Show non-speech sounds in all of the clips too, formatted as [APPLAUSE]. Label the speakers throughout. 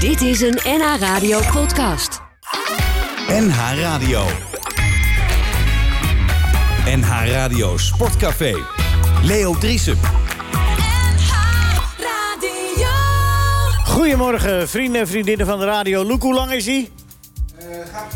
Speaker 1: Dit is een NH Radio podcast.
Speaker 2: NH Radio. NH Radio Sportcafé. Leo Driesen.
Speaker 3: Radio.
Speaker 4: Goedemorgen, vrienden en vriendinnen van de radio. Loek, hoe lang is hij? Eh, Gaan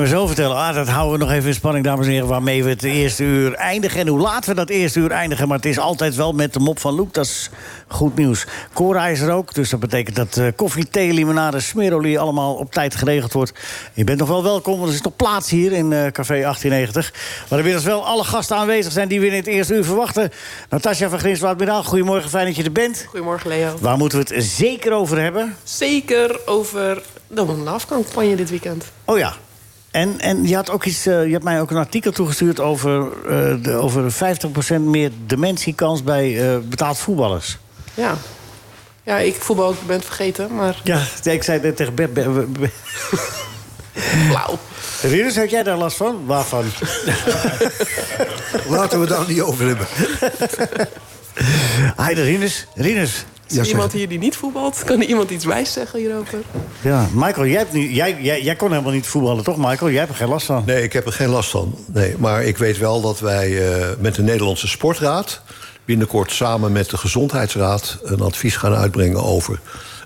Speaker 4: we zo vertellen. Ah, dat houden we nog even in spanning, dames en heren... waarmee we het eerste uur eindigen en hoe laat we dat eerste uur eindigen. Maar het is altijd wel met de mop van Loek, dat is goed nieuws. Cora is er ook, dus dat betekent dat eh, koffie, thee, limonade, smerolie... allemaal op tijd geregeld wordt. Je bent nog wel welkom, want er is nog plaats hier in eh, Café 1890. Maar inmiddels wel alle gasten aanwezig zijn die we in het eerste uur verwachten. Natasja van Grinswaard, middag. Goedemorgen, fijn dat je er bent.
Speaker 5: Goedemorgen Leo.
Speaker 4: Waar moeten we het zeker over hebben?
Speaker 5: Zeker over de wandelafcampagne dit weekend.
Speaker 4: Oh ja. En, en je, had ook iets, eh, je had mij ook een artikel toegestuurd over, eh de, over 50% meer dementiekans bij eh, betaald voetballers.
Speaker 5: Ja. Ja, ik voetbal ook ben het vergeten, maar
Speaker 4: Ja, ik zei net tegen Bert. Bert, Bert, Bert.
Speaker 5: blauw.
Speaker 4: Rinus, had jij daar last van? Waarvan?
Speaker 6: Laten we daar niet over hebben.
Speaker 4: Hi, de Rinus. Rinus.
Speaker 5: Is er iemand hier die niet voetbalt? Kan er iemand iets wijs zeggen hierover?
Speaker 4: Ja, Michael, jij, hebt nu, jij, jij, jij kon helemaal niet voetballen, toch, Michael? Jij hebt er geen last van.
Speaker 6: Nee, ik heb er geen last van. Nee, maar ik weet wel dat wij eh, met de Nederlandse Sportraad... binnenkort samen met de Gezondheidsraad een advies gaan uitbrengen... over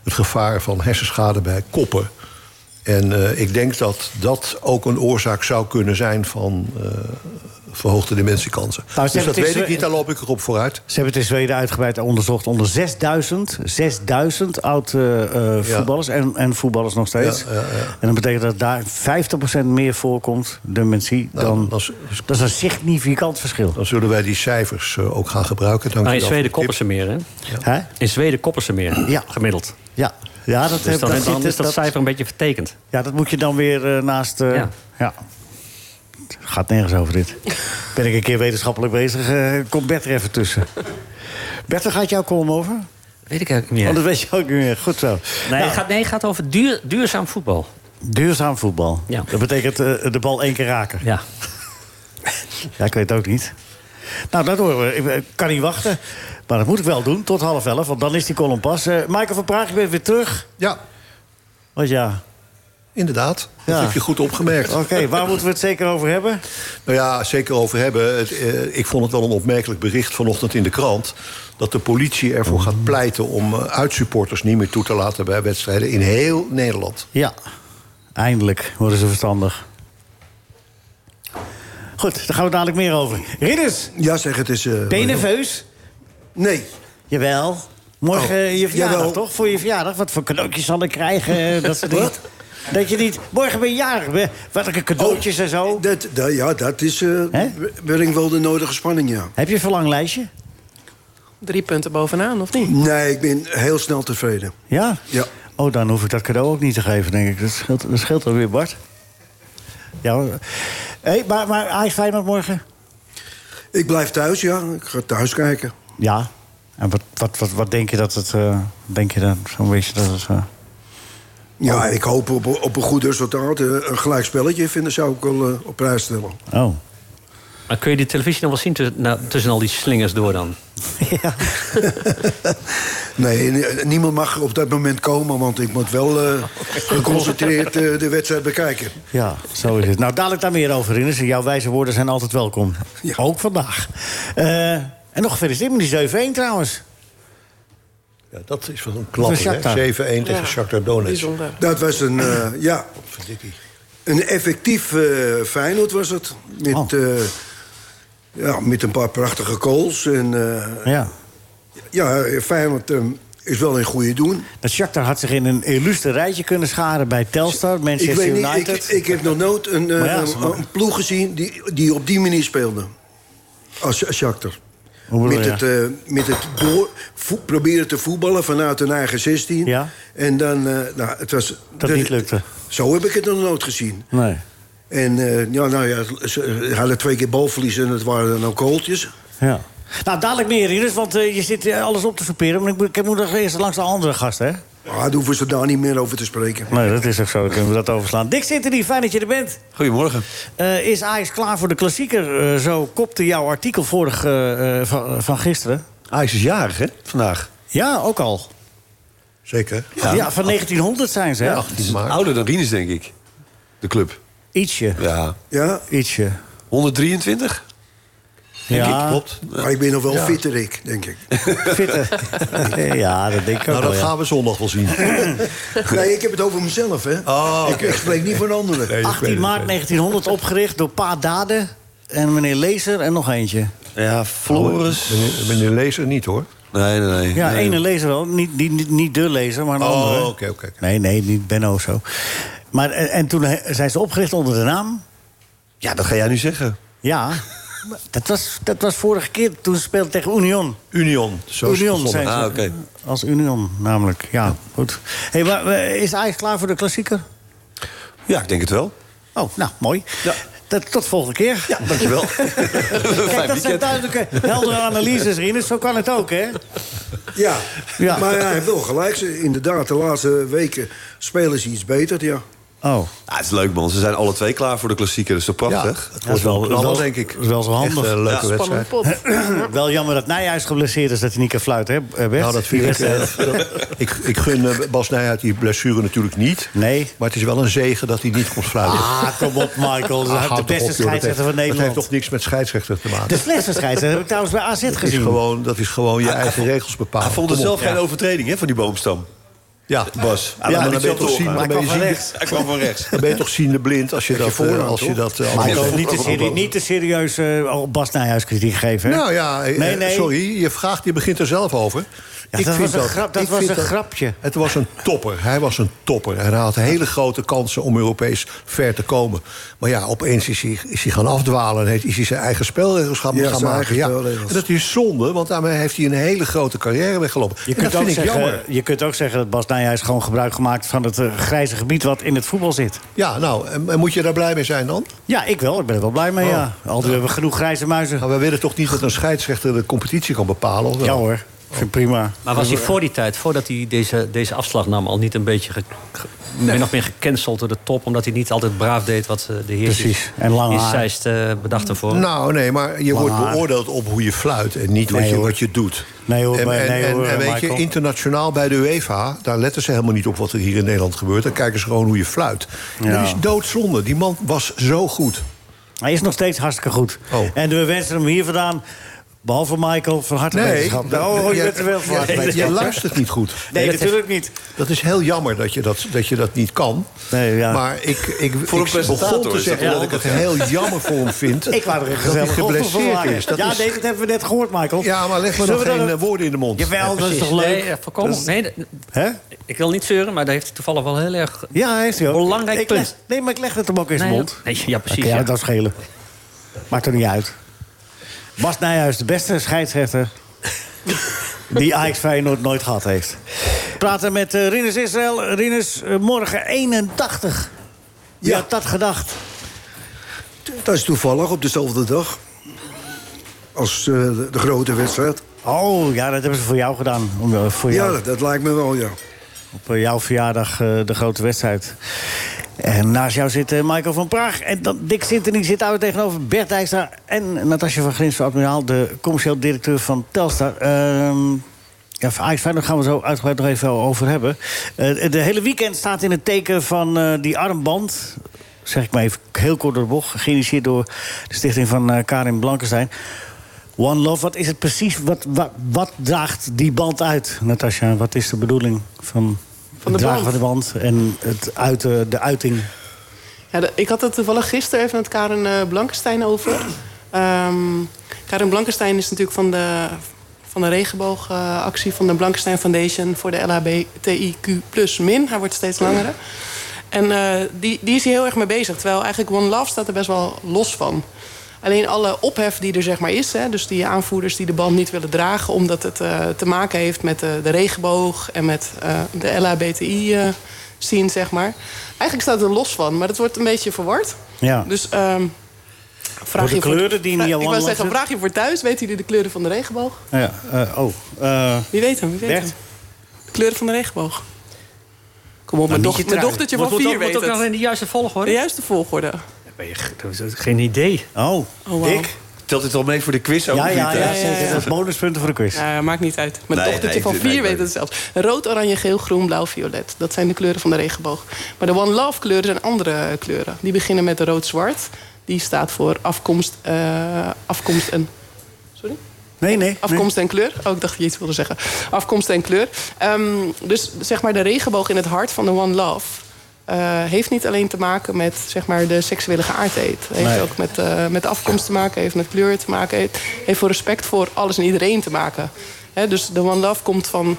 Speaker 6: het gevaar van hersenschade bij koppen. En eh, ik denk dat dat ook een oorzaak zou kunnen zijn van... eh, verhoogde dementiekansen.
Speaker 4: Nou, ze
Speaker 6: dus dat
Speaker 4: hebben het
Speaker 6: weet
Speaker 4: is-
Speaker 6: ik niet, daar loop ik erop vooruit.
Speaker 4: Ze hebben het in Zweden uitgebreid onderzocht onder 6000, 6000 oud eh, eh,
Speaker 6: Ja.
Speaker 4: voetballers en, en voetballers nog steeds.
Speaker 6: Ja, ja, ja.
Speaker 4: En dat betekent dat daar 50% meer voorkomt dementie
Speaker 6: Nou,
Speaker 4: dan.
Speaker 6: dat is-
Speaker 4: dat is een significant verschil.
Speaker 6: Dan zullen wij die cijfers eh, ook gaan gebruiken. Dank
Speaker 7: Nou,
Speaker 6: u
Speaker 7: in
Speaker 6: wel
Speaker 7: Zweden
Speaker 6: voor de
Speaker 7: koppen ze meer, hè?
Speaker 4: Hè?
Speaker 7: In Zweden koppen ze meer,
Speaker 4: Ja.
Speaker 7: gemiddeld.
Speaker 4: Ja. Ja, dat,
Speaker 7: Dus dan,
Speaker 4: heb- dat
Speaker 7: dan
Speaker 4: zit-
Speaker 7: is dat,
Speaker 4: dat-
Speaker 7: cijfer een beetje vertekend.
Speaker 4: ja, dat moet je dan weer eh, naast. eh, ja.
Speaker 7: Ja.
Speaker 4: Het Gaat nergens over dit. Ben ik een keer wetenschappelijk bezig, eh, komt Bert er even tussen. Bert, daar gaat jouw column over?
Speaker 7: Weet ik eigenlijk niet.
Speaker 4: Want dat weet je ook niet meer. Goed zo.
Speaker 7: Nee,
Speaker 4: Nou,
Speaker 7: het gaat, nee, het gaat over duur, duurzaam voetbal.
Speaker 4: Duurzaam voetbal.
Speaker 7: Ja.
Speaker 4: Dat betekent eh, de bal één keer raken.
Speaker 7: Ja.
Speaker 4: [LAUGHS] Ja, ik weet het ook niet. Nou, dat horen we. Ik eh, kan niet wachten. Maar dat moet ik wel doen, tot half elf, want dan is die column pas. Eh, Michael van Praag, je bent weer terug.
Speaker 6: tip. Ja,
Speaker 4: Want ja,
Speaker 6: inderdaad. Dat
Speaker 4: Ja.
Speaker 6: heb je goed opgemerkt.
Speaker 4: oké, waar moeten we het zeker over hebben?
Speaker 6: Nou ja, zeker over hebben. Het, eh, ik vond het wel een opmerkelijk bericht vanochtend in de krant... dat de politie ervoor gaat pleiten om eh, uitsupporters niet meer toe te laten... bij wedstrijden in heel Nederland.
Speaker 4: Ja, eindelijk worden ze verstandig. Goed, daar gaan we dadelijk meer over. Ridders,
Speaker 8: Ja, zeg, het is... eh,
Speaker 4: ben je nerveus?
Speaker 8: Nee.
Speaker 4: Jawel. Morgen
Speaker 8: Oh,
Speaker 4: je verjaardag,
Speaker 8: jawel.
Speaker 4: toch? Voor je verjaardag. Wat voor cadeautjes zal ik krijgen?
Speaker 8: [LAUGHS]
Speaker 4: eh, Dat soort dingen.
Speaker 8: Wat?
Speaker 4: Dat je niet... Morgen ben je jarig. we- Welke cadeautjes en zo?
Speaker 8: Oh, Dat, dat- ja, dat is... eh
Speaker 4: Hè?
Speaker 8: brengt wel de nodige spanning, ja.
Speaker 4: Heb je een verlanglijstje?
Speaker 5: Drie punten bovenaan, of niet?
Speaker 8: Nee, ik ben heel snel tevreden.
Speaker 4: Ja?
Speaker 8: Ja.
Speaker 4: Oh, dan hoef ik dat cadeau ook niet te geven, denk ik. Dat scheelt, dat scheelt alweer, Bart. Ja, hoor. hey, maar, maar Ajax Feyenoord morgen?
Speaker 8: Ik blijf thuis, ja. Ik ga thuis kijken.
Speaker 4: Ja. En wat, wat, wat, wat denk je dat het... eh, denk je dan zo'n beetje dat het... eh,
Speaker 8: Ja,
Speaker 4: Oh.
Speaker 8: ik hoop op, op een goed resultaat. Eh, Een gelijk spelletje vinden zou ik wel eh, op prijs stellen.
Speaker 4: Oh.
Speaker 7: Maar kun je die televisie nog wel zien tussen, nou, tussen al die slingers door dan?
Speaker 4: ja.
Speaker 8: Nee, n- eh, niemand mag op dat moment komen... want ik moet wel
Speaker 4: [LAUGHS] Oh.
Speaker 8: eh, geconcentreerd eh, de wedstrijd bekijken.
Speaker 4: ja, zo is het. Nou, dadelijk daar meer over, Rinus. En jouw wijze woorden zijn altijd welkom.
Speaker 8: Ja.
Speaker 4: Ook vandaag. Eh, en nog gefeliciteerd met die 7-1 trouwens.
Speaker 6: Ja, dat is wel een
Speaker 4: Voor
Speaker 6: klapper,
Speaker 4: Shakhtar.
Speaker 6: hè? 7-1 tegen
Speaker 5: Ja.
Speaker 6: Shakhtar Donetsk.
Speaker 5: Bijzonder.
Speaker 8: Dat was een, eh, ja,
Speaker 6: Verdikkie.
Speaker 8: een effectief eh Feyenoord was het. Met,
Speaker 4: Oh.
Speaker 8: eh, ja, met een paar prachtige goals. En, eh,
Speaker 4: Ja.
Speaker 8: Ja, Feyenoord eh, is wel een goede doen.
Speaker 4: Dat Shakhtar had zich in een illustre rijtje kunnen scharen bij Telstar,
Speaker 8: Ik,
Speaker 4: Manchester
Speaker 8: weet niet, ik,
Speaker 4: United.
Speaker 8: ik heb nog nooit een, eh,
Speaker 4: Maar ja, ze-
Speaker 8: een, een ploeg gezien die, die op die manier speelde. Als als Shakhtar.
Speaker 4: Hoe bedoel
Speaker 8: Met
Speaker 4: je?
Speaker 8: het, eh, met het door, vo- proberen te voetballen vanuit hun eigen 16.
Speaker 4: Ja.
Speaker 8: En dan, eh, nou, het was...
Speaker 4: Dat niet lukte.
Speaker 8: Zo heb ik het nog nooit gezien.
Speaker 4: Nee.
Speaker 8: En eh, ja, nou ja, ze hadden twee keer balverlies en het waren dan ook goaltjes.
Speaker 4: Ja. Nou, dadelijk meer, Rinus, want eh, je zit eh, alles op te soeperen. Maar ik, moet- ik moet nog eerst langs de andere gast, hè?
Speaker 8: Maar Ah, daar hoeven ze daar niet meer over te spreken.
Speaker 4: Nee, dat is ook zo. Dan kunnen we dat overslaan. Dick Sinternie, fijn dat je er bent.
Speaker 9: Goedemorgen.
Speaker 4: Eh, is Ajax klaar voor de klassieker? Eh, zo kopte jouw artikel vorig, eh, eh, van, van eh, gisteren.
Speaker 9: Ajax is jarig, hè, vandaag.
Speaker 4: Ja, ook al.
Speaker 6: Zeker.
Speaker 4: Ja, van 1900 zijn ze, hè?
Speaker 6: Ja, 18 maart.
Speaker 3: Ouder dan Rinus, denk ik. De club.
Speaker 4: Ietsje.
Speaker 3: Ja.
Speaker 8: Ja,
Speaker 4: Ietsje.
Speaker 3: 123?
Speaker 4: Ja,
Speaker 6: Klopt.
Speaker 8: maar ik ben nog wel fitter, ik, denk ik.
Speaker 4: [LAUGHS] fitter. [LAUGHS] ja, dat denk ik ook
Speaker 6: Nou,
Speaker 4: wel,
Speaker 6: dat
Speaker 4: ja.
Speaker 6: gaan we zondag wel
Speaker 4: [LAUGHS]
Speaker 6: zien.
Speaker 8: [LAUGHS] Nee, ik heb het over mezelf, hè.
Speaker 6: Oh,
Speaker 8: ik, ik spreek niet van anderen.
Speaker 6: Nee, ik weet
Speaker 4: 18
Speaker 6: het,
Speaker 4: maart
Speaker 6: ik
Speaker 4: 1900 opgericht door Pa Dade en meneer Lezer en nog eentje.
Speaker 3: Ja, Floris.
Speaker 6: Meneer, meneer Lezer niet hoor.
Speaker 3: Nee, nee, nee.
Speaker 4: Ja,
Speaker 3: nee.
Speaker 4: ene lezer wel. Niet, niet, niet, niet de lezer, maar een
Speaker 6: Oh,
Speaker 4: andere.
Speaker 6: oké, oké, oké.
Speaker 4: Nee, nee, niet Benno of zo. Maar, en, en toen he- zijn ze opgericht onder de naam.
Speaker 3: Ja, dat ga jij nu zeggen.
Speaker 4: Ja, maar dat was, dat was vorige keer toen ze speelden tegen Union.
Speaker 6: Union. Zo is het
Speaker 4: Union
Speaker 6: begonnen.
Speaker 4: zijn ze.
Speaker 3: Ah, oké.
Speaker 4: Als Union namelijk, ja, goed. Hey, maar, eh, is Ajax klaar voor de klassieker?
Speaker 3: Ja, ik denk het wel.
Speaker 4: Oh, nou, mooi.
Speaker 3: Ja.
Speaker 4: Dat, tot volgende keer. Ja, [LAUGHS]
Speaker 3: Dankjewel.
Speaker 4: Kijk,
Speaker 3: Fijn
Speaker 4: dat zijn
Speaker 3: weekend.
Speaker 4: duidelijke, heldere analyses, Rinus. Zo kan het ook, hè?
Speaker 8: Ja.
Speaker 4: Ja.
Speaker 8: maar hij heeft wel gelijk. Ze- Inderdaad, de laatste weken spelen ze iets beter, ja.
Speaker 4: Oh,
Speaker 3: Ja, het is leuk, man. Ze zijn alle twee klaar voor de klassieker. Dat is toch
Speaker 6: Ja,
Speaker 3: prachtig?
Speaker 6: het
Speaker 4: Dat
Speaker 6: wordt
Speaker 4: is wel-
Speaker 6: wel
Speaker 4: wel-
Speaker 6: knallen, denk ik.
Speaker 4: dat is wel zo
Speaker 6: Echt
Speaker 4: handig.
Speaker 6: een leuke
Speaker 3: Ja,
Speaker 6: wedstrijd.
Speaker 5: Spannend pot.
Speaker 4: eh, [CLEARS THROAT] wel jammer dat Nijhuis geblesseerd is dat hij niet kan fluiten, hè, eh, Bert? Dus,
Speaker 6: Nou, dat
Speaker 4: Die
Speaker 6: vind ik,
Speaker 4: wedstrijd.
Speaker 6: eh, dat- [LAUGHS] ik. Ik gun eh, Bas Nijhuis die blessure natuurlijk niet.
Speaker 4: Nee.
Speaker 6: Maar het is wel een zegen dat hij niet komt fluiten.
Speaker 4: Ah, kom op, Michael. Dat
Speaker 6: Ah, houd
Speaker 4: is de
Speaker 6: toch op, joh,
Speaker 4: beste
Speaker 6: dat heeft-
Speaker 4: scheidsrechter van
Speaker 6: Dat
Speaker 4: Nederland.
Speaker 6: heeft toch niks met scheidsrechter te maken.
Speaker 4: De slechtste scheidsrechter heb ik trouwens bij AZ
Speaker 6: Dat is
Speaker 4: gezien. Ah,
Speaker 6: gewoon, dat is gewoon je eigen regels bepalen.
Speaker 3: Hij vond het
Speaker 6: Kom op.
Speaker 3: zelf geen overtreding hè, van die boomstam.
Speaker 6: Ja,
Speaker 4: Ah,
Speaker 3: Bas.
Speaker 6: Ja, maar dan ben je toch zien,
Speaker 3: Hij
Speaker 6: dan ben
Speaker 3: kwam
Speaker 6: je
Speaker 3: van
Speaker 6: zien-
Speaker 3: rechts. Hij kwam van rechts.
Speaker 6: dan ben je toch ziende blind als je dat... eh,
Speaker 8: voorrang,
Speaker 6: als je
Speaker 8: toch?
Speaker 6: dat eh,
Speaker 4: Maar
Speaker 6: allemaal-
Speaker 4: niet te serie- niet te serieus eh, op Bas Nijhuis kritiek geven. hè?
Speaker 6: Nou ja, eh,
Speaker 4: Nee, nee.
Speaker 6: sorry, je vraagt, je begint er zelf over.
Speaker 4: Ja, dat was een grap- dat
Speaker 6: ik
Speaker 4: was
Speaker 6: vind
Speaker 4: een grapje.
Speaker 6: Het was een topper, hij was een topper. En hij had hele grote kansen om Europees ver te komen. Maar ja, opeens is hij, is hij gaan afdwalen en heeft- is hij zijn eigen spelregels gaan,
Speaker 8: Ja,
Speaker 6: gaan
Speaker 8: zijn
Speaker 6: maken.
Speaker 8: eigen
Speaker 6: Ja.
Speaker 8: spelregels.
Speaker 6: En dat is zonde, want daarmee heeft hij een hele grote carrière weggelopen.
Speaker 4: Je
Speaker 6: En
Speaker 4: kunt,
Speaker 6: dat
Speaker 4: ook
Speaker 6: vind ik jammer.
Speaker 4: zeggen, je kunt ook zeggen dat Bas Nijhuis gewoon gebruik gemaakt van het eh, grijze gebied wat in het voetbal zit.
Speaker 6: Ja, nou, en, en moet je daar blij mee zijn dan? Oh.
Speaker 4: Ja, ik wel. Ik ben er wel blij mee. Ja. Altijd hebben we genoeg grijze muizen.
Speaker 6: Maar we willen toch niet dat een scheidsrechter de competitie kan bepalen? Of wel?
Speaker 4: Ja hoor, ik vind prima.
Speaker 7: Maar was hij voor die tijd, voordat hij deze, deze afslag nam... al niet een beetje ge, ge- min of meer gecanceld door de top... omdat hij niet altijd braaf deed wat eh, de heersers
Speaker 4: Precies, en lang
Speaker 7: in
Speaker 4: haar.
Speaker 7: Zeist eh, bedachten voor?
Speaker 6: Nou, nee, maar je wordt
Speaker 4: haar.
Speaker 6: beoordeeld op hoe je fluit en niet wat,
Speaker 4: Nee,
Speaker 6: je,
Speaker 4: hoor.
Speaker 6: wat je doet.
Speaker 4: Nee, hoor,
Speaker 6: en,
Speaker 4: maar-
Speaker 6: en-
Speaker 4: nee,
Speaker 6: en-
Speaker 4: hoor,
Speaker 6: en weet je,
Speaker 4: Michael.
Speaker 6: internationaal bij de UEFA, daar letten ze helemaal niet op wat er hier in Nederland gebeurt. Dan kijken ze gewoon hoe je fluit. En
Speaker 4: Ja.
Speaker 6: Dat is doodzonde. Die man was zo goed.
Speaker 4: Hij is nog steeds hartstikke goed.
Speaker 6: Oh.
Speaker 4: En we wensen hem hier vandaan, behalve Michael, van harte wetenschap.
Speaker 6: dat-
Speaker 4: oh, je
Speaker 6: jij-
Speaker 4: bent er wel van
Speaker 6: jij-
Speaker 4: harte
Speaker 6: jij-
Speaker 4: wetenschap.
Speaker 6: jij luistert niet goed.
Speaker 4: Nee, natuurlijk niet.
Speaker 6: Dat is heel jammer dat je dat, dat, je dat niet kan.
Speaker 4: Nee, ja.
Speaker 6: Maar ik, ik,
Speaker 3: Voor een
Speaker 6: ik
Speaker 3: presentator
Speaker 6: begon
Speaker 3: is
Speaker 6: te
Speaker 3: dat
Speaker 6: zeggen
Speaker 3: wel
Speaker 6: dat ik het heel jammer voor hem vind...
Speaker 4: Ik wou er een
Speaker 6: dat hij
Speaker 4: gezellig
Speaker 6: geblesseerd is. Dat
Speaker 4: ja,
Speaker 6: is
Speaker 4: nee, dat hebben we net gehoord, Michael.
Speaker 6: Ja, maar leg me
Speaker 4: Zullen
Speaker 6: nog
Speaker 4: we dan
Speaker 6: geen eh,
Speaker 4: een-
Speaker 6: woorden in de mond.
Speaker 4: Jawel, dat is toch
Speaker 7: Precies.
Speaker 4: leuk?
Speaker 7: Nee, eh, voorkomen.
Speaker 4: Dat is-
Speaker 7: Nee, dat-
Speaker 4: Hè?
Speaker 7: ik wil niet zeuren, maar daar heeft hij toevallig wel heel erg...
Speaker 4: Ja, heeft hij ook.
Speaker 7: Belangrijk
Speaker 4: Ik leg-
Speaker 7: punt.
Speaker 4: nee, maar ik leg het hem ook in zijn
Speaker 7: Nee,
Speaker 4: mond.
Speaker 7: nee, ja, precies.
Speaker 4: Oké, ja,
Speaker 7: ja.
Speaker 4: dat schelen. Maakt er niet uit. Bas Nijhuis, de beste scheidsrechter...
Speaker 7: [LAUGHS]
Speaker 4: die Ajax Feyenoord nooit gehad heeft. We praten met eh, Rinus Israël. Rinus, eh, morgen 81. Wie
Speaker 8: Ja.
Speaker 4: had dat gedacht?
Speaker 8: Dat is toevallig op dezelfde dag als eh, de, de grote wedstrijd.
Speaker 4: Oh, ja, dat hebben ze voor jou gedaan. Om, eh, voor
Speaker 8: Ja,
Speaker 4: jou,
Speaker 8: dat, dat lijkt me wel, ja.
Speaker 4: Op eh, jouw verjaardag eh, de grote wedstrijd. En naast jou zit eh, Michael van Praag. En dan Dick Sintony zit daar tegenover Bert Dijkstra... en Natasja van Grins van Admiraal, de commercieel directeur van Telstar. Ehm ja, voor Ajax Feyenoord gaan we zo uitgebreid nog even over hebben. Eh, de hele weekend staat in het teken van eh, die armband... zeg ik maar even heel kort door de bocht... geïnitieerd door de stichting van eh, Karin Blankenstein... One Love, wat is het precies? Wat, wat, wat draagt die band uit, Natasja? Wat is de bedoeling van, het
Speaker 5: de band?
Speaker 4: dragen van de band en het uiten, de uiting?
Speaker 5: Ja, de- ik had het toevallig gisteren even met Karen eh, Blankenstein over. Ehm, Karen Blankenstein is natuurlijk van de, van de regenboogactie van de Blankenstein Foundation voor de LHBTIQ plus min. Hij wordt steeds langer. En eh, die, die is hier heel erg mee bezig. Terwijl eigenlijk One Love staat er best wel los van. Alleen alle ophef die er zeg maar is, hè, dus die aanvoerders die de band niet willen dragen, omdat het eh, te maken heeft met eh, de regenboog en met eh, de LHBTI eh scene, zeg maar. Eigenlijk staat het er los van, maar dat wordt een beetje verward.
Speaker 4: Ja.
Speaker 5: Dus ehm, vraag
Speaker 4: de
Speaker 5: je
Speaker 4: kleuren die in
Speaker 5: vra-
Speaker 4: jouw
Speaker 5: Ik
Speaker 4: wandel
Speaker 5: wou zeggen,
Speaker 4: zitten?
Speaker 5: vraag je voor thuis, weten jullie de kleuren van de regenboog?
Speaker 4: ja eh, oh, eh,
Speaker 5: Wie weet hem, wie weet
Speaker 4: Bert?
Speaker 5: hem. De kleuren van de regenboog. Kom op, mijn,
Speaker 4: niet
Speaker 5: doch-
Speaker 4: je
Speaker 5: mijn
Speaker 4: trui.
Speaker 5: dochtertje
Speaker 7: Moet,
Speaker 5: van
Speaker 7: moet,
Speaker 5: vier
Speaker 7: ook, moet
Speaker 5: weet
Speaker 7: ook nog
Speaker 5: het.
Speaker 7: in de juiste volgorde.
Speaker 5: De juiste volgorde.
Speaker 7: Ben je ge- dat is Geen idee.
Speaker 4: oh,
Speaker 5: Oh, wauw.
Speaker 4: Dick.
Speaker 3: Telt dit al mee voor de quiz? Ook,
Speaker 4: Ja,
Speaker 3: of
Speaker 4: ja,
Speaker 3: niet,
Speaker 4: ja,
Speaker 3: hè?
Speaker 4: zeker. Dat is bonuspunten voor de quiz.
Speaker 5: Ja, maakt niet uit. Mijn
Speaker 3: Nee,
Speaker 5: dochtertje
Speaker 3: nee,
Speaker 5: van
Speaker 3: ik-
Speaker 5: vier
Speaker 3: nee,
Speaker 5: weet
Speaker 3: nee.
Speaker 5: het zelfs. Rood, oranje, geel, groen, blauw, violet. Dat zijn de kleuren van de regenboog. Maar de One Love kleuren zijn andere kleuren. Die beginnen met rood-zwart. Die staat voor afkomst, eh, afkomst en... Sorry?
Speaker 4: Nee, nee. nee.
Speaker 5: Afkomst en kleur. Oh, ik dacht dat je iets wilde zeggen. Afkomst en kleur. Ehm, dus zeg maar de regenboog in het hart van de One Love... eh, heeft niet alleen te maken met zeg maar, de seksuele geaardheid. Heeft
Speaker 4: Nee.
Speaker 5: ook met, eh, met de afkomst te maken, heeft met kleur te maken. Heeft, heeft voor respect voor alles en iedereen te maken. Hè, dus de One Love komt van...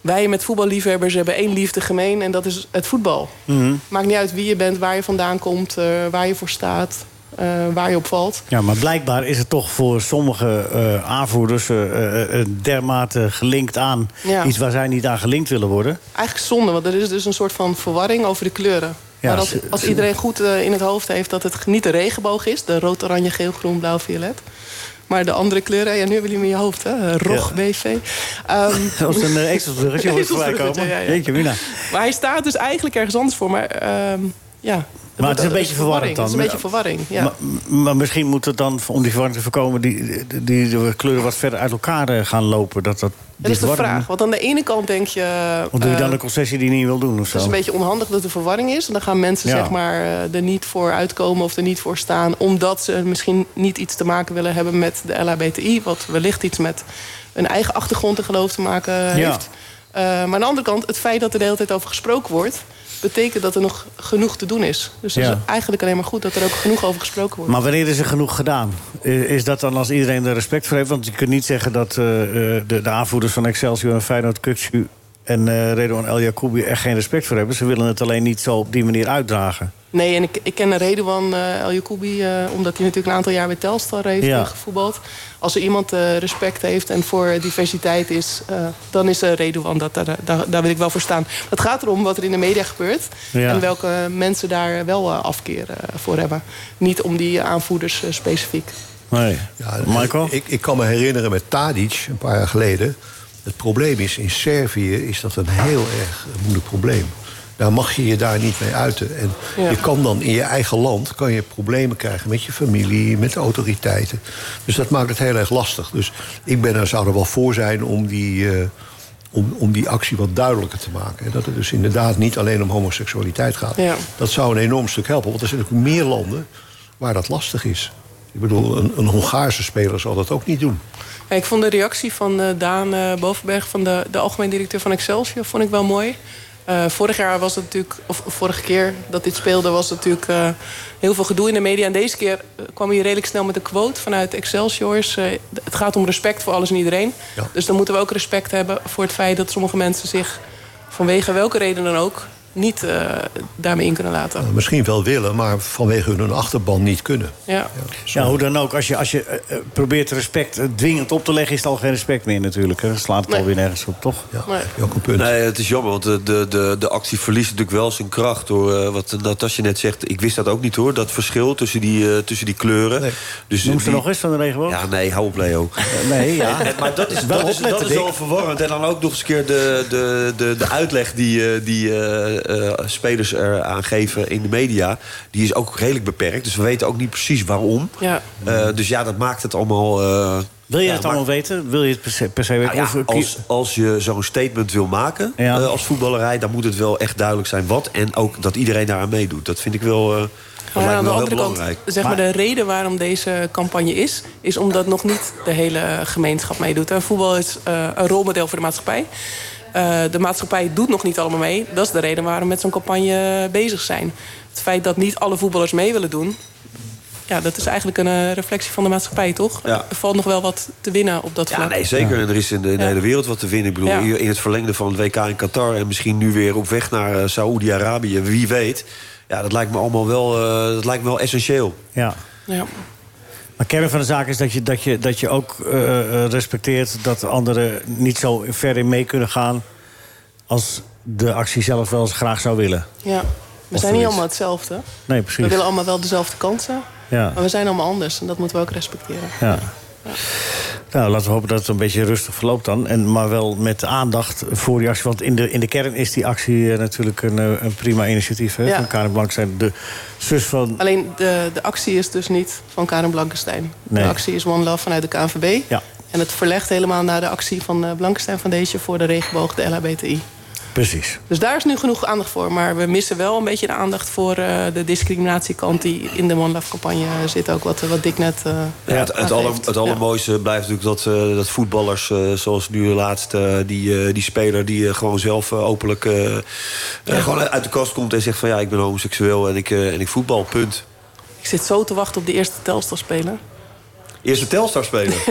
Speaker 5: Wij met voetballiefhebbers hebben één liefde gemeen en dat is het voetbal.
Speaker 4: Mhm.
Speaker 5: Maakt niet uit wie je bent, waar je vandaan komt, eh, waar je voor staat, eh, waar je op valt.
Speaker 4: Ja, maar blijkbaar is het toch voor sommige eh, aanvoerders eh, eh, eh, dermate gelinkt aan
Speaker 5: Ja.
Speaker 4: iets waar zij niet aan gelinkt willen worden.
Speaker 5: Eigenlijk zonde, want er is dus een soort van verwarring over de kleuren.
Speaker 4: Ja,
Speaker 5: maar als,
Speaker 4: ze-
Speaker 5: als iedereen goed eh, in het hoofd heeft dat het niet de regenboog is... de rood, oranje, geel, groen, blauw, violet... maar de andere kleuren, ja, nu hebben jullie hem in je hoofd, hè? Eh, Rog,
Speaker 4: Ja. [LAUGHS]
Speaker 5: BV. Ehm,
Speaker 4: Als een uh,
Speaker 5: [LAUGHS]
Speaker 4: ezelsbruggetje wordt voorbij
Speaker 5: Ezelsbruggetje,
Speaker 4: komen.
Speaker 5: ja, ja.
Speaker 4: Jeetje, Mina.
Speaker 5: maar hij staat dus eigenlijk ergens anders voor, maar ehm, ja...
Speaker 4: Maar het is een
Speaker 5: Dat
Speaker 4: beetje verwarrend
Speaker 5: Het
Speaker 4: dan.
Speaker 5: is een beetje verwarring, ja.
Speaker 4: Maar, maar misschien moet het dan, om die verwarring te voorkomen... die, die, die- die kleuren wat verder uit elkaar eh, gaan lopen. Dat, dat, die
Speaker 5: dat is de
Speaker 4: verwarring-
Speaker 5: vraag, want aan de ene kant denk je...
Speaker 4: Of doe je dan
Speaker 5: eh,
Speaker 4: een concessie die je niet wil doen of zo?
Speaker 5: Het is een beetje onhandig dat er verwarring is. En dan gaan mensen
Speaker 4: Ja.
Speaker 5: zeg maar, eh, er niet voor uitkomen of er niet voor staan... omdat ze misschien niet iets te maken willen hebben met de LHBTI... wat wellicht iets met een eigen achtergrond en geloof te maken heeft. Eh, maar aan de andere kant, het feit dat er de hele tijd over gesproken wordt... betekent dat er nog genoeg te doen is. Dus het
Speaker 4: Ja.
Speaker 5: is eigenlijk alleen maar goed dat er ook genoeg over gesproken wordt.
Speaker 4: Maar wanneer is er genoeg gedaan? I- Is dat dan als iedereen er respect voor heeft? Want je kunt niet zeggen dat eh, eh, de, de aanvoerders van Excelsior en Feyenoord Kukcu... en eh Redouan El Jacoubi er geen respect voor hebben. Ze willen het alleen niet zo op die manier uitdragen.
Speaker 5: Nee, en ik, ik ken Redouan eh El Jacoubi, eh, omdat hij natuurlijk een aantal jaar bij Telstar heeft
Speaker 4: Ja.
Speaker 5: eh, gevoetbald. Als er iemand eh, respect heeft en voor diversiteit is, eh, dan is eh Redouan dat. Daar, daar, daar wil ik wel voor staan. Het gaat erom wat er in de media gebeurt
Speaker 4: Ja.
Speaker 5: en welke mensen daar wel eh, afkeer eh, voor hebben. Niet om die aanvoerders eh, specifiek.
Speaker 4: Nee.
Speaker 6: Ja,
Speaker 4: Michael?
Speaker 6: Ik, ik kan me herinneren met Tadic een paar jaar geleden. Het probleem is, in Servië is dat een heel erg moeilijk probleem. Daar mag je je daar niet mee uiten. En
Speaker 5: Ja.
Speaker 6: je kan dan in je eigen land kan je problemen krijgen met je familie, met de autoriteiten. Dus dat maakt het heel erg lastig. Dus ik ben er, zou er wel voor zijn om die, eh, om, om die actie wat duidelijker te maken. En dat het dus inderdaad niet alleen om homoseksualiteit gaat.
Speaker 5: Ja.
Speaker 6: Dat zou een enorm stuk helpen. Want er zijn natuurlijk meer landen waar dat lastig is. Ik bedoel, een, een Hongaarse speler zal dat ook niet doen.
Speaker 5: Ja, ik vond de reactie van eh, Daan eh, Bovenberg, van de, de algemeen directeur van Excelsior, vond ik wel mooi. Eh, vorig jaar was het natuurlijk, of vorige keer dat dit speelde, was het natuurlijk eh, heel veel gedoe in de media. En deze keer eh, kwam hij redelijk snel met een quote vanuit Excelsior's. eh, d- het gaat om respect voor alles en iedereen.
Speaker 6: Ja.
Speaker 5: Dus dan moeten we ook respect hebben voor het feit dat sommige mensen zich vanwege welke reden dan ook niet eh, daarmee in kunnen laten.
Speaker 6: Nou, misschien wel willen, maar vanwege hun achterban niet kunnen.
Speaker 5: Ja.
Speaker 4: Ja, hoe dan ook. Als je, als je eh, eh, probeert respect eh, dwingend op te leggen... is het al geen respect meer natuurlijk. hè. Dan slaat het
Speaker 5: Nee.
Speaker 4: alweer nergens op, toch?
Speaker 6: Ja,
Speaker 5: Maar-
Speaker 6: heb je ook een punt.
Speaker 3: Nee, het is jammer, want de, de, de, de actie verliest natuurlijk wel zijn kracht. Door eh, wat Natasja net zegt, ik wist dat ook niet hoor. Dat verschil tussen die, eh, tussen die kleuren.
Speaker 6: Nee.
Speaker 3: Dus
Speaker 4: Noem ze
Speaker 3: die-
Speaker 4: nog eens van de regenboog?
Speaker 3: Ja, nee, hou op Leo.
Speaker 4: Nee, ja.
Speaker 3: [LAUGHS] En- maar dat is,
Speaker 4: Wel
Speaker 3: dat is,
Speaker 4: opletten,
Speaker 3: dat is
Speaker 4: Dick.
Speaker 3: wel verwarrend. En dan ook nog eens een keer de, de, de, de uitleg die, eh, die eh, eh, spelers er aan geven in de media. Die is ook redelijk beperkt. Dus we weten ook niet precies waarom.
Speaker 5: Ja.
Speaker 3: Eh, dus ja, dat maakt het allemaal... eh,
Speaker 4: Wil je
Speaker 3: ja,
Speaker 4: het
Speaker 3: maakt-
Speaker 4: allemaal weten? Wil je het per se, per se weten?
Speaker 3: nou ja,
Speaker 4: Of, eh, kie-
Speaker 3: als, als je zo'n statement wil maken
Speaker 4: Ja.
Speaker 3: eh, als voetballerij... dan moet het wel echt duidelijk zijn wat. En ook dat iedereen daaraan meedoet. Dat vind ik wel, eh dat
Speaker 5: Maar aan
Speaker 3: lijkt me
Speaker 5: de
Speaker 3: wel heel
Speaker 5: andere kant,
Speaker 3: belangrijk.
Speaker 5: zeg maar, de reden waarom deze campagne is... is omdat nog niet de hele gemeenschap meedoet. En voetbal is eh, een rolmodel voor de maatschappij. Eh, de maatschappij doet nog niet allemaal mee. Dat is de reden waarom we met zo'n campagne bezig zijn. Het feit dat niet alle voetballers mee willen doen... ja, dat is eigenlijk een eh, reflectie van de maatschappij, toch?
Speaker 3: Ja.
Speaker 5: Er valt nog wel wat te winnen op dat vlak.
Speaker 3: Ja, nee, zeker. En er is in de, in de
Speaker 5: Ja.
Speaker 3: hele wereld wat te winnen. Ik bedoel,
Speaker 5: Ja.
Speaker 3: hier in het verlengde van het WK in Qatar... en misschien nu weer op weg naar eh, Saoedi-Arabië, wie weet. Ja, dat lijkt me allemaal wel, eh, dat lijkt me wel essentieel.
Speaker 4: ja.
Speaker 5: Ja.
Speaker 4: Maar kern van de zaak is dat je, dat je, dat je ook eh, eh, respecteert dat anderen niet zo ver in mee kunnen gaan. als de actie zelf wel eens graag zou willen.
Speaker 5: ja. We
Speaker 4: Of
Speaker 5: zijn niet
Speaker 4: zoiets.
Speaker 5: allemaal hetzelfde.
Speaker 4: Nee,
Speaker 5: We
Speaker 4: precies.
Speaker 5: willen allemaal wel dezelfde kansen.
Speaker 4: Ja.
Speaker 5: Maar we zijn allemaal anders en dat moeten we ook respecteren.
Speaker 4: Ja. Nou, laten we hopen dat het een beetje rustig verloopt dan. En, maar wel met aandacht voor die actie. Want in de, in de kern is die actie eh, natuurlijk een, eh, een prima initiatief. Hè?
Speaker 5: Ja.
Speaker 4: Van Karen Blankstein, de zus van...
Speaker 5: Alleen de, de actie is dus niet van Karen Blankenstein.
Speaker 4: Nee.
Speaker 5: De actie is One Love vanuit de KNVB.
Speaker 4: Ja,
Speaker 5: En het verlegt helemaal naar de actie van eh Blankenstein Foundation... voor de regenboog, de LHBTI.
Speaker 4: precies.
Speaker 5: Dus daar is nu genoeg aandacht voor. Maar we missen wel een beetje de aandacht voor eh, de discriminatiekant... die in de One Love campagne zit ook, wat, eh, wat Dick net... eh,
Speaker 3: Ja, het, het,
Speaker 5: aangeeft.
Speaker 3: aller- het
Speaker 5: Ja.
Speaker 3: allermooiste blijft natuurlijk dat, eh, dat voetballers, eh, zoals nu laatst, eh, die, eh, die speler die eh, gewoon zelf eh, openlijk eh, eh, gewoon uit de kast komt en zegt van ja, ik ben homoseksueel en ik, eh, en ik voetbal, punt.
Speaker 5: Ik zit zo te wachten op de eerste telstalspeler.
Speaker 3: Eerste Telstar spelen.
Speaker 4: [LAUGHS]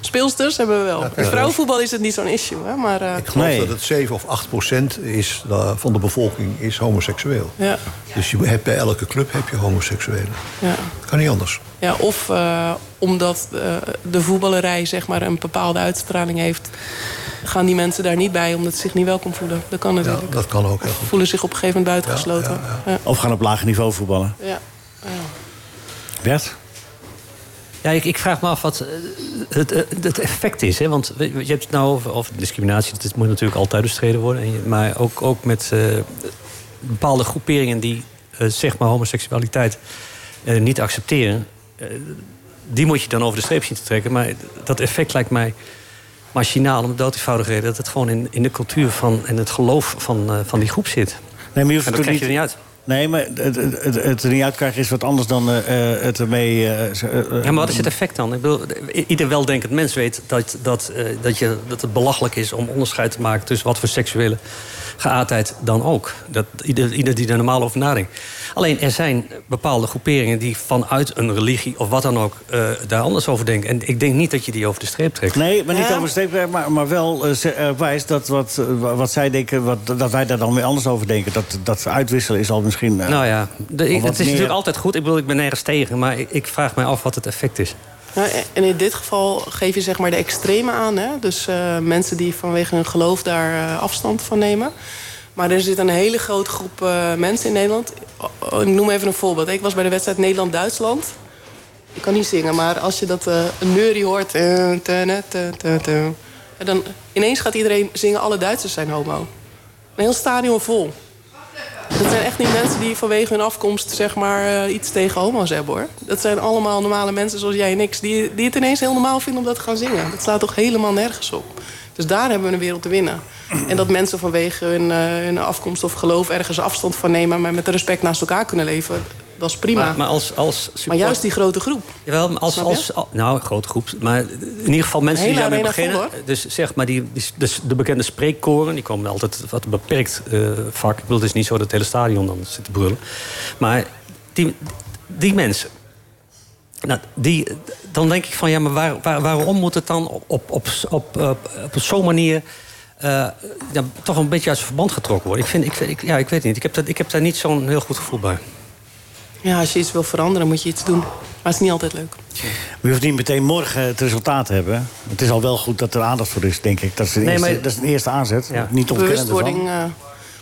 Speaker 5: Speelsters hebben we wel. Bij Vrouwenvoetbal is het niet zo'n issue, hè? maar... eh,
Speaker 6: Ik geloof
Speaker 4: Nee.
Speaker 6: dat het 7 of 8 procent is, eh, van de bevolking is homoseksueel.
Speaker 5: ja,
Speaker 6: Dus je hebt, bij elke club heb je homoseksuelen.
Speaker 5: ja.
Speaker 6: Kan niet anders.
Speaker 5: Ja, of eh, omdat eh, de voetballerij zeg maar, een bepaalde uitstraling heeft... gaan die mensen daar niet bij omdat ze zich niet welkom voelen. Dat kan
Speaker 6: Ja,
Speaker 5: natuurlijk.
Speaker 6: dat kan ook heel goed.
Speaker 5: voelen zich op een gegeven moment buitengesloten.
Speaker 6: Ja,
Speaker 5: Ja, ja.
Speaker 4: Of gaan op laag niveau voetballen. Bert?
Speaker 7: Ja, ik, ik vraag me af wat eh, het, eh, het effect is. Hè? Want we- we- je hebt het nou over, over discriminatie. Dit moet natuurlijk altijd bestreden worden. En je- Maar ook, ook met eh, bepaalde groeperingen die eh, zeg maar homoseksualiteit eh, niet accepteren. eh, die moet je dan over de streep zien te trekken. Maar dat effect lijkt mij machinaal om de dood eenvoudige reden... dat het gewoon in, in de cultuur van, en het geloof van, eh, van die groep zit.
Speaker 4: Nee, maar je hoeft
Speaker 7: En dat
Speaker 4: natuurlijk
Speaker 7: krijg je er niet uit.
Speaker 4: Nee, maar het, het, het, het er niet uitkrijgen is wat anders dan eh, eh, het ermee... eh, z- eh,
Speaker 7: Ja, maar wat is het effect dan? Ik bedoel, i- ieder weldenkend mens weet dat, dat, eh, dat, je, dat het belachelijk is om onderscheid te maken tussen wat voor seksuele geaardheid dan ook. Dat, ieder, ieder die er normaal over nadenkt. Alleen er zijn bepaalde groeperingen die vanuit een religie of wat dan ook eh, daar anders over denken. En ik denk niet dat je die over de streep trekt.
Speaker 4: Nee, maar niet
Speaker 5: Ja.
Speaker 4: over streep, maar, maar wel eh, ze- eh, wijst dat wat, eh, wa- wat zij denken, wat, dat wij daar dan weer anders over denken. Dat, dat uitwisselen is al misschien. eh,
Speaker 7: Nou ja, de- ik-
Speaker 4: Of wat
Speaker 7: het is
Speaker 4: meer-
Speaker 7: natuurlijk altijd goed. Ik bedoel, ik ben nergens tegen, maar ik, ik vraag mij af wat het effect is.
Speaker 5: Nou, e- en in dit geval geef je zeg maar de extreme aan. Hè? Dus eh, mensen die vanwege hun geloof daar eh, afstand van nemen. Maar er zit een hele grote groep eh, mensen in Nederland. Oh, oh, ik noem even een voorbeeld. Ik was bij de wedstrijd Nederland-Duitsland. Ik kan niet zingen, maar als je dat eh een neurie hoort... eh, tene, te, te, te, en dan ineens gaat iedereen zingen... alle Duitsers zijn homo. Een heel stadion vol. Dat zijn echt niet mensen die vanwege hun afkomst zeg maar, eh, iets tegen homo's hebben hoor. Dat zijn allemaal normale mensen zoals jij en ik, die, die het ineens heel normaal vinden om dat te gaan zingen. Dat slaat toch helemaal nergens op. Dus daar hebben we een wereld te winnen. En dat mensen vanwege hun, eh, hun afkomst of geloof ergens afstand van nemen, maar met respect naast elkaar kunnen leven, dat is prima. Maar,
Speaker 7: Maar, maar als, als supporter-
Speaker 5: juist die grote groep.
Speaker 7: Jawel, maar als,
Speaker 5: Snap je?
Speaker 7: als, al- nou, een grote groep. Maar in ieder geval mensen die
Speaker 5: Hele
Speaker 7: daarmee
Speaker 5: arena
Speaker 7: beginnen.
Speaker 5: vol, hoor.
Speaker 7: dus zeg maar, die, die- dus de bekende spreekkoren... die komen altijd wat een beperkt eh, vak. Ik bedoel, het is niet zo dat het hele stadion dan zit te brullen. Maar die, die mensen... Nou, die, dan denk ik van, ja, maar waar, waar- waarom moet het dan op, op, op, op, op, op zo'n manier... eh, ja, toch een beetje uit zijn verband getrokken worden? Ik, vind, ik, ik- ja, ik weet niet. Ik heb, dat, ik heb daar niet zo'n heel goed gevoel bij.
Speaker 5: Ja, als je iets wil veranderen, moet je iets doen. Maar het is niet altijd leuk.
Speaker 4: Je hoeft niet meteen morgen het resultaat te hebben. Het is al wel goed dat er aandacht voor is, denk ik. Dat is een,
Speaker 7: Nee,
Speaker 4: eerste,
Speaker 7: maar-
Speaker 4: dat is een eerste aanzet.
Speaker 7: Ja.
Speaker 4: Niet ontkennend
Speaker 5: Bewustwording,
Speaker 4: ervan.
Speaker 5: eh,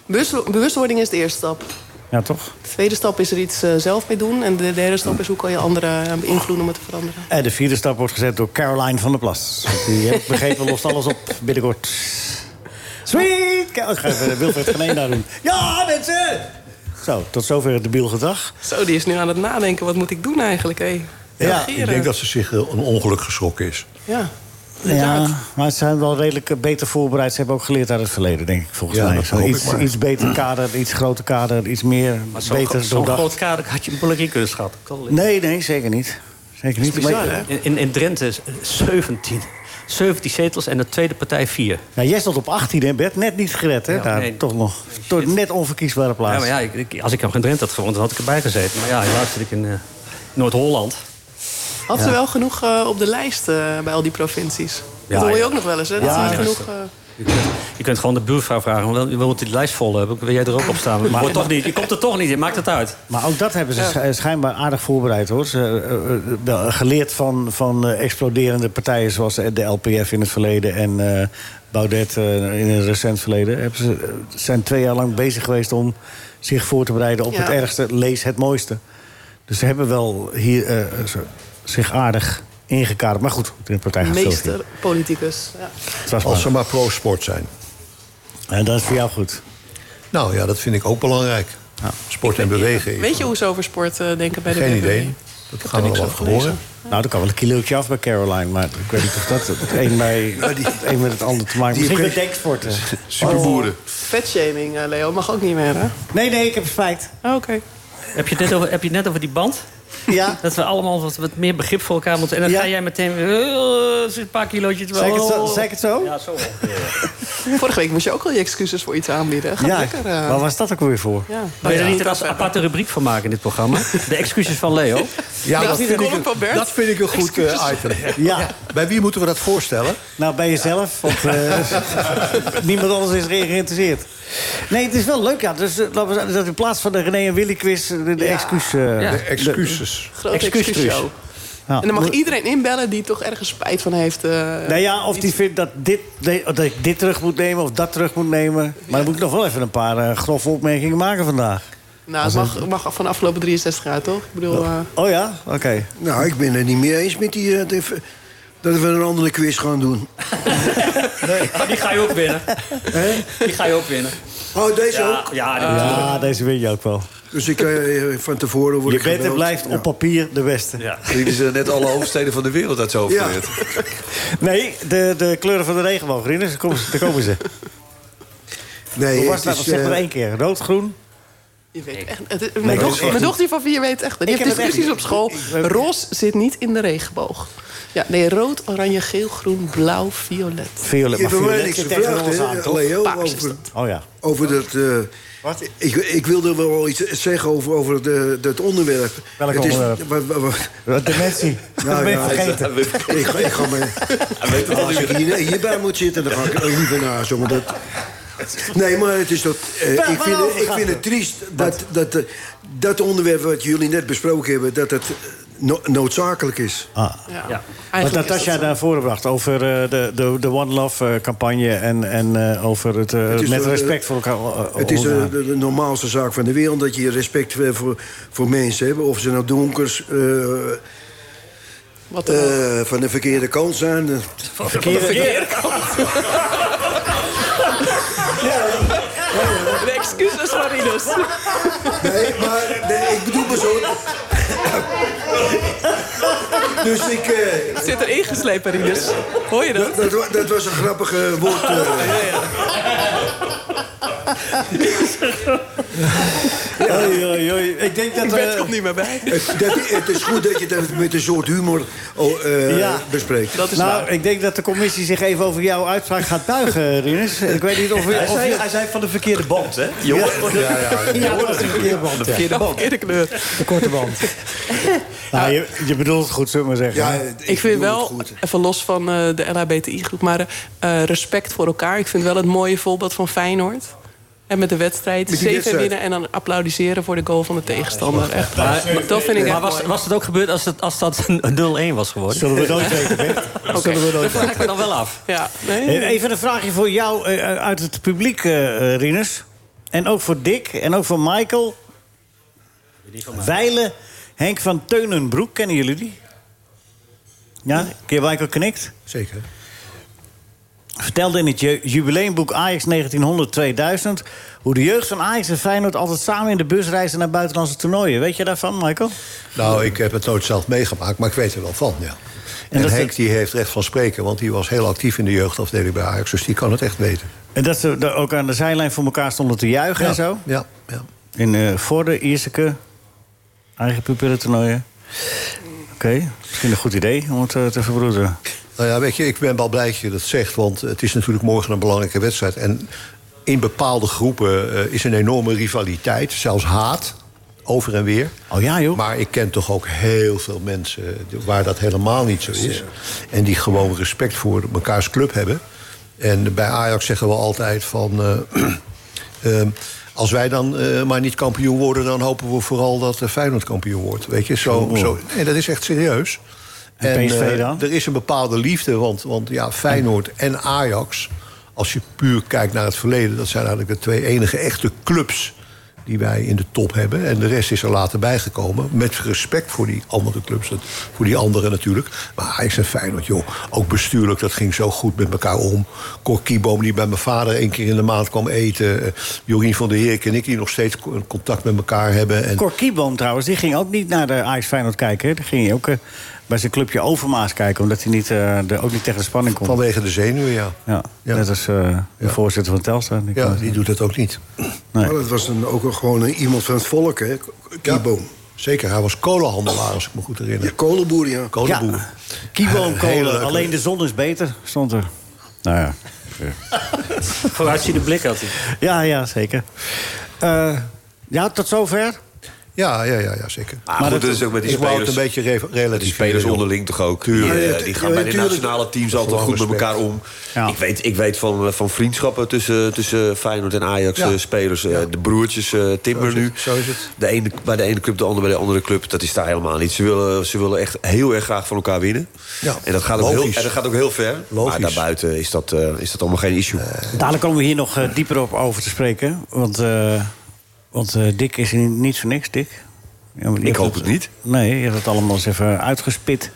Speaker 5: bewust- bewustwording is de eerste stap.
Speaker 4: Ja, toch?
Speaker 5: De tweede stap is er iets eh, zelf mee doen. En de derde stap is hoe kan je anderen eh, beïnvloeden om het te veranderen.
Speaker 4: En Eh, de vierde stap wordt gezet door Caroline van der Plas. Want Die heb ik begrepen, lost alles op binnenkort. Sweet! Ca- Ik ga even eh, Wilfred
Speaker 5: [LAUGHS]
Speaker 4: Geneen daar doen. Ja, mensen! Zo, tot zover het debiel gedrag.
Speaker 5: Zo, die is nu aan het nadenken. Wat moet ik doen eigenlijk? hé?
Speaker 4: Ja,
Speaker 6: Ik denk dat ze zich eh, een ongeluk geschrokken is.
Speaker 5: Ja.
Speaker 4: Ja, maar ze zijn wel redelijk eh, beter voorbereid. Ze hebben ook geleerd uit het verleden, denk ik, volgens
Speaker 6: Ja,
Speaker 4: mij.
Speaker 6: dat
Speaker 4: Zo'n
Speaker 6: hoop ik
Speaker 4: iets,
Speaker 6: maar.
Speaker 4: iets beter kader, iets groter kader, iets meer
Speaker 7: Maar zo'n gro-
Speaker 4: beter
Speaker 7: zo'n
Speaker 4: doordacht.
Speaker 7: groot kader had je moeilijk in kunnen schatten. Kan wel in.
Speaker 4: Nee, nee, zeker niet. Zeker niet. Maar-
Speaker 7: In, in, in Drenthe is, eh, 17. 17 zetels en de tweede partij 4.
Speaker 4: nou, jij stond op 18, hè, Bert? Net niet gered, hè?
Speaker 7: Ja,
Speaker 4: Daar,
Speaker 7: nee.
Speaker 4: toch nog. Toch net onverkiesbare
Speaker 7: Ja,
Speaker 4: plaats.
Speaker 7: maar ja, ik, ik- als ik hem geen Drenthe had gewonnen, dan had ik erbij gezeten. Maar ja, helaas zit ik in eh, Noord-Holland.
Speaker 5: Had ze wel genoeg eh, op de lijst eh, bij al die provincies?
Speaker 7: Ja,
Speaker 5: dat hoor je
Speaker 7: ja.
Speaker 5: ook nog wel eens, hè? Dat
Speaker 4: Ja,
Speaker 5: ze niet
Speaker 7: ja.
Speaker 5: genoeg... eh,
Speaker 7: Je kunt, je kunt gewoon de buurvrouw vragen, wel, we moeten die lijst vol hebben. Wil jij er ook op staan? Maar, [LAUGHS] je, toch niet, je komt er toch niet in, maakt het uit.
Speaker 4: Maar ook dat hebben ze scha- schijnbaar aardig voorbereid, hoor. Ze, eh, eh, wel geleerd van, van eh, exploderende partijen zoals de LPF in het verleden... en eh, Baudet eh, in het recent verleden. Hebben ze eh, zijn twee jaar lang bezig geweest om zich voor te bereiden... op
Speaker 5: Ja.
Speaker 4: het ergste, lees het mooiste. Dus ze hebben wel hier eh, ze- eh, zich aardig ingekaderd. Maar goed, de partij gaat veel
Speaker 5: Meester politicus. eh, Ja.
Speaker 4: Het was
Speaker 6: Als
Speaker 4: maar.
Speaker 6: ze maar pro-sport zijn.
Speaker 4: En dat is voor jou goed.
Speaker 6: Nou ja, dat vind ik ook belangrijk. Sport en bewegen. is-
Speaker 5: Weet je hoe ze over sport eh, denken bij de
Speaker 6: Geen
Speaker 5: BBB?
Speaker 6: idee. Dat gaan we
Speaker 5: niks
Speaker 6: wel
Speaker 5: over
Speaker 6: afhoren. horen.
Speaker 4: Nou, er kan wel een kilootje af bij Caroline. Maar ik weet niet of dat het een, bij, het een met het ander te maken heeft. Misschien met denksporten.
Speaker 5: Dus [LAUGHS]
Speaker 3: Superboeren.
Speaker 5: Vetshaming, Oh, eh, Leo, mag ook niet meer, hè?
Speaker 4: Nee, nee, ik heb spijt.
Speaker 5: Oh, Oké.
Speaker 7: Heb je, het net over, heb je het net over die band?
Speaker 4: Ja.
Speaker 7: [LAUGHS] Dat we allemaal wat, wat meer begrip voor elkaar moeten. En dan
Speaker 4: Ja.
Speaker 7: ga jij meteen weer eh, een paar kilootjes wel.
Speaker 4: Oh. Zeg ik het
Speaker 5: Oh.
Speaker 4: zo? Zeg ik het zo?
Speaker 7: Ja, zo wel.
Speaker 5: Vorige week moest je ook al je excuses voor iets aanbieden. Gaat lekker. eh.
Speaker 4: [LAUGHS] Waar was dat ook weer voor?
Speaker 5: ja.
Speaker 7: Wil je er niet een as- aparte rubriek van maken in dit programma? De excuses van Leo.
Speaker 6: Ja,
Speaker 5: Dat is niet de
Speaker 6: ik,
Speaker 5: column van
Speaker 6: een-
Speaker 5: Bert.
Speaker 6: dat vind ik een goed eh, item.
Speaker 5: [LAUGHS]
Speaker 4: Ja.
Speaker 6: Bij wie moeten we dat voorstellen?
Speaker 4: Nou, bij jezelf.
Speaker 6: [LAUGHS]
Speaker 4: Want eh, niemand anders is erin geïnteresseerd. Nee, het is wel leuk. Ja. Dus, eh, laten we zeggen dat in plaats van de René en Willy quiz... eh, de, de
Speaker 5: Ja.
Speaker 4: excuus... eh,
Speaker 7: Ja.
Speaker 6: De excuses.
Speaker 5: Grote
Speaker 7: Excuus,
Speaker 5: excuusshow.
Speaker 7: Truus.
Speaker 4: nou.
Speaker 5: En dan mag iedereen inbellen die toch ergens spijt van heeft. eh.
Speaker 4: Nou ja, of die vindt dat, dit, de- dat ik dit terug moet nemen of dat terug moet nemen. Maar dan moet ik nog wel even een paar eh, grove opmerkingen maken vandaag.
Speaker 5: nou, het mag, mag van de afgelopen 63 jaar, toch? Ik bedoel, eh,
Speaker 4: Oh ja? Oké.
Speaker 8: Nou, ik ben het niet meer eens met die... eh, de- dat we een andere quiz gaan doen.
Speaker 7: Die ga je ook winnen. Die ga je ook winnen.
Speaker 8: Oh, deze
Speaker 7: Ja,
Speaker 8: ook. Ah,
Speaker 7: ja,
Speaker 4: Ja, deze win je ook wel.
Speaker 8: Dus ik, eh, van tevoren word
Speaker 4: Je
Speaker 8: ik
Speaker 4: bent en
Speaker 8: gebeld.
Speaker 4: blijft
Speaker 8: Ja.
Speaker 4: op papier de beste.
Speaker 3: Dit is eh, net alle hoofdsteden van de wereld uit zijn hoofd
Speaker 8: Ja.
Speaker 3: geleerd.
Speaker 4: Nee, de, de kleuren van de regenboog, Rinus. Daar komen ze. Daar komen ze.
Speaker 8: [LAUGHS] Nee,
Speaker 4: Hoe was
Speaker 8: het
Speaker 4: dat?
Speaker 8: is,
Speaker 4: Zeg maar
Speaker 8: eh,
Speaker 4: één keer. Rood, groen.
Speaker 5: je weet echt, het is-
Speaker 4: ik
Speaker 5: mijn,
Speaker 4: weet
Speaker 5: doch-
Speaker 4: het echt
Speaker 5: mijn dochter van vier weet het echt. Die
Speaker 4: Ik
Speaker 5: heeft
Speaker 4: heb het echt
Speaker 5: discussies op
Speaker 4: niet.
Speaker 5: school.
Speaker 4: Ik- ik-
Speaker 5: Roos zit niet in de regenboog. Ja, nee, rood, oranje, geel, groen, blauw, violet.
Speaker 4: Violet.
Speaker 8: je
Speaker 4: Maar
Speaker 8: hebt me
Speaker 4: violet
Speaker 8: niks
Speaker 4: zit tegen
Speaker 8: gevraagd,
Speaker 4: ons aan,
Speaker 8: hè,
Speaker 4: toch?
Speaker 8: Leo,
Speaker 5: Paars is
Speaker 8: over,
Speaker 5: dat.
Speaker 4: Oh ja.
Speaker 8: over dat... eh,
Speaker 4: Wat?
Speaker 8: Ik, ik wilde wel iets zeggen over, over de, dat onderwerp.
Speaker 4: Welk
Speaker 8: Het is-
Speaker 4: onderwerp?
Speaker 8: wa- wa- wa-
Speaker 4: Dementie. dat ben je
Speaker 8: Nou ja,
Speaker 4: vergeten.
Speaker 8: ik, ga- ik ga maar... Als ik hier, hierbij moet zitten, dan ga ik er liever naast. om dat... Nee, maar het is dat... eh,
Speaker 4: Waar-
Speaker 8: ik, vind,
Speaker 4: waarover
Speaker 8: het- ik
Speaker 4: gaat
Speaker 8: vind
Speaker 4: het?
Speaker 8: het triest dat dat, eh, dat onderwerp wat jullie net besproken hebben... dat het eh, no- noodzakelijk is.
Speaker 4: Ah.
Speaker 5: Ja.
Speaker 4: Wat
Speaker 5: Eigenlijk is
Speaker 4: Natasja
Speaker 5: dat zo.
Speaker 4: naar voren bracht over eh, de, de, de One Love-campagne... en, en eh, over het, eh,
Speaker 8: Het is
Speaker 4: met
Speaker 8: een, eh,
Speaker 4: respect voor elkaar. eh,
Speaker 8: Het is eh,
Speaker 4: omgaan.
Speaker 8: de, de normaalste zaak van de wereld dat je respect eh, voor, voor mensen hebt. Of ze nou donkers eh,
Speaker 5: Wat dan ook.
Speaker 8: eh, van de verkeerde kant zijn. eh,
Speaker 5: De excuses van Rinus.
Speaker 8: Nee, maar nee, ik bedoel maar zo. dus ik. eh,
Speaker 5: Het zit er ingeslepen, Rinus. Hoor je dat?
Speaker 8: dat, wa- dat was een grappige woord.
Speaker 5: [LAUGHS]
Speaker 8: eh.
Speaker 4: Oei, oei, oei. Ik denk dat... eh,
Speaker 5: Bert komt niet meer bij.
Speaker 8: het, dat- het is goed dat je dat met een soort humor oh, eh,
Speaker 4: Ja.
Speaker 8: bespreekt.
Speaker 5: Dat is
Speaker 4: nou,
Speaker 5: waar.
Speaker 4: ik denk dat de commissie zich even over jouw uitspraak gaat buigen, Rinus. [LAUGHS] Ik weet niet of... je- of je-
Speaker 2: van de verkeerde band, hè? Jongen,
Speaker 4: Ja, dat is een verkeerde band, ja.
Speaker 2: verkeerde band.
Speaker 5: Verkeerde kleur.
Speaker 4: De korte band. [LAUGHS] Nou, je, je bedoelt het goed, zullen we maar zeggen.
Speaker 8: Ja,
Speaker 5: Ik vind
Speaker 8: bedoel
Speaker 5: wel,
Speaker 8: het goed.
Speaker 5: even los van eh, de LHBTI-groep, maar eh, respect voor elkaar. Ik vind wel het mooie voorbeeld van Feyenoord. En met de wedstrijd,
Speaker 8: Met die
Speaker 5: zeven
Speaker 8: wedstrijd.
Speaker 5: winnen en dan applaudisseren voor de goal van de tegenstander. Echt, dat vind ik echt
Speaker 7: Maar was,
Speaker 5: mooi.
Speaker 7: was dat ook gebeurd als, het, als dat een 0-1 was geworden?
Speaker 4: Zullen we het nooit weten, Bert? Zullen we het nooit
Speaker 7: Dat vraag ik me dan wel af.
Speaker 5: Ja, nee.
Speaker 4: Eh, Even een vraagje voor jou eh, eh, uit het publiek, eh, eh, Rinus. En ook voor Dick en ook voor Michael. Weilen, Henk van Teunenbroek, kennen jullie die? Ja, keer Michael knikt.
Speaker 6: Zeker.
Speaker 4: Vertelde in het ju- jubileumboek Ajax 1900-2000... hoe de jeugd van Ajax en Feyenoord altijd samen in de bus reizen naar buitenlandse toernooien. Weet je daarvan, Michael?
Speaker 6: Nou, ik heb het nooit zelf meegemaakt, maar ik weet er wel van, ja. En,
Speaker 4: dat-
Speaker 6: Henk die heeft recht van spreken, want die was heel actief in de jeugdafdeling bij Ajax. Dus die kan het echt weten.
Speaker 4: En dat ze daar ook aan de zijlijn voor elkaar stonden te juichen en zo.
Speaker 6: Ja, ja.
Speaker 4: In eh Vorden, Ierseke. Eigen pupillentoernooien. Oké, misschien een goed idee om het eh, te verbroederen.
Speaker 6: Nou ja, weet je, ik ben wel blij dat je dat zegt, want het is natuurlijk morgen een belangrijke wedstrijd. En in bepaalde groepen eh, is een enorme rivaliteit, zelfs haat, over en weer.
Speaker 4: Oh ja, joh.
Speaker 6: Maar ik ken toch ook heel veel mensen eh, waar dat helemaal niet zo is. En die gewoon respect voor mekaars club hebben. En bij Ajax zeggen we altijd van... eh, [CLEARS THROAT] ehm, als wij dan eh, maar niet kampioen worden... dan hopen we vooral dat eh, Feyenoord kampioen wordt. Weet je, zo... zo nee, dat is echt serieus.
Speaker 4: En PSV
Speaker 6: eh,
Speaker 4: dan?
Speaker 6: er is een bepaalde liefde, want, want ja, Feyenoord en Ajax... als je puur kijkt naar het verleden... dat zijn eigenlijk de twee enige echte clubs die wij in de top hebben. En de rest is er later bijgekomen. Met respect voor die andere clubs, dat- voor die anderen natuurlijk. Maar hij is een Feyenoord, joh. Ook bestuurlijk, dat ging zo goed met elkaar om. Cor Kieboom, die bij mijn vader één keer in de maand kwam eten. Eh, Jorien van der Herik en ik, die nog steeds co- contact met elkaar hebben. En
Speaker 4: Cor Kieboom trouwens, die ging ook niet naar de Ajax Feyenoord kijken. hè. Die ging hij ook eh, bij zijn clubje Overmaas kijken. Omdat hij niet, eh, de, ook niet tegen de spanning kon.
Speaker 6: vanwege de zenuwen, ja.
Speaker 4: Ja, net als eh, de voorzitter van Telstra. Die
Speaker 6: Ja,
Speaker 4: kon-
Speaker 6: die doet dat ook niet.
Speaker 4: Nee.
Speaker 8: Maar dat was een, ook wel gewoon een, iemand van het volk, hè? Kieboom.
Speaker 6: Zeker, hij was kolenhandelaar, als ik me goed
Speaker 8: Ja,
Speaker 6: herinner.
Speaker 8: kolenboer, ja.
Speaker 4: Ja,
Speaker 6: Kolenboer.
Speaker 4: Kieboom
Speaker 6: Hele
Speaker 4: kolen.
Speaker 6: leuke-
Speaker 4: Alleen de zon is beter, stond er. Nou ja.
Speaker 7: Vooruit de blik had hij.
Speaker 4: Ja, ja, zeker. Eh, ja, tot zover.
Speaker 6: Ja, ja, ja, ja zeker.
Speaker 3: Maar goed, dat is ook met die
Speaker 6: ik wou het
Speaker 3: spelers.
Speaker 6: een beetje re relativeren,
Speaker 3: Die spelers
Speaker 6: joh.
Speaker 3: onderling toch ook. Die, eh,
Speaker 8: Ja, ja,
Speaker 3: die
Speaker 8: ja,
Speaker 3: gaan bij de
Speaker 8: tuurlijk.
Speaker 3: nationale teams
Speaker 6: Dat is
Speaker 3: altijd goed met
Speaker 6: gewoon
Speaker 3: elkaar
Speaker 6: respect.
Speaker 3: om.
Speaker 4: Ja.
Speaker 3: Ik weet, ik weet van, eh, van vriendschappen tussen, tussen Feyenoord en Ajax
Speaker 6: Ja.
Speaker 3: eh, spelers. eh, De broertjes eh, Timber
Speaker 6: Zo is het,
Speaker 3: nu.
Speaker 6: zo is het.
Speaker 3: De ene, bij de ene club, de andere bij de andere club. Dat is daar helemaal niet. Ze willen, ze willen echt heel erg graag van elkaar winnen.
Speaker 6: Ja.
Speaker 3: En, dat gaat ook heel,
Speaker 6: Logisch.
Speaker 3: en dat gaat ook heel ver.
Speaker 6: Logisch.
Speaker 3: Maar daarbuiten is dat, eh, is dat allemaal geen issue.
Speaker 4: Dadelijk komen we hier nog eh, dieper op over te spreken. Want, eh, want eh, Dick is niet- niet voor niks, Dick. Ja, maar je
Speaker 3: Ik
Speaker 4: hebt
Speaker 3: hoop het niet.
Speaker 4: Nee, je hebt het allemaal eens even uitgespit.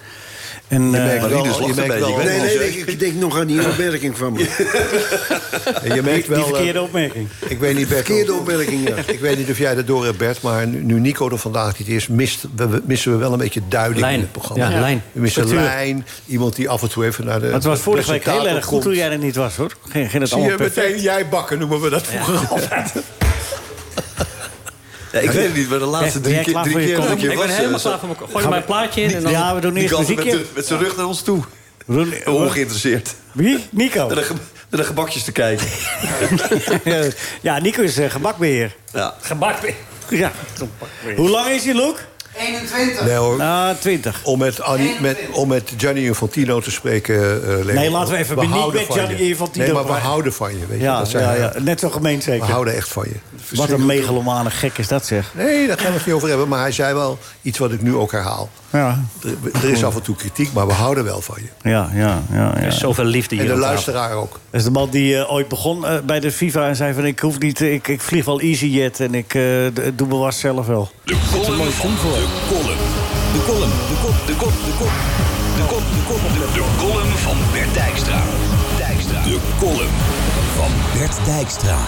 Speaker 4: En, eh,
Speaker 6: merkt
Speaker 3: maar
Speaker 6: wel-
Speaker 3: Rinus
Speaker 6: je
Speaker 3: lacht een
Speaker 6: merkt
Speaker 3: beetje.
Speaker 6: wel-
Speaker 3: Ik weet
Speaker 8: Nee,
Speaker 3: niet
Speaker 8: nee,
Speaker 3: of
Speaker 8: nee, ik denk nog aan
Speaker 6: [LAUGHS]
Speaker 8: die opmerking van me.
Speaker 6: Je merkt
Speaker 4: die
Speaker 6: wel, eh,
Speaker 4: verkeerde opmerking.
Speaker 6: ik weet niet, Bert,
Speaker 8: Verkeerde
Speaker 6: of-
Speaker 8: opmerking,
Speaker 4: [LAUGHS]
Speaker 8: ja.
Speaker 6: [LAUGHS] Ik weet niet of jij dat door hebt, Bert, maar nu- nu Nico er vandaag niet is... mist- we- we- missen we wel een beetje duiding
Speaker 7: Lijn.
Speaker 6: in het programma.
Speaker 7: Ja, lijn.
Speaker 6: We missen
Speaker 4: Natuurlijk.
Speaker 6: lijn, iemand die af en toe even naar de
Speaker 4: Maar het was vorige week heel
Speaker 6: presentator
Speaker 4: erg goed
Speaker 6: komt.
Speaker 4: toen jij er niet was, hoor. Ging, ging het
Speaker 6: Zie
Speaker 4: allemaal
Speaker 6: je,
Speaker 4: perfect.
Speaker 6: meteen jij bakken noemen we dat vroeger altijd.
Speaker 3: Ja, ik weet het niet, maar de laatste
Speaker 4: Ben jij
Speaker 3: drie, keer-
Speaker 4: klaar voor
Speaker 3: drie
Speaker 4: je
Speaker 3: keer
Speaker 4: kop?
Speaker 3: dat ik hier
Speaker 7: Ik
Speaker 3: was...
Speaker 7: ben helemaal
Speaker 3: eh,
Speaker 7: klaar voor mijn... Gooi er maar een plaatje in en dan...
Speaker 4: Ja, we doen
Speaker 3: die
Speaker 4: eerst
Speaker 3: gast met,
Speaker 4: muziekje.
Speaker 3: de- met zijn rug naar ons toe.
Speaker 4: We doen-
Speaker 3: Ongeïnteresseerd.
Speaker 4: Wie? Nico.
Speaker 3: Naar de, ge- naar de gebakjes te kijken. [LAUGHS]
Speaker 4: [LAUGHS] ja, Nico is eh, gebakbeheer.
Speaker 3: Ja.
Speaker 7: Gebakt.
Speaker 4: [LAUGHS] Ja. Hoe lang is die look?
Speaker 9: 21.
Speaker 6: Nee hoor,
Speaker 4: Ah, 20.
Speaker 6: om met, Annie, met, om met Gianni Infantino te spreken, eh, Leo.
Speaker 4: Nee, laten we even niet
Speaker 6: houden
Speaker 4: met
Speaker 6: van je.
Speaker 4: Gianni Infantino
Speaker 6: Nee, maar we
Speaker 4: praten.
Speaker 6: houden van je, weet je.
Speaker 4: Ja,
Speaker 6: dat zijn
Speaker 4: ja,
Speaker 6: we.
Speaker 4: ja, net zo gemeen
Speaker 6: We
Speaker 4: zeker.
Speaker 6: houden echt van je.
Speaker 4: Wat een megalomane gek is dat, zeg.
Speaker 6: Nee, daar gaan we het niet over hebben. Maar hij zei wel iets wat ik nu ook herhaal.
Speaker 4: Ja,
Speaker 6: Er, er is af en toe kritiek, maar we houden wel van je.
Speaker 4: ja, ja. ja, ja.
Speaker 7: Er is zoveel liefde
Speaker 6: En
Speaker 7: hier
Speaker 6: de
Speaker 7: aan tafel.
Speaker 6: luisteraar ook.
Speaker 4: Dat is de man die eh, ooit begon eh, bij de FIFA en zei van... ik hoef niet, eh, ik, ik vlieg wel EasyJet en ik eh, d- doe mijn was zelf wel.
Speaker 10: De column, de kop, de kop, de kop. De kop, de kop, de De column van Bert Dijkstra. Dijkstra. De column van Bert Dijkstra.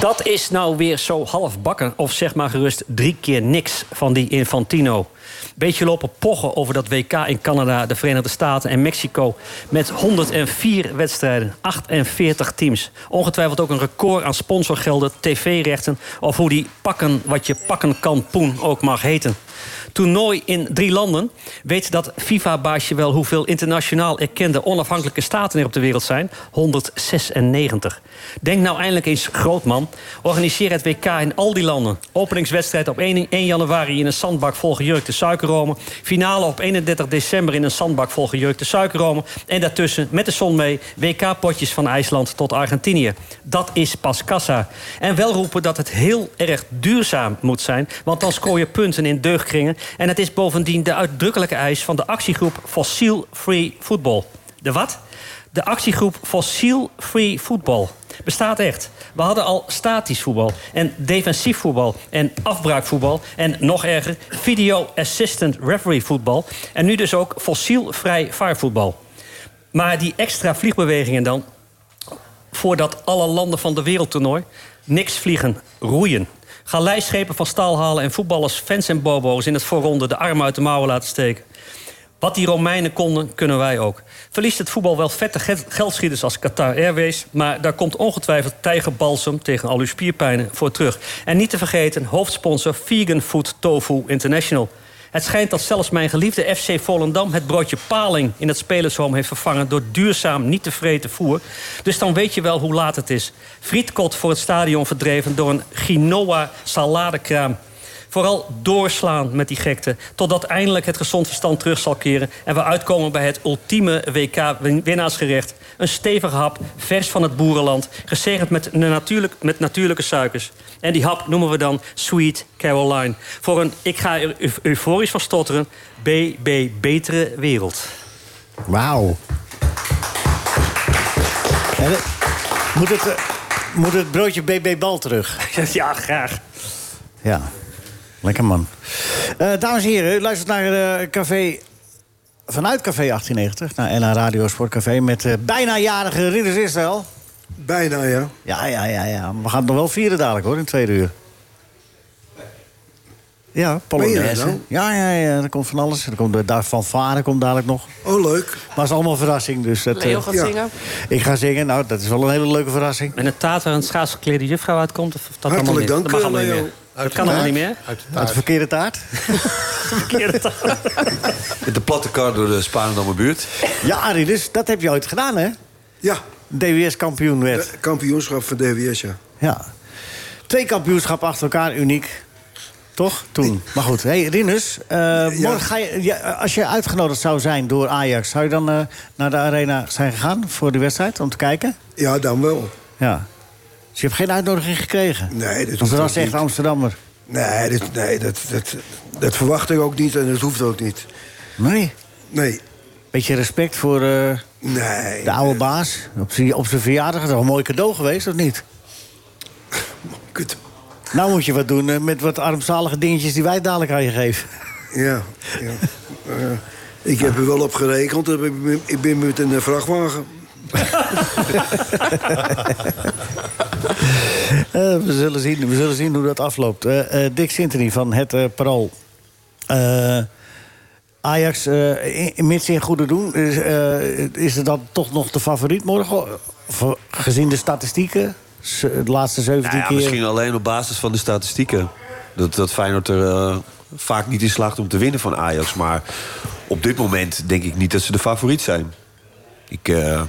Speaker 7: Dat is nou weer zo halfbakken, of zeg maar gerust drie keer niks van die Infantino. Beetje lopen pochen over dat WK in Canada, de Verenigde Staten en Mexico. Met 104 wedstrijden, 48 teams. Ongetwijfeld ook een record aan sponsorgelden, tv-rechten... of hoe die pakken wat je pakken kan poen ook mag heten. Toernooi in drie landen. Weet dat FIFA-baasje wel hoeveel internationaal erkende onafhankelijke staten er op de wereld zijn? 196. Denk nou eindelijk eens groot, man. Organiseer het WK in al die landen. Openingswedstrijd op 1, 1 januari in een zandbak vol gejurkte suikerromen. Finale op 31 december in een zandbak vol gejurkte suikerromen. En daartussen, met de zon mee, WK-potjes van IJsland tot Argentinië. Dat is pas kassa. En wel roepen dat het heel erg duurzaam moet zijn. Want dan scoor je punten in deugdkringen. En het is bovendien de uitdrukkelijke eis van de actiegroep Fossiel Free Football. De wat? De actiegroep Fossiel Free Football bestaat echt. We hadden al statisch voetbal en defensief voetbal en afbraakvoetbal en nog erger video assistant referee voetbal en nu dus ook fossielvrij vaarvoetbal. Maar die extra vliegbewegingen dan, voordat alle landen van de wereldtoernooi. Niks vliegen, roeien. Galeischepen van staal halen en voetballers, fans en bobo's in het voorronde de armen uit de mouwen laten steken. Wat die Romeinen konden, kunnen wij ook. Verliest het voetbal wel vette ge- geldschieters als Qatar Airways... maar daar komt ongetwijfeld tijgerbalsem tegen al uw spierpijnen voor terug. En niet te vergeten, hoofdsponsor Vegan Food Tofu International. Het schijnt dat zelfs mijn geliefde FC Volendam het broodje paling in het spelershome heeft vervangen door duurzaam niet te vreten voer. Dus dan weet je wel hoe laat het is. Frietkot voor het stadion verdreven door een quinoa saladekraam. Vooral doorslaan met die gekte, totdat eindelijk het gezond verstand terug zal keren en we uitkomen bij het ultieme WK-winnaarsgerecht. Een stevige hap, vers van het boerenland, gezegend met, een natuurlijk, met natuurlijke suikers. En die hap noemen we dan Sweet Caroline. Voor een, ik ga er eu- euforisch van stotteren, BB Betere Wereld.
Speaker 4: Wauw. Ja, dat- moet, het, eh, Moet het broodje BB Bal terug?
Speaker 7: [LAUGHS] ja, graag.
Speaker 4: Ja, lekker man. Eh, dames en heren, u luistert naar eh, Café... Vanuit Café 1890, naar NH Radio Sportcafé... met eh, bijna-jarige Ridders Israël.
Speaker 8: Bijna, ja.
Speaker 4: Ja, ja, ja, Nou ja. We gaan het nog wel vieren dadelijk, hoor, in tweede uur. Ja,
Speaker 8: Meen je dat
Speaker 4: Polonaise.
Speaker 8: nou?
Speaker 4: Ja, ja, ja, er komt van alles. Er komt, eh, daar van Varen komt dadelijk nog.
Speaker 8: Oh, leuk.
Speaker 4: Maar het is allemaal een verrassing. Dus dat,
Speaker 5: Leo
Speaker 4: eh,
Speaker 5: gaat
Speaker 8: ja.
Speaker 5: zingen.
Speaker 4: ik ga zingen, nou, dat is wel een hele leuke verrassing.
Speaker 7: En het taart waar een schaatsgeklede juffrouw uitkomt, of of dat allemaal niet?
Speaker 8: Hartelijk dank, eh,
Speaker 7: dat mag allemaal
Speaker 8: Leo.
Speaker 7: niet meer. Dat kan allemaal niet meer.
Speaker 4: eh, Uit de verkeerde taart.
Speaker 3: Met de platte kar door de Spaanse buurt. Nou
Speaker 4: Ja, Arie, dus dat heb je ooit gedaan, hè?
Speaker 8: Ja,
Speaker 4: DWS-kampioen werd.
Speaker 8: eh, kampioenschap van DWS, ja.
Speaker 4: Ja. Twee kampioenschappen achter elkaar, uniek. Toch? Toen. Maar goed, hey, Rinus, eh, morgen ga je, ja, als je uitgenodigd zou zijn door Ajax... zou je dan eh, naar de arena zijn gegaan voor de wedstrijd om te kijken?
Speaker 8: Ja, dan wel.
Speaker 4: Ja. Dus je hebt geen uitnodiging gekregen?
Speaker 8: Nee, dat
Speaker 4: Want
Speaker 8: hoeft
Speaker 4: dat
Speaker 8: ook
Speaker 4: was echt
Speaker 8: niet.
Speaker 4: Amsterdammer.
Speaker 8: Nee, dat, nee dat, dat, dat verwacht ik ook niet en dat hoeft ook niet.
Speaker 4: Nee.
Speaker 8: Nee,
Speaker 4: Beetje respect voor eh,
Speaker 8: nee.
Speaker 4: de oude baas. Op zijn op zijn verjaardag is dat een mooi cadeau geweest, of niet?
Speaker 8: Kut.
Speaker 4: Nou moet je wat doen eh, met wat armzalige dingetjes die wij dadelijk aan je geven.
Speaker 8: Ja, ja. Eh, ik heb er wel op gerekend. Ik ben- Ik ben met een eh,
Speaker 6: [LAUGHS]
Speaker 8: vrachtwagen.
Speaker 4: Eh, we, zullen zien, we zullen zien hoe dat afloopt. Eh, eh, Dick Sintony van het eh, Parool. Eh, Ajax, eh, in- in- mits in goede doen, is, eh, is het dan toch nog de favoriet morgen? Of, eh, gezien de statistieken, Ze- de laatste 17
Speaker 3: Nou ja,
Speaker 4: keer.
Speaker 3: misschien alleen op basis van de statistieken. Dat, dat Feyenoord er eh, vaak niet in slaagt om te winnen van Ajax. Maar op dit moment denk ik niet dat ze de favoriet zijn. Ik, eh,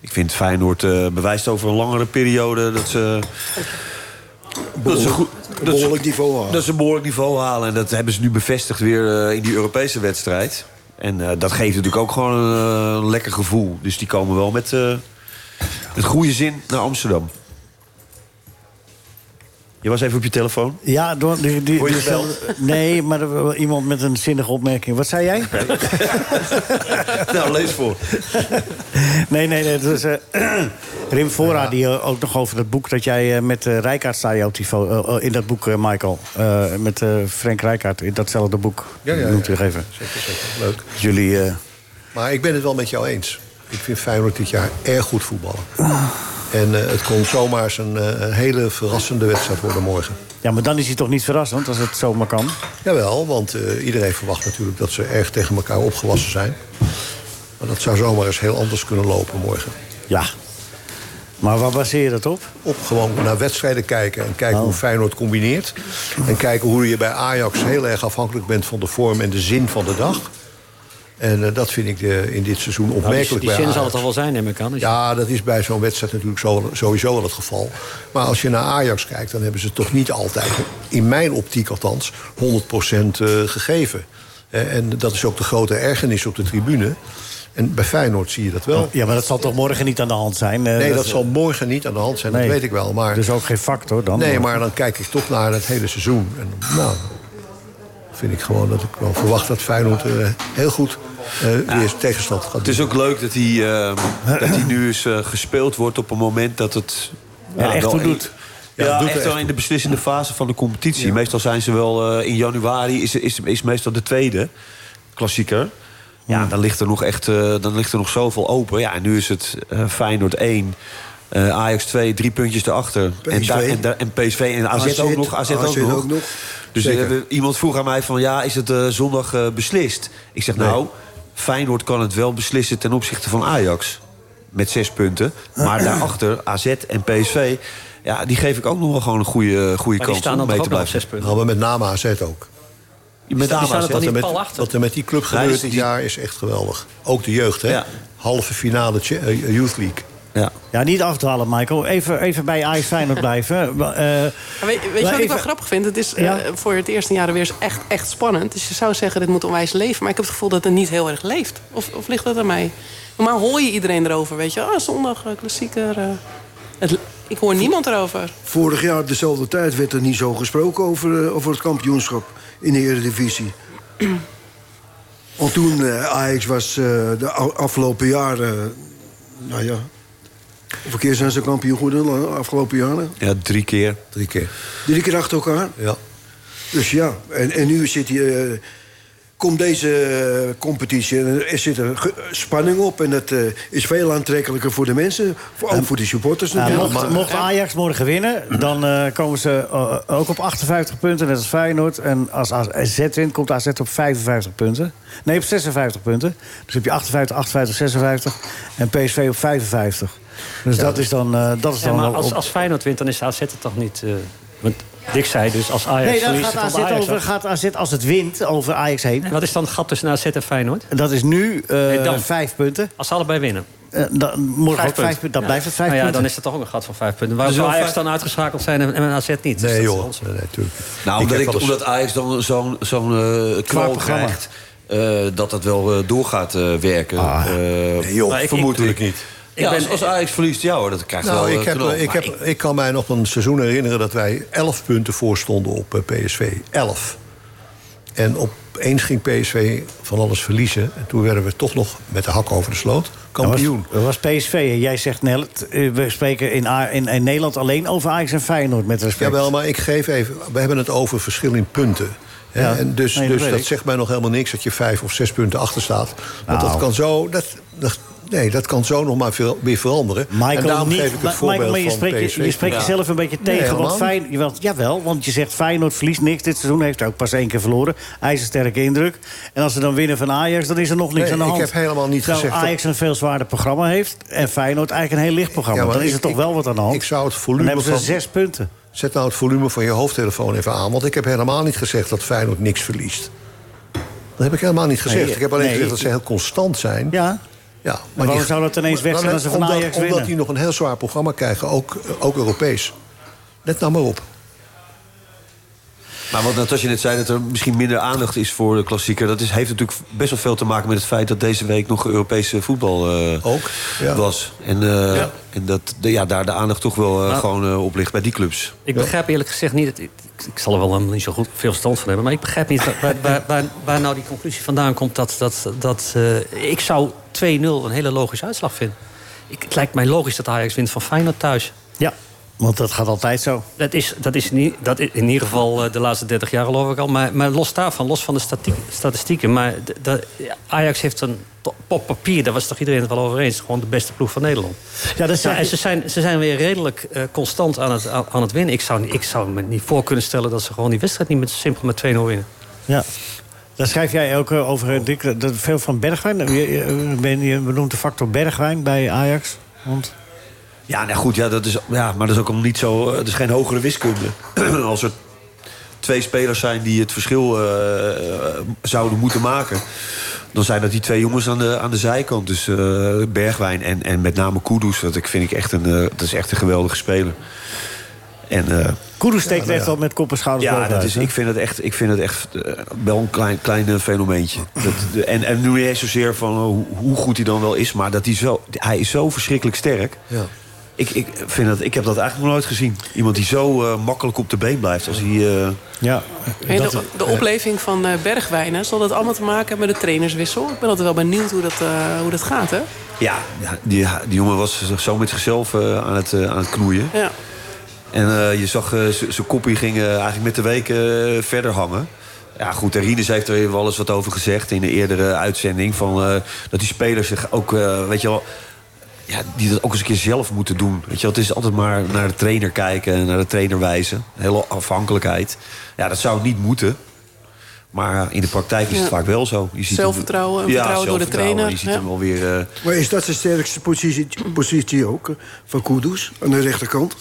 Speaker 3: ik vind Feyenoord eh, bewijst over een langere periode dat ze... Dat ze goed, dat ze,
Speaker 8: behoorlijk niveau halen.
Speaker 3: Dat ze een behoorlijk niveau halen. En dat hebben ze nu bevestigd weer eh, in die Europese wedstrijd. En eh, dat geeft natuurlijk ook gewoon een eh, lekker gevoel. Dus die komen wel met, eh met goede zin naar Amsterdam. Je was even op je
Speaker 8: [LAUGHS]
Speaker 3: telefoon.
Speaker 4: Ja, door, die, die,
Speaker 3: Hoor je
Speaker 4: die-
Speaker 3: wel?
Speaker 4: nee, maar er- wel iemand met een zinnige opmerking. Wat
Speaker 3: [LAUGHS]
Speaker 4: zei jij?
Speaker 3: nou, lees voor.
Speaker 4: Nee, nee, nee. Dat is, eh, [CLEARS THROAT] Rim Fora, die eh, ook nog over dat boek dat jij eh, met eh Rijkaard sta je op die fo- eh, eh, in dat boek, eh, Michael. Eh, met eh, Frank Rijkaard in datzelfde boek.
Speaker 6: Ja, ja,
Speaker 4: Noemt u
Speaker 6: ja.
Speaker 4: nog even.
Speaker 6: Zeker, zeker. Leuk.
Speaker 4: Jullie. eh,
Speaker 6: Maar ik ben het wel met jou eens. Ik vind Feyenoord dit jaar erg goed voetballen. En eh, het kon zomaar eens een eh, een hele verrassende wedstrijd worden morgen.
Speaker 4: ja, maar dan is hij toch niet verrassend als het zomaar kan.
Speaker 6: Jawel, want eh, iedereen verwacht natuurlijk dat ze erg tegen elkaar opgewassen zijn. Maar dat zou zomaar eens heel anders kunnen lopen morgen.
Speaker 4: Ja. Maar waar baseer je dat op? Oh.
Speaker 6: Op gewoon naar wedstrijden kijken en kijken hoe Feyenoord combineert. En kijken hoe je bij Ajax heel erg afhankelijk bent van de vorm en de zin van de dag. En eh, dat vind ik eh, in dit seizoen
Speaker 7: Nou,
Speaker 6: opmerkelijk
Speaker 7: die die
Speaker 6: bij
Speaker 7: zin
Speaker 6: Ajax.
Speaker 7: zal het al wel zijn, neem ik aan. Dus
Speaker 6: Ja, dat is bij zo'n wedstrijd natuurlijk zo- sowieso wel het geval. Maar als je naar Ajax kijkt, dan hebben ze toch niet altijd, in mijn optiek althans, 100% eh, gegeven. Eh, En dat is ook de grote ergernis op de tribune. En bij Feyenoord zie je dat wel.
Speaker 4: Oh, Ja, maar dat zal toch morgen niet aan de hand zijn? Eh,
Speaker 6: Nee, dat zal morgen niet aan de hand zijn, dat
Speaker 4: nee.
Speaker 6: weet ik wel. Maar,
Speaker 4: Dus ook geen factor dan?
Speaker 6: nee, maar dan kijk ik toch naar het hele seizoen. En nou, vind ik gewoon dat ik wel verwacht dat Feyenoord eh, heel goed eh, weer tegenstand gaat
Speaker 3: Het is
Speaker 6: doen.
Speaker 3: ook leuk dat hij, eh, dat hij nu eens eh, gespeeld wordt op een moment dat het...
Speaker 4: Er echt
Speaker 3: wel
Speaker 4: toe
Speaker 3: in-
Speaker 4: doet.
Speaker 3: Ja,
Speaker 6: Ja, doet er
Speaker 3: echt wel
Speaker 6: echt
Speaker 3: in de beslissende fase van de competitie. Meestal zijn ze wel eh, in januari, is, is, is meestal de tweede klassieker. Ja, dan ligt er nog, echt, eh, dan ligt er nog zoveel open. Ja, en nu is het eh, Feyenoord 1, eh, Ajax 2, drie puntjes erachter. En,
Speaker 8: PSV.
Speaker 3: daar- en, daar- en PSV
Speaker 6: Nou,
Speaker 3: en AZ,
Speaker 8: AZ,
Speaker 3: ook nog. AZ, ook,
Speaker 8: AZ
Speaker 3: nog.
Speaker 8: ook nog.
Speaker 3: Dus
Speaker 8: Zeker.
Speaker 3: eh, we- iemand vroeg aan mij van, ja, is het eh, zondag eh, beslist? Ik zeg, nou, Feyenoord kan het wel beslissen ten opzichte van Ajax. Met zes punten. Maar daarachter, AZ en PSV... Ja, die geef ik ook nog wel gewoon een goede, goede
Speaker 7: maar die
Speaker 3: kans
Speaker 7: staan
Speaker 3: om
Speaker 7: dan toch
Speaker 3: mee te
Speaker 7: ook nog op
Speaker 3: blijven.
Speaker 7: zes punten.
Speaker 6: Nou, maar met name AZ ook.
Speaker 3: Met
Speaker 7: staan- die staan
Speaker 3: AZ.
Speaker 7: er
Speaker 6: Wat
Speaker 7: toch
Speaker 6: er,
Speaker 7: niet
Speaker 6: met,
Speaker 7: pal achter.
Speaker 6: wat er met die club
Speaker 3: Hij
Speaker 6: gebeurt
Speaker 3: is
Speaker 6: dit
Speaker 3: die-
Speaker 6: jaar is echt geweldig. Ook de jeugd, hè?
Speaker 3: Ja.
Speaker 6: Halve finale Ch- eh, Youth League. Nou,
Speaker 3: Ja.
Speaker 4: Ja, niet afdwalen, Michael. Even, even bij Ajax
Speaker 6: [LAUGHS]
Speaker 4: Feyenoord blijven. Eh,
Speaker 5: Maar weet, weet je wat ik wel
Speaker 4: even-
Speaker 5: grappig vind? Het is
Speaker 4: Ja.
Speaker 5: eh, voor het eerst in jaren weer eens echt, echt spannend. Dus je zou zeggen, dit moet onwijs leven. Maar ik heb het gevoel dat het niet heel erg leeft. Of, of ligt dat aan mij? Normaal hoor je iedereen erover, weet je. Ah, zondag, eh, klassieker. eh. Het, ik hoor niemand erover.
Speaker 8: Vorig jaar op dezelfde tijd werd er niet zo gesproken over, eh, over het kampioenschap in de Eredivisie. [CLEARS THROAT] Want toen eh, Ajax was eh, de a- afgelopen jaren, nou eh, ja, Hoeveel keer zijn ze kampioen geworden de afgelopen jaren?
Speaker 3: Ja, drie keer.
Speaker 6: Drie keer.
Speaker 8: Drie keer achter elkaar.
Speaker 6: Ja.
Speaker 8: Dus ja, en, en nu zit hier, eh, komt deze eh, competitie en er zit een ge- spanning op. En dat eh, is veel aantrekkelijker voor de mensen, voor, ook voor de supporters
Speaker 4: Nou,
Speaker 8: natuurlijk.
Speaker 4: mocht, mocht Ajax morgen winnen, dan eh, komen ze eh, ook op 58 punten, net als Feyenoord. En als AZ wint, komt AZ op 55 punten. Nee, op 56 punten. Dus heb je 58, 58, 56 en PSV op 55. Dus dat is dan... eh, dat is
Speaker 7: Ja,
Speaker 4: dan
Speaker 7: maar
Speaker 4: op-
Speaker 7: als, als Feyenoord wint, dan is de AZ het toch niet... eh, want Dick zei dus, als Ajax
Speaker 4: nee, dan
Speaker 7: verliest...
Speaker 4: gaat
Speaker 7: dan komt
Speaker 4: AZ,
Speaker 7: Ajax
Speaker 4: over,
Speaker 7: af.
Speaker 4: gaat AZ als het wint over Ajax heen.
Speaker 7: En wat is dan het gat tussen AZ en Feyenoord?
Speaker 4: En Dat is nu eh
Speaker 7: dan.
Speaker 4: vijf punten.
Speaker 7: Als ze allebei winnen.
Speaker 4: Eh, dan, morgen
Speaker 7: Vijf
Speaker 4: ook vijf
Speaker 7: punten.
Speaker 4: punten. Dan
Speaker 7: Ja.
Speaker 4: blijft het vijf
Speaker 7: Nou ja,
Speaker 4: punten.
Speaker 7: dan is er toch ook een gat van vijf punten. Waarom
Speaker 3: Dus
Speaker 7: zou
Speaker 3: wel
Speaker 7: Ajax dan uitgeschakeld zijn en en AZ niet?
Speaker 6: Nee,
Speaker 7: Dus dat is
Speaker 6: joh.
Speaker 7: onzin.
Speaker 6: Nee, natuurlijk.
Speaker 3: Nou, omdat,
Speaker 6: heb
Speaker 3: ik,
Speaker 6: wel eens-
Speaker 3: omdat Ajax dan zo'n zo'n eh, knal
Speaker 4: programma.
Speaker 3: krijgt... eh, dat dat wel eh, door gaat eh, werken.
Speaker 6: Ah,
Speaker 3: Eh,
Speaker 6: joh,
Speaker 3: maar ik-
Speaker 6: vermoedelijk
Speaker 3: ik-
Speaker 6: niet.
Speaker 3: Ja, als, als Ajax verliest, ja hoor, dat krijgt wel
Speaker 6: Nou,
Speaker 3: eh,
Speaker 6: ik, heb,
Speaker 3: knal.
Speaker 6: ik,
Speaker 3: Maar
Speaker 6: heb, ik kan mij nog een seizoen herinneren dat wij 11 punten voorstonden op eh, PSV. 11. En opeens ging PSV van alles verliezen. En toen werden we toch nog met de hak over de sloot kampioen.
Speaker 4: Dat was, dat was PSV. En jij zegt, Nel, t- eh, we spreken in, A- in, in Nederland alleen over Ajax en Feyenoord met respect.
Speaker 6: Jawel, maar ik geef even. We hebben het over verschil in punten. Hè,
Speaker 4: Ja.
Speaker 6: En dus
Speaker 4: Nee, dat
Speaker 6: dus
Speaker 4: weet
Speaker 6: dat
Speaker 4: ik.
Speaker 6: zegt mij nog helemaal niks dat je vijf of zes punten achter staat. Want
Speaker 4: Nou.
Speaker 6: dat kan zo. Dat, dat- nee, dat kan zo nog maar veel, weer veranderen. en
Speaker 4: Michael,
Speaker 6: daarom
Speaker 4: niet,
Speaker 6: geef ik
Speaker 4: Ma-
Speaker 6: het voorbeeld
Speaker 4: Michael, maar je
Speaker 6: van
Speaker 4: spreekt, je-
Speaker 6: PSV.
Speaker 4: je spreekt
Speaker 6: Ja.
Speaker 4: jezelf een beetje
Speaker 6: Nee,
Speaker 4: tegen. want
Speaker 6: helemaal
Speaker 4: Fijn, jawel, jawel, want je zegt Feyenoord verliest niks dit seizoen. Heeft ook pas één keer verloren. IJzersterke indruk. En als ze dan winnen van Ajax, dan is er nog niks
Speaker 6: Nee,
Speaker 4: aan de
Speaker 6: ik
Speaker 4: hand.
Speaker 6: heb helemaal niet
Speaker 4: Terwijl
Speaker 6: gezegd dat-
Speaker 4: Nou, Ajax een veel zwaarder programma heeft... en Feyenoord eigenlijk een heel licht programma.
Speaker 6: Ja, maar
Speaker 4: dan is
Speaker 6: ik-
Speaker 4: er toch
Speaker 6: ik-
Speaker 4: wel wat aan de hand.
Speaker 6: ik zou het volume
Speaker 4: dan hebben ze
Speaker 6: van-
Speaker 4: zes punten.
Speaker 6: Zet nou het volume van je hoofdtelefoon even aan. Want ik heb helemaal niet gezegd dat Feyenoord niks verliest. Dat heb ik helemaal niet gezegd.
Speaker 4: Nee,
Speaker 6: ik heb alleen
Speaker 4: nee.
Speaker 6: gezegd dat ze heel constant zijn.
Speaker 4: Ja,
Speaker 6: Ja, maar
Speaker 4: waarom
Speaker 6: die-
Speaker 4: zou dat ineens weg
Speaker 6: Maar-
Speaker 4: zijn als ze van
Speaker 6: omdat,
Speaker 4: Ajax
Speaker 6: Omdat
Speaker 4: winnen?
Speaker 6: die nog een heel zwaar programma krijgen, ook, ook Europees. Let nou maar op.
Speaker 3: Maar wat Natasja net zei, dat er misschien minder aandacht is voor de klassieker... dat is, heeft natuurlijk best wel veel te maken met het feit... dat deze week nog Europese voetbal eh,
Speaker 6: Ook, ja.
Speaker 3: was. En, eh, en dat de, ja, daar de aandacht toch wel eh,
Speaker 7: Nou.
Speaker 3: gewoon eh, op ligt bij die clubs.
Speaker 7: Ik begrijp eerlijk gezegd niet... dat- ik, ik zal er wel helemaal niet zo goed veel verstand van hebben... maar ik begrijp niet waar, waar, waar, waar nou die conclusie vandaan komt... dat, dat, dat eh, ik zou 2-0 een hele logische uitslag vinden. Ik, het lijkt mij logisch dat Ajax wint van Feyenoord thuis.
Speaker 4: Ja, want dat gaat altijd zo.
Speaker 7: Dat is, dat is, niet, dat is in ieder geval eh, de laatste 30 jaar geloof ik al. Maar, maar los daarvan, los van de statie- statistieken. Maar d- dat- ja, Ajax heeft een to- op papier, daar was toch iedereen het wel over eens... gewoon de beste ploeg van Nederland.
Speaker 4: Ja,
Speaker 7: Ja,
Speaker 4: dat zeg
Speaker 7: en
Speaker 4: ik-
Speaker 7: ze zijn, ze zijn weer redelijk eh, constant aan het, aan, aan het winnen. Ik zou, niet- ik zou me niet voor kunnen stellen dat ze gewoon die wedstrijd niet met, simpel met 2-0 winnen.
Speaker 4: Ja. Daar schrijf jij ook eh, over, eh, Dick, dat- dat veel van Bergwijn. Eh, Je, je- ben je benoemt de factor Bergwijn bij Ajax. Want,
Speaker 3: Ja, nou goed, ja, dat is, ja, maar dat is ook om niet zo. Het is geen hogere wiskunde. [CLEARS THROAT] Als er twee spelers zijn die het verschil eh, eh, zouden moeten maken, dan zijn dat die twee jongens aan de, aan de zijkant. Dus eh, Bergwijn en, en met name Kudus. Dat ik, vind ik echt een, eh, dat is echt een geweldige speler. En eh,
Speaker 4: Kudus steekt
Speaker 6: nou
Speaker 4: echt wel met kop en schouders
Speaker 3: ja,
Speaker 4: bovenuit,
Speaker 3: dat is,
Speaker 4: hè?
Speaker 3: ik vind het echt, ik vind het echt eh, wel een klein, klein eh, fenomeentje. Dat, de- en, en nu niet eens zozeer van eh, hoe, hoe goed hij dan wel is, maar dat hij zo, hij is zo verschrikkelijk sterk.
Speaker 6: Ja.
Speaker 3: Ik, ik, vind dat, ik heb dat eigenlijk nog nooit gezien. Iemand die zo eh, makkelijk op de been blijft als hij. eh,
Speaker 4: Ja,
Speaker 5: Hey,
Speaker 4: dat-
Speaker 5: de, de opleving van eh, Bergwijnen, zal dat allemaal te maken hebben met de trainerswissel? Ik ben altijd wel benieuwd hoe dat, eh, hoe dat gaat, hè?
Speaker 3: ja, ja, die, die jongen was zo met zichzelf eh, aan, het, eh, aan het knoeien.
Speaker 5: Ja.
Speaker 3: En eh, je zag, zijn koppie ging eh, eigenlijk met de week eh, verder hangen. Ja, goed, en Rinus heeft er wel eens wat over gezegd in de eerdere uitzending. Van, eh, dat die spelers zich ook, eh, weet je wel... Ja, die dat ook eens een keer zelf moeten doen. Weet je wel, het is altijd maar naar de trainer kijken en naar de trainer wijzen. Een hele afhankelijkheid. Ja, dat zou niet moeten. Maar in de praktijk is het
Speaker 5: Ja.
Speaker 3: vaak wel zo. Je ziet hem-
Speaker 5: Zelfvertrouwen en vertrouwen door de
Speaker 3: zelfvertrouwen.
Speaker 5: trainer,
Speaker 3: Je ziet
Speaker 5: ja.
Speaker 3: hem alweer... eh,
Speaker 8: Maar is dat zijn sterkste positie, positie ook, eh, van Kudus, aan de rechterkant?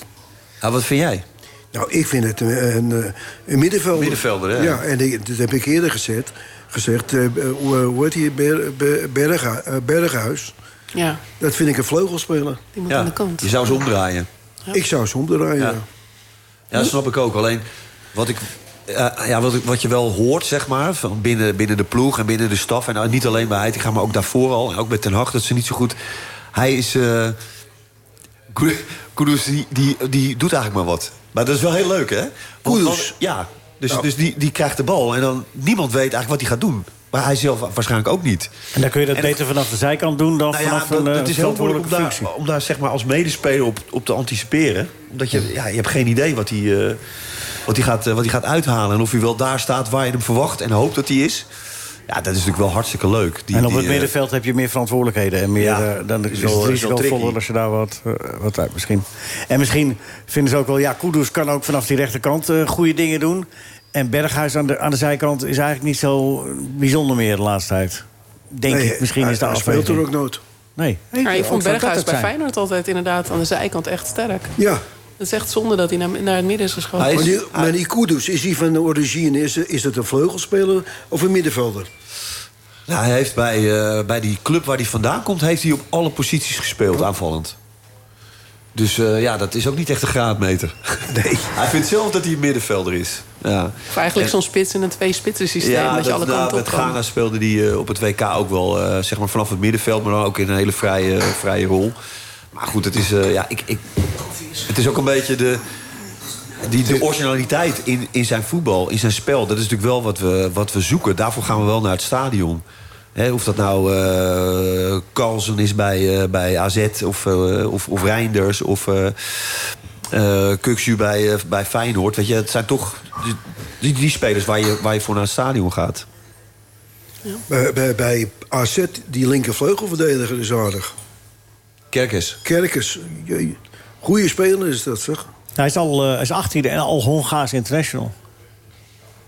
Speaker 3: ja, wat vind jij?
Speaker 8: Nou, ik vind het een, een, eh, een middenvelder.
Speaker 3: Middenvelder, ja.
Speaker 8: Ja, en ik- dat heb ik eerder gezet, gezegd. eh, eh, hoe hoe heet hij? Ber, Ber- Bergha- eh, Berghuis.
Speaker 5: ja,
Speaker 8: Dat vind ik een vleugelspeler.
Speaker 5: die moet aan de
Speaker 3: Ja,
Speaker 5: kant.
Speaker 3: je zou ze omdraaien.
Speaker 8: Ik zou ze omdraaien.
Speaker 3: Ja.
Speaker 8: ja.
Speaker 3: Ja, dat snap ik ook. Alleen wat ik. eh, ja, wat, ik- wat je wel hoort, zeg maar, van binnen, binnen de ploeg en binnen de staf... en nou, niet alleen bij Heitinga, maar ook daarvoor al, en ook met Ten Hag... dat ze niet zo goed... Hij is... eh Kudus- Kudus, die, die, die doet eigenlijk maar wat. Maar dat is wel heel leuk, hè? Want-
Speaker 8: Kudus?
Speaker 3: want- Ja, dus, dus die, die krijgt de bal en dan niemand weet eigenlijk wat hij gaat doen. Maar hij zelf waarschijnlijk ook niet.
Speaker 4: En dan kun je dat
Speaker 3: En-
Speaker 4: beter vanaf de zijkant doen dan
Speaker 3: Nou ja,
Speaker 4: vanaf
Speaker 3: dat-
Speaker 4: een eh,
Speaker 3: het is heel moeilijk om
Speaker 4: verantwoordelijke
Speaker 3: daar,
Speaker 4: functie.
Speaker 3: om daar zeg maar als medespeler op, op te anticiperen. Omdat je, ja, je hebt geen idee wat hij, eh, wat, hij gaat, eh, wat hij gaat uithalen. En of hij wel daar staat waar je hem verwacht en hoopt dat hij is. Ja, dat is natuurlijk wel hartstikke leuk. Die-
Speaker 4: en op
Speaker 3: die,
Speaker 4: het
Speaker 3: eh,
Speaker 4: middenveld heb je meer verantwoordelijkheden. En meer,
Speaker 3: Ja,
Speaker 4: eh, dan
Speaker 3: dus
Speaker 4: is
Speaker 3: het is
Speaker 4: wel
Speaker 3: wel
Speaker 4: risicovoller
Speaker 3: tricky.
Speaker 4: als je daar wat, eh, wat uit misschien. En misschien vinden ze ook wel... Ja, Kudus kan ook vanaf die rechterkant eh, goede dingen doen. En Berghuis aan de, aan de zijkant is eigenlijk niet zo bijzonder meer de laatste tijd. Denk
Speaker 8: Nee,
Speaker 4: ik, misschien
Speaker 8: hij-
Speaker 4: is de
Speaker 8: hij speelt er
Speaker 4: afweging.
Speaker 8: ook nooit.
Speaker 4: Nee.
Speaker 5: Maar ik vond
Speaker 4: Ook zou dat
Speaker 5: Berghuis
Speaker 4: het
Speaker 5: bij
Speaker 4: zijn.
Speaker 5: Feyenoord altijd inderdaad aan de zijkant echt sterk.
Speaker 8: Ja,
Speaker 5: Het is echt zonde dat hij naar, naar het midden is geschoven.
Speaker 3: Hij
Speaker 8: maar
Speaker 3: is-
Speaker 8: die, maar die Kudus, is die van de origine, is, is dat een vleugelspeler of een middenvelder?
Speaker 3: nou, hij heeft bij, eh, bij die club waar hij vandaan komt... heeft hij op alle posities gespeeld aanvallend. Dus eh, ja, dat is ook niet echt een graadmeter. Nee. [LAUGHS] hij vindt zelf dat hij een middenvelder is. Ja.
Speaker 5: Of eigenlijk zo'n spits in een twee-spitsen systeem. dat je alle
Speaker 3: nou,
Speaker 5: kanten op
Speaker 3: met
Speaker 5: kan.
Speaker 3: Ghana speelde die eh, op het WK ook wel eh, zeg maar vanaf het middenveld, maar dan ook in een hele vrije, vrije rol. Maar goed, het is, eh, ja, ik, ik, het is ook een beetje de, die, de originaliteit in, in zijn voetbal, in zijn spel. Dat is natuurlijk wel wat we, wat we zoeken. Daarvoor gaan we wel naar het stadion. Hè, of dat nou eh Carlsen is bij, eh, bij AZ of, eh, of, of Reinders of eh eh, Kukzu bij, eh, bij Feyenoord. Weet je, het zijn toch die, die, die spelers waar je, waar je voor naar het stadion gaat.
Speaker 8: Bij, bij, bij AZ, die linkervleugelverdediger is aardig.
Speaker 3: Kerkers.
Speaker 8: Kerkers, jee, goede speler is dat, zeg.
Speaker 4: Hij is al eh, hij is 18 en al Hongaars international.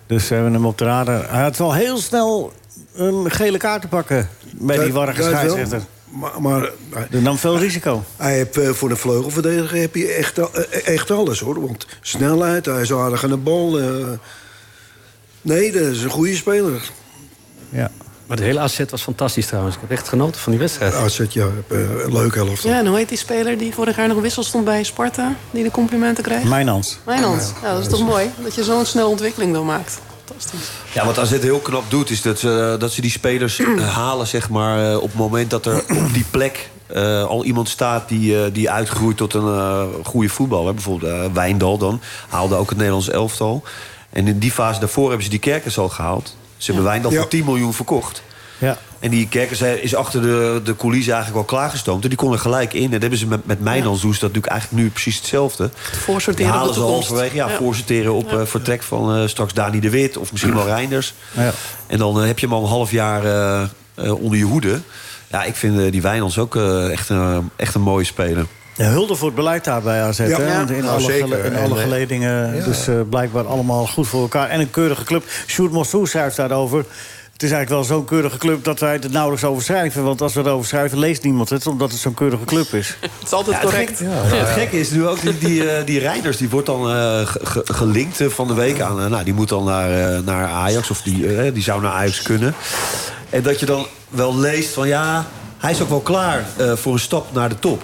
Speaker 4: Dus we hebben hem op de radar. Hij had wel heel snel een gele kaart te pakken bij die
Speaker 8: Dat-
Speaker 4: warrige
Speaker 8: dat wel.
Speaker 4: scheidsrechter.
Speaker 8: Maar, maar hij-
Speaker 4: Dat nam veel risico.
Speaker 8: hij heeft, eh, voor een vleugelverdediger heb je echt, al- eh, echt alles, hoor. Want snelheid, hij is aardig aan de bal. eh. Nee, dat is een goede speler.
Speaker 4: Ja.
Speaker 7: Maar de hele asset was fantastisch trouwens. Ik heb echt genoten van die wedstrijd.
Speaker 8: AZ, ja, eh, een leuke helft.
Speaker 5: Ja, en hoe heet die speler die vorig jaar nog wissel stond bij Sparta? Die de complimenten kreeg?
Speaker 4: Mijnans.
Speaker 5: Mijnans. Ja, dat is toch mooi? Dat je zo'n snelle ontwikkeling dan maakt. Fantastisch.
Speaker 3: Ja, wat AZ heel knap doet, is dat ze, eh, dat ze die spelers eh, halen zeg maar, eh, op het moment dat er op die plek eh, al iemand staat die, eh, die uitgroeit tot een eh, goede voetballer. Bijvoorbeeld eh, Wijndal dan, haalde ook het Nederlands elftal. En in die fase daarvoor hebben ze die Kerkers al gehaald. Ze hebben Wijndal
Speaker 8: Ja.
Speaker 3: voor 10 miljoen verkocht.
Speaker 4: Ja.
Speaker 3: En die Kerkers hij is achter de, de coulissen eigenlijk al klaargestoomd. En die kon er gelijk in. En dat hebben ze met, met Mijnans doen ze dat natuurlijk eigenlijk nu precies hetzelfde. Die
Speaker 5: Voorsorteren op
Speaker 3: halen
Speaker 5: de
Speaker 3: ze al
Speaker 5: toekomst.
Speaker 3: halverwege, ja,
Speaker 5: Ja.
Speaker 3: voorsorteren op eh, vertrek van eh, straks Dani de Wit of misschien wel Reinders.
Speaker 4: Ja.
Speaker 3: En dan eh, heb je hem al een half jaar eh, eh, onder je hoede. Ja, ik vind eh, die Wijnands ook eh, echt, een, echt een mooie speler.
Speaker 4: Ja, hulde voor het beleid daar bij AZ.
Speaker 8: Ja.
Speaker 4: hè?
Speaker 8: Ja.
Speaker 4: Want In,
Speaker 8: Nou,
Speaker 4: alle,
Speaker 8: zeker.
Speaker 4: gele- in
Speaker 8: En,
Speaker 4: alle
Speaker 8: eh,
Speaker 4: geledingen. Dus eh, blijkbaar allemaal goed voor elkaar. En een keurige club. Sjoerd Mossoe schrijft daarover. Het is eigenlijk wel zo'n keurige club dat wij het nauwelijks over schrijven. Want als we het over schrijven, leest niemand het. Omdat het zo'n keurige club is.
Speaker 5: Het is altijd correct.
Speaker 3: Ja, Nou, het gekke is nu ook, die, die, eh, die Reinders die wordt dan eh, ge- ge- gelinkt eh, van de week aan. eh, nou, die moet dan naar, eh, naar Ajax, of die, eh, die zou naar Ajax kunnen. En dat je dan wel leest van ja, hij is ook wel klaar eh, voor een stap naar de top.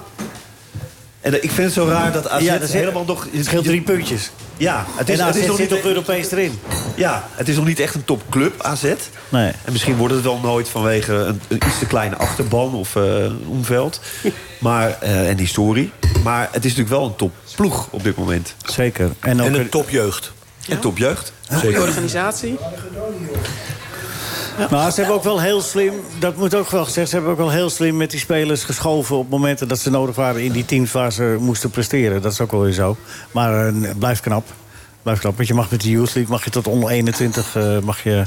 Speaker 3: En eh, ik vind het [LAUGHS] zo raar dat AZ
Speaker 4: Ja, dat is
Speaker 3: helemaal nog...
Speaker 4: Het scheelt drie puntjes.
Speaker 3: Ja, het is,
Speaker 4: en
Speaker 3: het
Speaker 4: AZ
Speaker 3: is nog
Speaker 4: zit
Speaker 3: niet
Speaker 4: op Europees erin.
Speaker 3: Ja, het is nog niet echt een topclub, AZ.
Speaker 4: Nee.
Speaker 3: En misschien wordt het wel nooit vanwege een, een iets te kleine achterban of eh omveld. Maar, eh, en historie. Maar het is natuurlijk wel een topploeg op dit moment.
Speaker 4: Zeker. En ook
Speaker 6: En een topjeugd.
Speaker 3: En topjeugd.
Speaker 5: De organisatie.
Speaker 4: Maar ze hebben ook wel heel slim, dat moet ook wel gezegd... ze hebben ook wel heel slim met die spelers geschoven... op momenten dat ze nodig waren in die teams waar ze moesten presteren. Dat is ook wel weer zo. Maar eh, blijf knap. Blijf knap, want je mag met de Youth League... mag je tot onder 21 eh, mag je...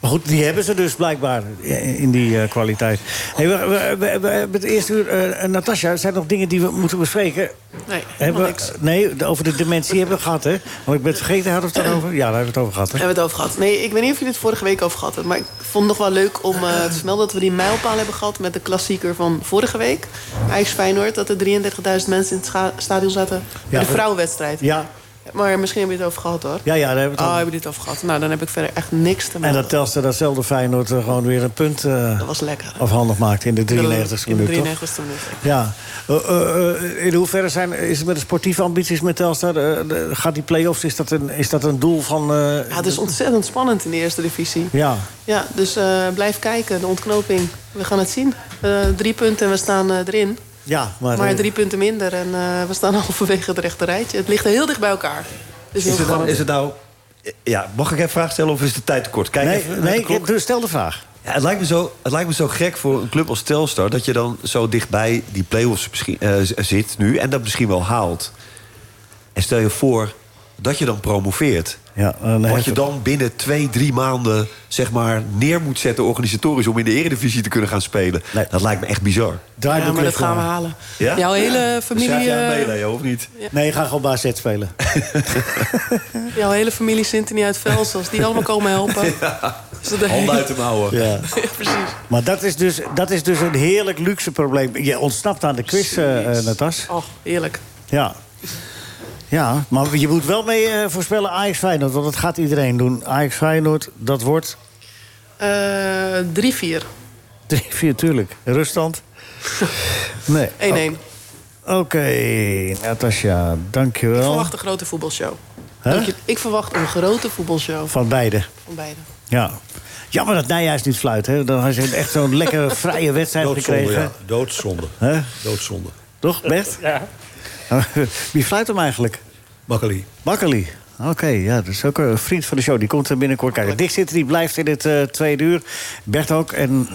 Speaker 4: Maar goed, die hebben ze dus blijkbaar eh, in die eh, kwaliteit. Hey, we, we, we, we hebben het eerste uur... eh, Natasja, zijn er nog dingen die we moeten bespreken?
Speaker 5: Nee, helemaal
Speaker 4: Hebben,
Speaker 5: niks.
Speaker 4: we- nee, de- over de dementie hebben we gehad, hè? Want ik ben het vergeten, hadden we het daarover? Ja, daar hebben we het over gehad, hè?
Speaker 5: Daar hebben we het over gehad. Nee, ik weet niet of jullie het vorige week over gehad hebben. Maar ik vond het nog wel leuk om eh, te vermelden dat we die mijlpaal hebben gehad met de klassieker van vorige week. Ajax Feyenoord, dat er 33.000 mensen in het scha- stadion zaten. bij
Speaker 4: Ja. eh,
Speaker 5: de vrouwenwedstrijd.
Speaker 4: Ja,
Speaker 5: Maar misschien hebben jullie het over gehad hoor.
Speaker 4: ja, ja, daar hebben we het
Speaker 5: Oh,
Speaker 4: over.
Speaker 5: hebben jullie het over gehad? Nou, dan heb ik verder echt niks te
Speaker 4: En
Speaker 5: melden.
Speaker 4: dat Telstra datzelfde Feyenoord eh, gewoon weer een punt eh,
Speaker 5: Dat was lekker. hè?
Speaker 4: afhandig maakt in de
Speaker 5: In
Speaker 4: 93ste
Speaker 5: de
Speaker 4: minuut, toch?
Speaker 5: 93ste minuut.
Speaker 4: Ja. Eh, eh, eh, in hoeverre zijn, is het met de sportieve ambities met Telstra? eh, de- gaat die play-offs, is dat een, is dat een doel van... eh,
Speaker 5: Ja, het is ontzettend spannend in de eerste divisie.
Speaker 4: ja.
Speaker 5: Ja, dus eh, blijf kijken, de ontknoping. We gaan het zien. Eh, drie punten en we staan eh, erin.
Speaker 4: Ja, maar,
Speaker 5: Maar
Speaker 4: eh,
Speaker 5: drie punten minder en eh, we staan [LAUGHS] halverwege het rechte rijtje. Het ligt heel dicht bij elkaar. Dus heel
Speaker 3: Is het, nou-
Speaker 5: spannend.
Speaker 3: is het nou... Ja, mag ik even vraag stellen of is de tijd tekort? Kijk
Speaker 4: nee,
Speaker 3: even naar de
Speaker 4: nee
Speaker 3: klok.
Speaker 4: dus stel de vraag.
Speaker 3: Ja, het, lijkt me zo, het lijkt me zo gek voor een club als Telstar... dat je dan zo dichtbij die play-offs misschien, eh, z- zit nu... en dat misschien wel haalt. En stel je voor dat je dan promoveert.
Speaker 4: Ja, dan
Speaker 3: Wat
Speaker 4: heeft
Speaker 3: je
Speaker 4: het-
Speaker 3: dan binnen twee, drie maanden zeg maar, neer moet zetten organisatorisch... om in de eredivisie te kunnen gaan spelen. Dat lijkt me echt bizar.
Speaker 4: Draaiboek
Speaker 5: Ja, maar dat
Speaker 4: ligt
Speaker 5: gaan we
Speaker 4: klaar.
Speaker 5: halen. Jouw hele
Speaker 3: Schrijf
Speaker 5: familie,
Speaker 3: jij mee,
Speaker 5: eh,
Speaker 3: Leo, of niet?
Speaker 4: Nee, je gaat gewoon baas Z
Speaker 3: [LAUGHS]
Speaker 4: spelen.
Speaker 5: jouw hele familie Sintony uit Vels, als die allemaal komen
Speaker 3: [LAUGHS]
Speaker 5: helpen. Dus dat-
Speaker 3: Handen uit de mouwen.
Speaker 4: Ja.
Speaker 5: Ja, precies.
Speaker 4: Maar dat is, dus, dat is dus een heerlijk luxe probleem. Je ontsnapt aan de quiz, eh, eh, Natas.
Speaker 5: Oh, heerlijk.
Speaker 4: Ja. Ja, maar je moet wel mee eh, voorspellen Ajax Feyenoord. Want dat gaat iedereen doen. Ajax Feyenoord, dat wordt
Speaker 5: Eh 3-4.
Speaker 4: 3-4, tuurlijk.
Speaker 5: [LAUGHS]
Speaker 4: Ruststand? Nee.
Speaker 5: 1-1. Ik
Speaker 4: Oké, Natasja, dankjewel.
Speaker 5: verwacht een grote voetbalshow.
Speaker 4: Hè?
Speaker 5: Dank je. Ik verwacht een grote voetbalshow
Speaker 4: Van beide.
Speaker 5: van beiden.
Speaker 4: Ja. Jammer dat Nijhuis niet fluit. Hè? Dan had je echt zo'n lekkere [LAUGHS] vrije
Speaker 6: [LAUGHS]
Speaker 4: wedstrijd
Speaker 6: Doodzonde,
Speaker 4: gekregen.
Speaker 6: ja. Doodzonde.
Speaker 4: Hè?
Speaker 6: Doodzonde.
Speaker 4: Toch, Bert? Ja. [LAUGHS] Wie fluit hem eigenlijk?
Speaker 6: Makkeli.
Speaker 4: Bakkerly. Oké, ja, dat is ook een vriend van de show. Die komt er binnenkort kijken. Dick zit er, die blijft in het eh, tweede uur. Bert ook. En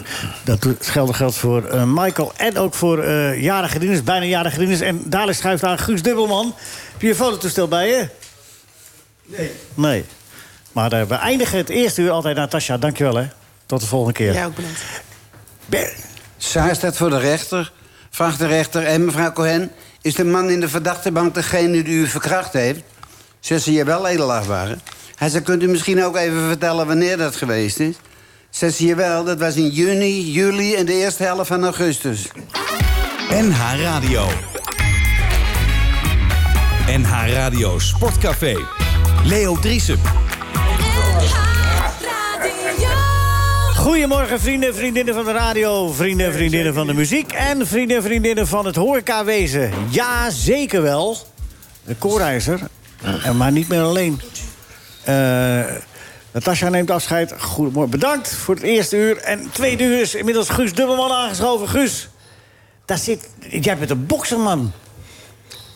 Speaker 4: dat doet- hetzelfde geldt voor eh, Michael. En ook voor eh jarige dieners, bijna jarige dieners. En dadelijk schuift aan Guus Dubbelman. Heb je je fototoestel bij je? Nee. Nee. Maar eh, we eindigen het eerste uur altijd. Natasja, dankjewel hè. Tot de volgende keer.
Speaker 5: Jij ook bedankt.
Speaker 4: Ber-
Speaker 9: Saar staat voor de rechter. Vraagt de rechter, en mevrouw Cohen... is de man in de verdachte bank degene die u verkracht heeft? Zegt ze, jawel, edelachtbare. Hij zei, kunt u misschien ook even vertellen wanneer dat geweest is? Zegt ze, jawel, dat was in juni, juli en de eerste helft van augustus.
Speaker 10: NH Radio. NH Radio Sportcafé. Leo Driesen.
Speaker 4: Goedemorgen vrienden, vriendinnen van de radio, vrienden, vriendinnen van de muziek... en vrienden, vriendinnen van het horecawezen. Ja, zeker wel. De koorreizer, en maar niet meer alleen. Eh, Natasja neemt afscheid. Goedemorgen, bedankt voor het eerste uur. En tweede uur is inmiddels Guus Dubbelman aangeschoven. Guus, daar zit... Jij bent een bokserman.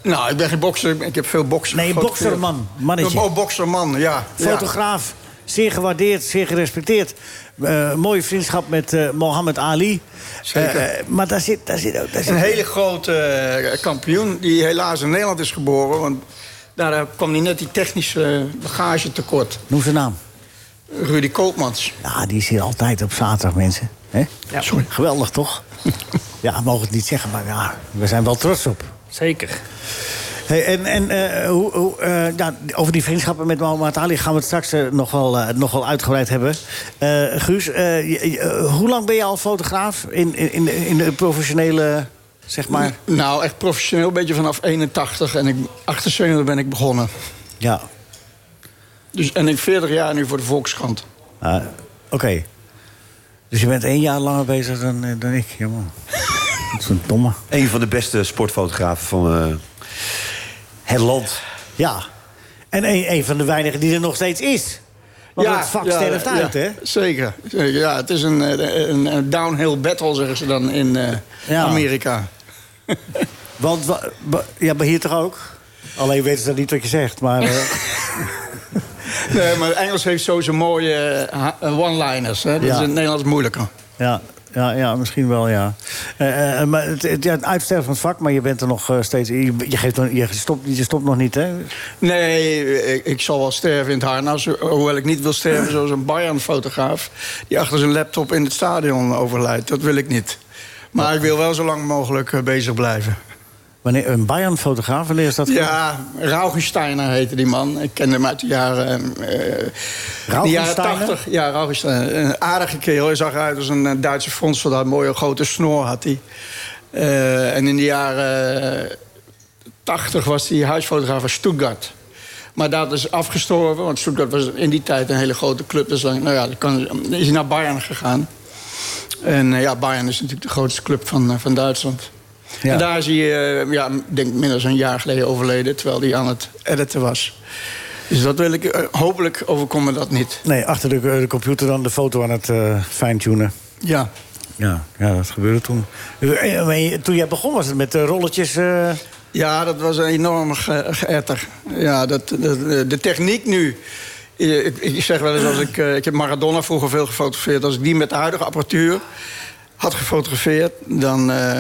Speaker 11: Nou, ik ben geen bokser. Ik heb veel boksen.
Speaker 4: Nee,
Speaker 11: gefotografeerd.
Speaker 4: bokserman, mannetje.
Speaker 11: Oh, bokserman, ja. ja.
Speaker 4: Ah, Fotograaf, zeer gewaardeerd, zeer gerespecteerd. Eh, mooie vriendschap met eh Mohammed Ali. Eh, eh, maar daar zit, daar zit ook... Daar zit
Speaker 11: Een hele grote eh, kampioen die helaas in Nederland is geboren. Want daar eh, kwam hij net die technische bagage tekort.
Speaker 4: Noem zijn naam.
Speaker 11: Rudy Koopmans.
Speaker 4: Ja, Nou, die is hier altijd op zaterdag, mensen. Hè?
Speaker 7: Ja. Sorry.
Speaker 4: Geweldig, toch? ja, we mogen het niet zeggen, maar ja, we zijn wel trots op.
Speaker 7: Zeker.
Speaker 4: Hey, en en eh, hoe, hoe, eh, ja, over die vriendschappen met Mohammed Ali gaan we het straks eh, nog, wel, eh, nog wel uitgebreid hebben. Eh, Guus, eh, je- je- eh, hoe lang ben je al fotograaf in, in, in, de- in de professionele, zeg maar...
Speaker 11: Nou, echt professioneel, een beetje vanaf 81. En ik, 78 ben ik begonnen.
Speaker 4: Ja,
Speaker 11: Dus, en ik 40 jaar nu voor de Volkskrant.
Speaker 4: Ah, Oké. Dus je bent één jaar langer bezig dan, eh, dan ik,
Speaker 11: [LAUGHS]
Speaker 4: jongen. Dat is een domme.
Speaker 3: Een van de beste sportfotografen van eh, het land.
Speaker 4: Ja. En een, een van de weinigen die er nog steeds is. Want het vak sterft
Speaker 11: ja,
Speaker 4: uit,
Speaker 11: ja.
Speaker 4: hè?
Speaker 11: Zeker, zeker. Ja, het is een, eh, een, een downhill battle, zeggen ze dan in eh,
Speaker 4: Ja.
Speaker 11: Amerika.
Speaker 4: [LAUGHS] Want, wa- ba- ja, maar hier toch ook? Alleen weten ze dan niet wat je zegt, maar...
Speaker 11: [LAUGHS]
Speaker 4: eh,
Speaker 11: Nee, Eh, maar Engels heeft sowieso mooie eh, ha- eh, one-liners. hè. Dat
Speaker 4: Ja.
Speaker 11: is in het Nederlands moeilijker.
Speaker 4: ja, ja, ja, misschien wel, ja. Eh, eh, maar het, het, ja, het uitsterven van het vak, maar je bent er nog eh, steeds... Je, je, geeft, nog- je, stopt, je stopt nog niet, hè?
Speaker 11: Nee, ik, ik zal wel sterven in het harnas. ho- Hoewel ik niet wil sterven zoals een Bayern-fotograaf... die achter zijn laptop in het stadion overlijdt. Dat wil ik niet. Maar ik wil wel zo lang mogelijk eh, bezig blijven.
Speaker 4: Wanneer, een Bayern-fotograaf, wanneer is dat?
Speaker 11: Ja, Raugensteiner heette die man. Ik kende hem uit de jaren... eh, de jaren
Speaker 4: Raugensteiner?
Speaker 11: 80. Ja, Raugensteiner. Een aardige kerel. Hij zag eruit als een eh, Duitse frontsoldaat. Een mooie grote snor had hij. Eh, en in de jaren eh, 80 was hij huisfotograaf van Stuttgart. Maar dat is afgestorven, want Stuttgart was in die tijd een hele grote club. Dus dan, nou ja, dan kan- dan is hij naar Bayern gegaan. En eh, ja, Bayern is natuurlijk de grootste club van, eh, van Duitsland.
Speaker 4: Ja.
Speaker 11: En daar is hij, eh, ja, ik denk minder dan een jaar geleden overleden... terwijl hij aan het editen was. Dus dat wil ik, eh, hopelijk overkomen dat niet.
Speaker 4: Nee, achter de, de computer dan de foto aan het eh fine-tunen.
Speaker 11: Ja.
Speaker 4: Ja, ja, dat gebeurde toen. Eh, maar je- Toen jij begon was het met eh, rolletjes. eh,
Speaker 11: Ja, dat was een enorm ge geëtter. Ja, dat, dat- de techniek nu eh, ik- ik zeg wel eens, als ik, eh, ik heb Maradona vroeger veel gefotografeerd. Als ik die met de huidige apparatuur had gefotografeerd, dan... eh,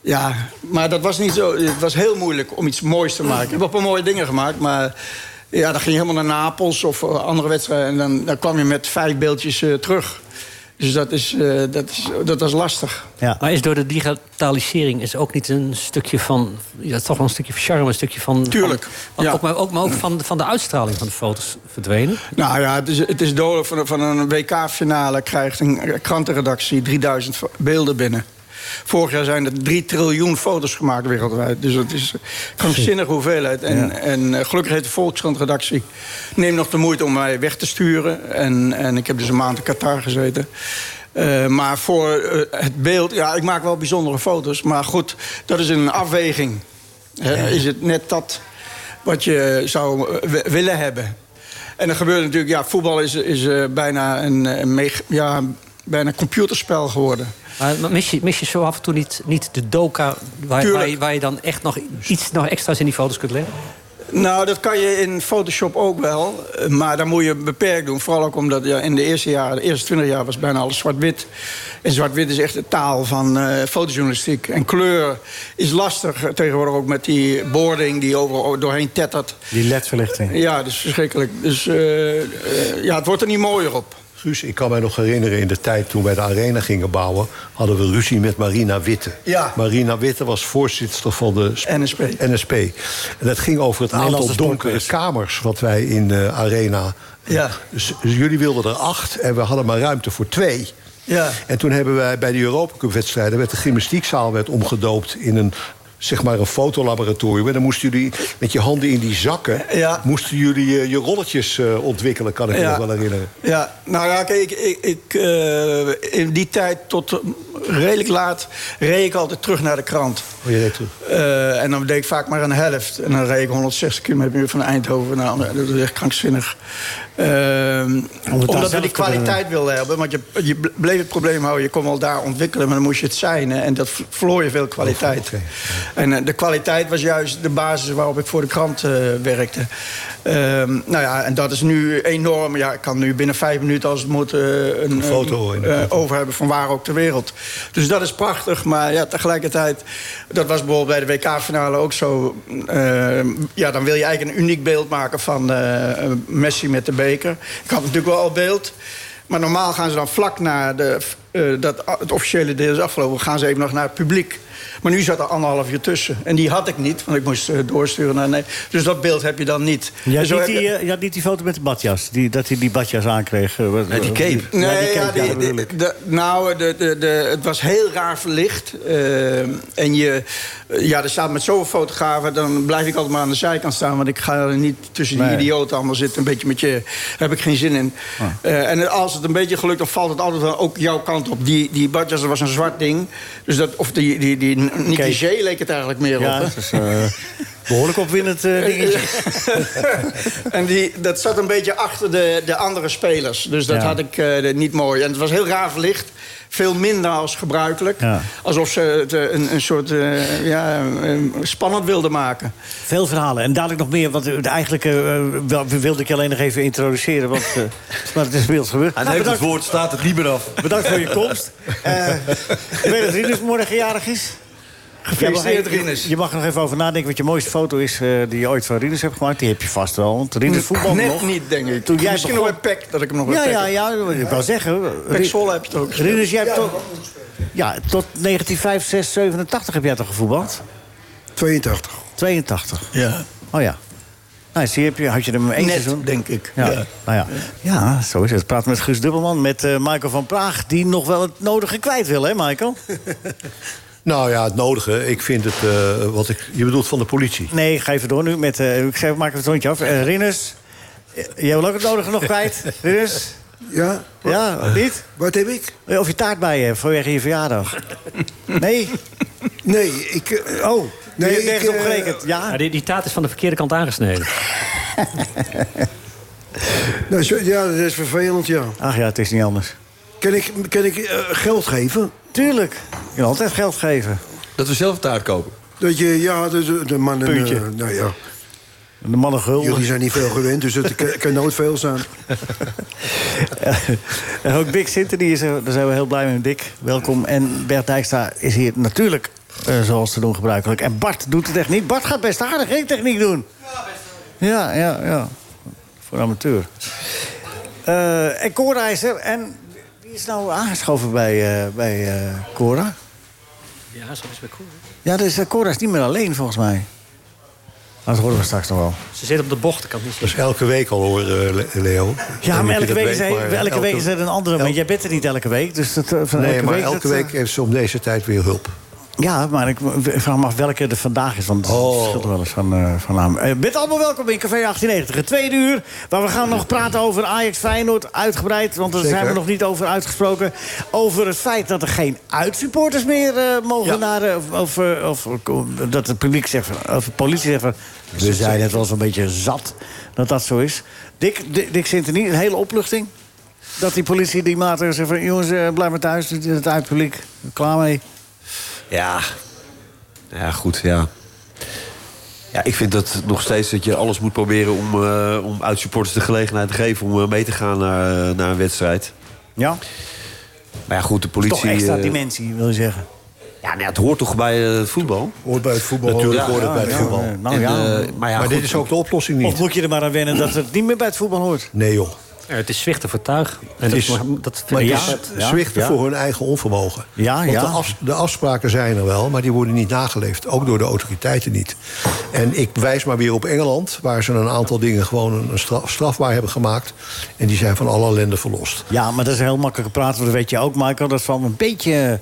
Speaker 11: ja, maar dat was niet zo... Het was heel moeilijk om iets moois te maken. Ik heb wel een paar mooie dingen gemaakt, maar... Ja, dan ging je helemaal naar Napels of eh, andere wedstrijden... en dan, dan kwam je met vijf beeldjes eh, terug. Dus dat is, eh, dat is, dat is lastig.
Speaker 7: Maar is door de digitalisering is ook niet een stukje van... Ja, toch wel een stukje van charme, een stukje van...
Speaker 11: Tuurlijk,
Speaker 7: van- want ook, maar ook, maar ook van, van de uitstraling van de foto's verdwenen.
Speaker 11: Nou ja, het is, het is dodelijk. Van, van een WK-finale krijgt een krantenredactie 3000 fo- beelden binnen. Vorig jaar zijn er 3 triljoen foto's gemaakt wereldwijd. Dus dat is een krankzinnige hoeveelheid. En, en eh, gelukkig heeft de Volkskrant-redactie... neemt nog de moeite om mij weg te sturen. En, en ik heb dus een maand in Qatar gezeten. Eh, maar voor eh, het beeld... Ja, ik maak wel bijzondere foto's. Maar goed, dat is een afweging. Hè, Is het net dat wat je zou eh, wi- willen hebben? En dan gebeurt natuurlijk, ja, voetbal is, is eh, bijna een, eh, meg- ja, bijna een computerspel geworden.
Speaker 7: Maar mis je, mis je zo af en toe niet, niet de doka... Waar,
Speaker 11: Tuurlijk.
Speaker 7: waar, je, waar je dan echt nog iets nog extra's in die foto's kunt leggen?
Speaker 11: Nou, dat kan je in Photoshop ook wel. eh, Maar dan moet je beperkt doen. Vooral ook omdat ja, in de eerste jaren, de eerste twintig jaar was bijna alles zwart-wit. En zwart-wit is echt de taal van eh fotojournalistiek. En kleur is lastig eh, tegenwoordig ook met die boarding die overal doorheen tettert.
Speaker 4: Die ledverlichting.
Speaker 11: Ja, dat is verschrikkelijk. Dus eh, eh, ja, het wordt er niet mooier op.
Speaker 6: Guus, ik kan mij nog herinneren in de tijd toen wij de arena gingen bouwen... hadden we ruzie met Marina Witte.
Speaker 11: Ja.
Speaker 6: Marina Witte was voorzitter van de sp-
Speaker 11: NSP.
Speaker 6: NSP. En dat ging over het aantal
Speaker 11: Nederlandse
Speaker 6: donkere kamers... wat wij in de arena...
Speaker 11: Ja.
Speaker 6: Dus jullie wilden er acht en we hadden maar ruimte voor twee.
Speaker 11: Ja.
Speaker 6: En toen hebben wij bij de Europacup-wedstrijden... werd de gymnastiekzaal werd omgedoopt in een zeg maar een fotolaboratorium. En dan moesten jullie met je handen in die zakken... moesten jullie eh, je rolletjes eh, ontwikkelen, kan ik me
Speaker 11: Ja.
Speaker 6: nog wel herinneren.
Speaker 11: Ja, nou ja, kijk, ik, ik, ik, eh, in die tijd tot eh, redelijk laat reed ik altijd terug naar de krant.
Speaker 6: Oh, je reed terug.
Speaker 11: Eh, en dan deed ik vaak maar een helft. En dan reed ik 160 km per uur van Eindhoven naar Amsterdam. Dat is echt krankzinnig. Ehm, omdat we
Speaker 6: zelf te
Speaker 11: die
Speaker 6: kunnen-
Speaker 8: Eh,
Speaker 11: kwaliteit wilden hebben. Want je, je bleef het probleem houden. Je kon wel daar ontwikkelen, maar dan moest je het zijn. hè. En dat v- verloor je veel kwaliteit. En eh, de kwaliteit was juist de basis waarop ik voor de krant eh, werkte. Ehm, nou ja, en dat is nu enorm. Ja, ik kan nu binnen vijf minuten, als het moet, eh, een,
Speaker 6: foto
Speaker 11: een,
Speaker 6: in de
Speaker 11: eh, over hebben van waar ook ter wereld. Dus dat is prachtig, maar ja, tegelijkertijd... dat was bijvoorbeeld bij de WK-finale ook zo. eh, ja, dan wil je eigenlijk een uniek beeld maken van eh, Messi met de beker. Ik had natuurlijk wel al beeld. Maar normaal gaan ze dan vlak na de, eh, dat a- het officiële deel is afgelopen... gaan ze even nog naar het publiek. Maar nu zat er anderhalf uur tussen. En die had ik niet, want ik moest eh, doorsturen naar... Nee. Dus dat beeld heb je dan niet.
Speaker 4: Je
Speaker 11: En
Speaker 4: had,
Speaker 11: zo
Speaker 4: niet
Speaker 11: heb
Speaker 4: die,
Speaker 11: je-
Speaker 4: eh, je had niet die foto met de badjas, die, dat hij die badjas aankreeg. eh, wat-
Speaker 11: die
Speaker 4: Ja,
Speaker 11: cape. Nee,
Speaker 4: die
Speaker 11: ja,
Speaker 4: cape, ja,
Speaker 11: die-
Speaker 4: dat
Speaker 11: die-
Speaker 4: bedoel ik.
Speaker 11: de- nou, de, de, de, het was heel raar verlicht. Eh, en je, ja, er staat met zoveel fotografen, dan blijf ik altijd maar aan de zijkant staan. Want ik ga er niet tussen die
Speaker 4: Nee. Ah.
Speaker 11: idioten allemaal zitten. Een beetje met je, heb ik geen zin in. Eh, en als het een beetje gelukt, dan valt het altijd wel ook jouw kant op. Die, die badjas, dat was een zwart ding. Dus dat, of die, die, die, Nicky J leek het eigenlijk meer
Speaker 4: Ja,
Speaker 11: op. hè?
Speaker 4: dat is eh, behoorlijk opwindend eh, dingetje.
Speaker 11: [LAUGHS] en die, dat zat een beetje achter de, de andere spelers. Dus dat
Speaker 4: Ja.
Speaker 11: had ik eh, niet mooi. En het was heel raar verlicht. Veel minder als gebruikelijk.
Speaker 4: Ja.
Speaker 11: Alsof ze het eh, een, een soort eh, ja, eh, spannend wilden maken.
Speaker 4: Veel verhalen. En dadelijk nog meer, want eh, eigenlijk eh, wel- wilde ik je alleen nog even introduceren. Want, eh, maar het is inmiddels gebeurd.
Speaker 2: Hij heeft het
Speaker 4: bedankt,
Speaker 2: woord, staat het niet meer af.
Speaker 4: bedankt voor je
Speaker 2: [LAUGHS]
Speaker 4: komst. [LAUGHS] Eh ik weet dat Rinus morgen jarig is.
Speaker 11: Gefeliciteerd,
Speaker 4: Ja, maar, eh,
Speaker 11: Rinus.
Speaker 4: Je mag er nog even over nadenken wat je mooiste foto is eh, die je ooit van Rinus hebt gemaakt. Die heb je vast wel, want Rinus voetbal
Speaker 11: Net
Speaker 4: nog.
Speaker 11: niet, denk ik.
Speaker 4: Toen jij
Speaker 11: Misschien
Speaker 4: begon-
Speaker 11: nog bij Peck, dat ik hem nog bij
Speaker 4: Ja,
Speaker 11: Peck
Speaker 4: ja,
Speaker 11: heb.
Speaker 4: ja, dat wil ik wel zeggen.
Speaker 11: Pek Zwolle heb je het ook gespeeld.
Speaker 4: Rinus, jij hebt
Speaker 11: Ja,
Speaker 4: toch... Ja, tot 1985, 6, 87 heb jij toch gevoetbald?
Speaker 8: 82.
Speaker 4: 82.
Speaker 11: Ja.
Speaker 4: Oh ja. Nou, zie je, heb je, had je er maar één
Speaker 11: Net,
Speaker 4: seizoen?
Speaker 11: denk ik.
Speaker 4: Ja.
Speaker 11: Ja.
Speaker 4: Nou ja. ja, zo is het. Praat met Guus Dubbelman, met eh Michael van Praag... die nog wel het nodige kwijt wil, hè, Michael?
Speaker 6: [LAUGHS] Nou ja, het nodige. Ik vind het eh, wat ik. Je bedoelt van de politie.
Speaker 4: Nee, ga even door nu. Met, eh, ik zei, we maken het rondje af. Eh, Rinus, eh, jij wil ook het nodige nog
Speaker 8: [LAUGHS]
Speaker 4: kwijt? Rinus?
Speaker 8: Ja?
Speaker 4: Ja, niet?
Speaker 8: Wat heb ik?
Speaker 4: Eh, Of je taart bij je hebt vanwege
Speaker 8: [LAUGHS]
Speaker 4: je verjaardag. Nee?
Speaker 8: Nee, ik... eh,
Speaker 4: Oh,
Speaker 8: nee,
Speaker 4: je hebt nergens
Speaker 8: eh,
Speaker 4: opgerekend. Ja?
Speaker 7: Ja, die, die taart is van de verkeerde kant aangesneden.
Speaker 8: nou, zo- ja, dat is vervelend, ja.
Speaker 4: Ach ja, het is niet anders. [LAUGHS]
Speaker 8: Kan ik, kan ik eh, geld geven?
Speaker 4: Tuurlijk. Je wil altijd geld geven.
Speaker 2: Dat we zelf taart kopen.
Speaker 8: Dat je, ja, dus, eh, de, de, de man... een,
Speaker 4: Puntje.
Speaker 8: eh, nou ja.
Speaker 4: De mannen gul.
Speaker 8: Jullie zijn niet veel gewend, dus het kan- kan nooit veel zijn.
Speaker 4: En ook Dick Sinter, die is er, daar zijn we heel blij mee. Dick, welkom. En Bert Dijkstra is hier natuurlijk, eh, zoals te doen gebruikelijk. En Bart doet de techniek. Bart gaat best aardig geen techniek doen. Ja, ja, ja. Voor een amateur. Eh, en Cora is er. En wie is nou aangeschoven bij, eh, bij eh, Cora?
Speaker 7: Ja, zo is wel cool.
Speaker 4: Ja, dus eh, Cora is niet meer alleen volgens mij. Maar dat horen we straks nog wel.
Speaker 7: Ze zit op de bocht, ik kan het niet
Speaker 6: Dat
Speaker 7: zien.
Speaker 6: is Dus elke week al hoor, eh, Le- Leo.
Speaker 4: Ja,
Speaker 6: Dan moet
Speaker 4: maar
Speaker 6: je
Speaker 4: elke
Speaker 6: dat
Speaker 4: week, is,
Speaker 6: weten,
Speaker 4: hij-
Speaker 6: maar
Speaker 4: elke, week is er een andere. Maar
Speaker 6: elke-
Speaker 4: jij bent er niet elke week. Dus dat, eh, van
Speaker 6: Nee,
Speaker 4: elke
Speaker 6: maar
Speaker 4: week,
Speaker 6: elke
Speaker 4: dat, eh,
Speaker 6: week heeft ze om deze tijd weer hulp.
Speaker 4: Ja, maar ik ik vraag me af welke er vandaag is. Want het
Speaker 3: Oh.
Speaker 4: verschilt wel eens van, eh, van naam. Eh, bent allemaal welkom in Café 1890. Het tweede uur, waar we gaan nog praten over Ajax Feyenoord. Uitgebreid, want daar
Speaker 6: Zeker.
Speaker 4: zijn we nog niet over uitgesproken. Over het feit dat er geen uitsupporters meer eh, mogen naar... eh, of, of, eh, of, dat het publiek zegt, van- of de politie zegt... van, we zijn het wel zo'n beetje zat dat dat zo is. Dick, Dick, Dick Sintony, een hele opluchting. Dat die politie die maatregelen zegt van... jongens, eh, blijf maar thuis, het uitpubliek, klaar mee.
Speaker 3: Ja. Ja, goed, ja. Ja, ik vind dat nog steeds dat je alles moet proberen om, eh, om uitsupporters de gelegenheid te geven om eh, mee te gaan naar, eh, naar een wedstrijd.
Speaker 4: Ja.
Speaker 3: Maar ja, goed, de politie.
Speaker 4: Toch extra
Speaker 3: eh,
Speaker 4: dimensie, wil je zeggen.
Speaker 3: ja, nou ja, het hoort toch bij eh, het voetbal?
Speaker 6: Hoort bij het voetbal. Natuurlijk hoort het bij het voetbal.
Speaker 4: Nou
Speaker 3: En,
Speaker 4: ja.
Speaker 3: eh, maar ja,
Speaker 6: maar
Speaker 3: goed,
Speaker 6: dit is ook de oplossing niet.
Speaker 4: Of moet je er maar aan wennen dat het niet meer bij het voetbal hoort?
Speaker 6: Nee joh.
Speaker 7: Ja, het is zwichten voor tuig. En
Speaker 6: Het
Speaker 7: dat,
Speaker 6: is-
Speaker 7: mag- dat
Speaker 6: Maar
Speaker 7: vind ik
Speaker 6: het
Speaker 4: Ja,
Speaker 6: is
Speaker 4: ja,
Speaker 6: zwichten
Speaker 4: ja.
Speaker 6: voor hun eigen onvermogen.
Speaker 4: Ja,
Speaker 6: Want
Speaker 4: ja.
Speaker 6: De, afs- de afspraken zijn er wel, maar die worden niet nageleefd. Ook door de autoriteiten niet. En ik wijs maar weer op Engeland... waar ze een aantal dingen gewoon een een straf, strafbaar hebben gemaakt. En die zijn van alle ellende verlost.
Speaker 4: Ja, maar dat is heel makkelijk praten. want Dat weet je ook, Michael. Dat is van een beetje,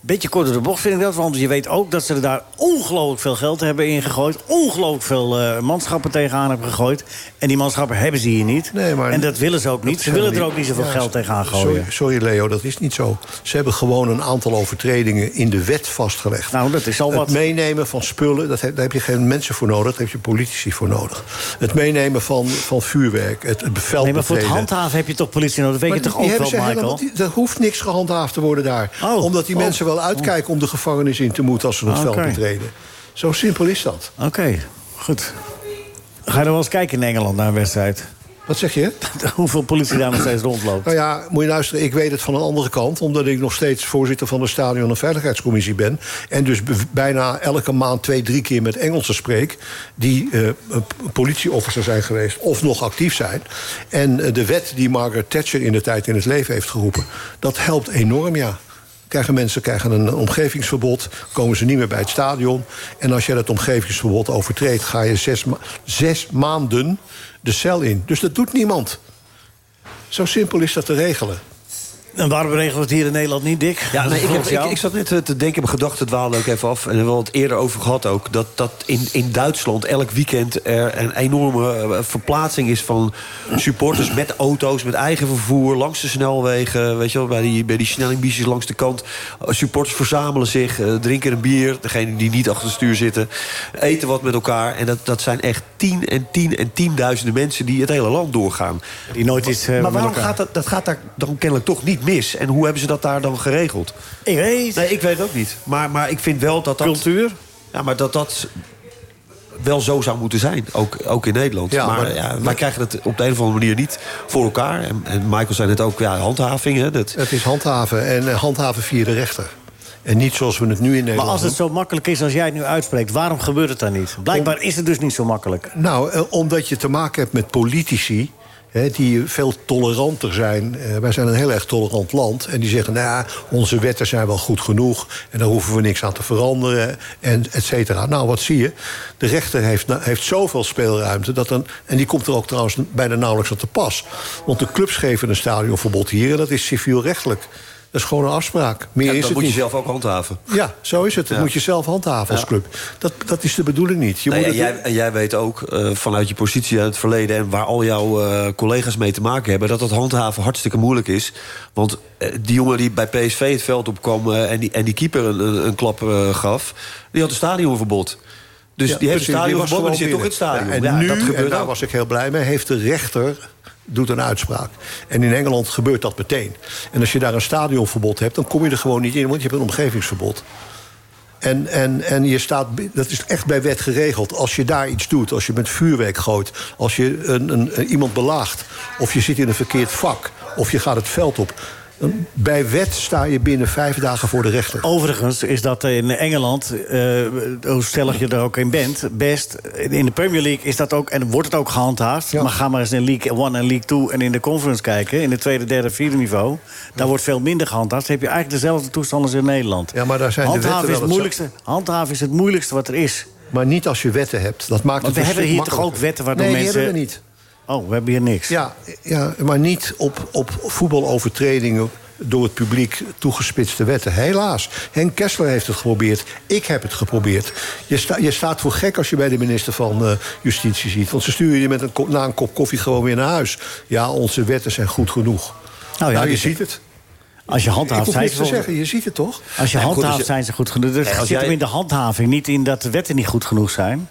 Speaker 4: beetje kort door de bocht, vind ik dat. Want je weet ook dat ze er daar ongelooflijk veel geld hebben ingegooid. Ongelooflijk veel eh, manschappen tegenaan hebben gegooid. En die manschappen hebben ze hier niet.
Speaker 6: Nee, maar-
Speaker 4: en dat willen ze ook niet. Ze willen er ook niet zoveel
Speaker 6: Ja,
Speaker 4: geld tegenaan gooien.
Speaker 6: Sorry, sorry Leo, dat is niet zo. Ze hebben gewoon een aantal overtredingen in de wet vastgelegd.
Speaker 4: Nou, dat is al wat.
Speaker 6: Het meenemen van spullen, dat heb, daar heb je geen mensen voor nodig. Daar heb je politici voor nodig. Het meenemen van, van vuurwerk, het, het bevel
Speaker 4: Nee, maar voor het
Speaker 6: betreden.
Speaker 4: handhaven heb je toch politie nodig? Dat weet je toch ook wel,
Speaker 6: hebben ze
Speaker 4: Michael?
Speaker 6: helemaal- die- er hoeft niks gehandhaafd te worden daar.
Speaker 4: Oh.
Speaker 6: Omdat die
Speaker 4: Oh. Ah,
Speaker 6: mensen wel uitkijken om de gevangenis in te moeten... als ze het
Speaker 4: Oké.
Speaker 6: veld betreden. Zo simpel is dat.
Speaker 4: Oké, goed. Ga je nog wel eens kijken in Engeland naar een wedstrijd?
Speaker 6: Wat zeg je?
Speaker 4: Ah, [LAUGHS] Hoeveel politie daar nog steeds rondloopt?
Speaker 6: Nou ja, moet je luisteren, ik weet het van een andere kant... omdat ik nog steeds voorzitter van de Stadion- en Veiligheidscommissie ben... en dus b- bijna elke maand twee, drie keer met Engelsen spreek... die eh, eh, politieofficer zijn geweest of nog actief zijn. En eh, de wet die Margaret Thatcher in de tijd in het leven heeft geroepen... dat helpt enorm, ja. Krijgen mensen krijgen een omgevingsverbod, komen ze niet meer bij het stadion. En als jij dat omgevingsverbod overtreedt, ga je zes, ma- zes maanden de cel in. Dus dat doet niemand. Zo simpel is dat te regelen.
Speaker 4: En waarom regelen we het hier in Nederland niet, Dick?
Speaker 3: Ja, nee, ik, heb,
Speaker 4: Volgens
Speaker 3: ik,
Speaker 4: jou?
Speaker 3: ik zat net eh, te denken, mijn gedachten dwaalden ook even af. En we hebben het eerder over gehad ook. Dat, dat in, in Duitsland elk weekend er een enorme eh, verplaatsing is van supporters met auto's, met eigen vervoer, langs de snelwegen. Weet je wel, bij die, bij die snellingbiesjes langs de kant. Eh, Supporters verzamelen zich, eh, drinken een bier. Degene die niet achter het stuur zitten, eten wat met elkaar. En dat, dat zijn echt tien en tien en tienduizenden mensen die het hele land doorgaan.
Speaker 4: Die nooit iets. eh,
Speaker 3: maar
Speaker 4: met
Speaker 3: waarom
Speaker 4: elkaar-
Speaker 3: gaat dat, dat gaat daar dan kennelijk toch niet mis? En hoe hebben ze dat daar dan geregeld?
Speaker 4: Ik weet.
Speaker 3: Nee, ik weet het ook niet. Maar, maar ik vind wel dat dat...
Speaker 4: Cultuur?
Speaker 3: Ja, maar dat dat wel zo zou moeten zijn, ook, ook in Nederland.
Speaker 6: Ja,
Speaker 3: maar
Speaker 6: maar-
Speaker 3: ja, wij krijgen het op de een of andere manier niet voor elkaar. En, en Michael zei net ook, ja, handhaving. Hè, dat,
Speaker 6: Het is handhaven en eh, handhaven via de rechter. En niet zoals we het nu in Nederland
Speaker 4: Maar als het
Speaker 6: doen.
Speaker 4: zo makkelijk is als jij het nu uitspreekt, waarom gebeurt het dan niet? Blijkbaar is het dus niet zo makkelijk.
Speaker 6: Nou, eh, omdat je te maken hebt met politici... Hè, die veel toleranter zijn. Eh, wij zijn een heel erg tolerant land. En die zeggen, nou ja, onze wetten zijn wel goed genoeg... en daar hoeven we niks aan te veranderen, en et cetera. Nou, wat zie je? De rechter heeft, na- heeft zoveel speelruimte... Dat een, en die komt er ook trouwens bijna nauwelijks aan te pas. Want de clubs geven een stadionverbod hier... en dat is civielrechtelijk. Dat is gewoon een afspraak. Meer
Speaker 3: ja,
Speaker 6: is
Speaker 3: dat
Speaker 6: het
Speaker 3: moet
Speaker 6: niet.
Speaker 3: je zelf ook handhaven.
Speaker 6: Ja, zo is het. Dat
Speaker 3: Ja.
Speaker 6: moet je zelf handhaven als club. Dat, dat is de bedoeling niet. Je
Speaker 3: Nee,
Speaker 6: moet
Speaker 3: en,
Speaker 6: het
Speaker 3: jij, en jij weet ook eh, vanuit je positie uit het verleden... en waar al jouw eh, collega's mee te maken hebben... dat dat handhaven hartstikke moeilijk is. Want eh, die jongen die bij PSV het veld opkwam... eh, en, die, en die keeper een, een, een klap eh, gaf... die had een stadionverbod. Dus
Speaker 6: Ja,
Speaker 3: die heeft een
Speaker 6: precies, die was
Speaker 3: stadionverbod, maar die zit toch
Speaker 6: gewoon
Speaker 3: in
Speaker 6: binnen.
Speaker 3: het stadion.
Speaker 6: Ja, en
Speaker 3: Ja,
Speaker 6: nu,
Speaker 3: dat
Speaker 6: en
Speaker 3: gebeurt
Speaker 6: daar
Speaker 3: ook.
Speaker 6: was ik heel blij mee, heeft de rechter doet een uitspraak. En in Engeland gebeurt dat meteen. En als je daar een stadionverbod hebt, dan kom je er gewoon niet in... want je hebt een omgevingsverbod. En, en, en je staat, bi- dat is echt bij wet geregeld. Als je daar iets doet, als je met vuurwerk gooit... als je een, een, een- iemand belaagt, of je zit in een verkeerd vak... of je gaat het veld op... dan bij wet sta je binnen vijf dagen voor de rechter.
Speaker 4: Overigens is dat in Engeland, eh, hoe stellig je er ook in bent, best. In de Premier League is dat ook, en wordt het ook gehandhaafd. Maar ga maar eens in League 1 en League 2 en in de Conference kijken. In het tweede, derde, vierde niveau. Daar wordt veel minder gehandhaafd. Dan heb je eigenlijk dezelfde toestanden als in Nederland. Ja,
Speaker 6: maar daar zijn de
Speaker 4: handhaven
Speaker 6: wetten
Speaker 4: is
Speaker 6: wel
Speaker 4: het
Speaker 6: hetzelfde.
Speaker 4: moeilijkste. Handhaven is het moeilijkste wat er is.
Speaker 6: Maar niet als je wetten hebt. Dat maakt
Speaker 4: Want
Speaker 6: het
Speaker 4: we
Speaker 6: een
Speaker 4: hebben
Speaker 6: stuk
Speaker 4: hier toch ook
Speaker 6: makkelijker.
Speaker 4: wetten waardoor
Speaker 6: nee,
Speaker 4: mensen...
Speaker 6: die hebben we niet.
Speaker 4: Oh, we hebben hier niks.
Speaker 6: Ja, ja maar niet op, op voetbalovertredingen door het publiek toegespitste wetten. Helaas. Henk Kessler heeft het geprobeerd. Ik heb het geprobeerd. Je, sta, je staat voor gek als je bij de minister van eh, Justitie ziet. Want ze sturen je met een, ko- na een kop koffie gewoon weer naar huis. Ja, onze wetten zijn goed genoeg. Nou,
Speaker 4: ja,
Speaker 6: je
Speaker 4: dit-
Speaker 6: ziet het.
Speaker 4: Als je handhaaft,
Speaker 6: Ik hoef
Speaker 4: zijn
Speaker 6: niks
Speaker 4: ze
Speaker 6: te
Speaker 4: wel-
Speaker 6: zeggen. Je ziet het toch?
Speaker 4: Als je
Speaker 6: Ja, goed,
Speaker 4: handhaaft,
Speaker 6: als je-
Speaker 4: zijn ze goed genoeg. Dus
Speaker 6: Nee,
Speaker 4: het
Speaker 6: als
Speaker 4: zit hem
Speaker 6: jij-
Speaker 4: in de handhaving, niet in dat de wetten niet goed genoeg zijn.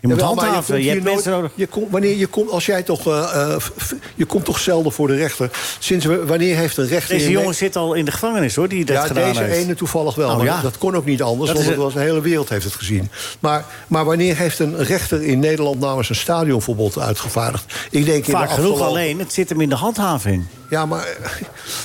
Speaker 4: Je moet
Speaker 6: Jawel, maar
Speaker 4: handhaven.
Speaker 6: komt
Speaker 4: Je, hebt
Speaker 6: hier
Speaker 4: mensen
Speaker 6: nooit-
Speaker 4: nodig.
Speaker 6: je komt- wanneer je komt, als jij toch, eh, eh, f- f- je komt toch zelden voor de rechter. Sinds we- wanneer heeft een rechter...
Speaker 4: Deze
Speaker 6: in-
Speaker 4: jongen zit al in de gevangenis, hoor, die dat
Speaker 6: ja,
Speaker 4: gedaan
Speaker 6: deze
Speaker 4: heeft.
Speaker 6: ene toevallig wel.
Speaker 4: Oh,
Speaker 6: maar
Speaker 4: ja.
Speaker 6: Dat kon ook niet anders,
Speaker 4: Dat
Speaker 6: want
Speaker 4: is
Speaker 6: het
Speaker 4: een-
Speaker 6: was, de hele wereld heeft het gezien. Maar, maar wanneer heeft een rechter in Nederland namens een stadionverbod uitgevaardigd? Ik denk in de
Speaker 4: Vaak genoeg
Speaker 6: afgelopen-
Speaker 4: alleen, het zit hem in de handhaving.
Speaker 6: Ja, maar,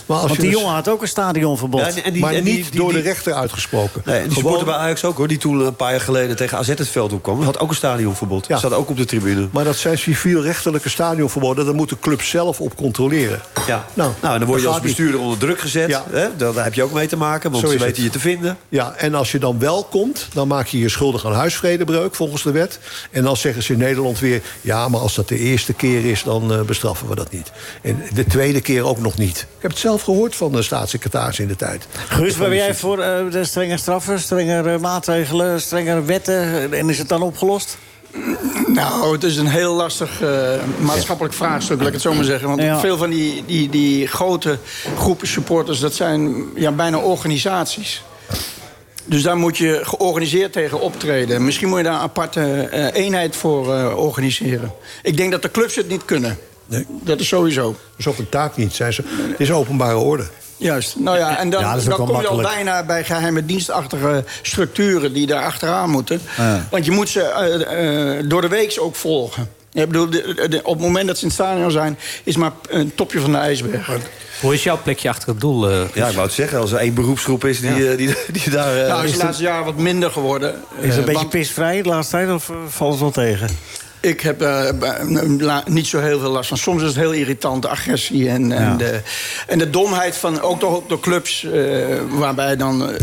Speaker 6: maar als
Speaker 4: Want
Speaker 6: je
Speaker 4: die
Speaker 6: dus-
Speaker 4: jongen had ook een stadionverbod.
Speaker 3: Ja, en- en die-
Speaker 6: maar
Speaker 3: en
Speaker 6: niet
Speaker 3: die- die-
Speaker 6: door de
Speaker 3: die-
Speaker 6: rechter uitgesproken.
Speaker 3: Nee, en die
Speaker 6: Gewoon-
Speaker 3: supporter bij Ajax ook hoor. Die toen een paar jaar geleden tegen AZ het veld opkwam. Had ook een stadionverbod.
Speaker 6: Ja.
Speaker 3: Zat ook op de tribune.
Speaker 6: maar dat zijn civielrechtelijke stadionverboden. Daar moet de club zelf op controleren.
Speaker 3: Ja.
Speaker 6: Nou,
Speaker 3: Nou, en dan word je
Speaker 6: dat
Speaker 3: als
Speaker 6: gaat niet.
Speaker 3: bestuurder onder druk gezet.
Speaker 6: Ja.
Speaker 3: Hè? Daar, daar heb je ook mee te maken, want
Speaker 6: Zo
Speaker 3: ze
Speaker 6: is
Speaker 3: weten
Speaker 6: het.
Speaker 3: je te vinden.
Speaker 6: Ja, en als je dan wel komt, dan maak je je schuldig aan huisvredebreuk volgens de wet. En dan zeggen ze in Nederland weer: ja, maar als dat de eerste keer is, dan eh, bestraffen we dat niet. En de tweede keer ook nog niet. Ik heb het zelf gehoord van de staatssecretaris in de tijd.
Speaker 4: Guus,
Speaker 6: Van
Speaker 4: ben
Speaker 6: die-
Speaker 4: jij voor eh, de strenge straffen, strengere maatregelen, strengere wetten? En is het dan opgelost?
Speaker 11: [COUGHS] Nou, het is een heel lastig eh, maatschappelijk vraagstuk, laat ik het zo maar zeggen. Want
Speaker 4: Ja.
Speaker 11: veel van die, die, die grote groepen supporters, dat zijn ja, bijna organisaties. Dus daar moet je georganiseerd tegen optreden. Misschien moet je daar een aparte eh, eenheid voor eh, organiseren. Ik denk dat de clubs het niet kunnen. Dat is sowieso.
Speaker 6: Dat is ook een taak niet. Zijn ze, het is openbare orde.
Speaker 11: Juist. Nou ja, en dan,
Speaker 6: Ja, dat is ook
Speaker 11: dan kom
Speaker 6: wel
Speaker 11: je al
Speaker 6: makkelijk.
Speaker 11: bijna bij geheime dienstachtige structuren die daar achteraan moeten.
Speaker 4: Ja.
Speaker 11: Want je moet ze eh, eh, door de week ook volgen. Ik bedoel, de- de- op het moment dat ze in het stadion zijn, is maar een topje van de ijsberg.
Speaker 7: Hoe is jouw plekje achter het doel? eh?
Speaker 3: Ja, ik wou het zeggen. Als er één beroepsgroep is die, eh, die, die daar... eh,
Speaker 11: nou, is
Speaker 3: is
Speaker 11: het laatste jaar wat minder geworden.
Speaker 4: Is het
Speaker 11: Eh,
Speaker 4: een beetje
Speaker 11: want
Speaker 4: pisvrij de laatste tijd of eh, valt het wel tegen?
Speaker 11: Ik heb eh, bij- n- la- niet zo heel veel last van. Soms is het heel irritant, de agressie en, en, de, en de domheid van ook toch ook door clubs... eh, waarbij dan eh,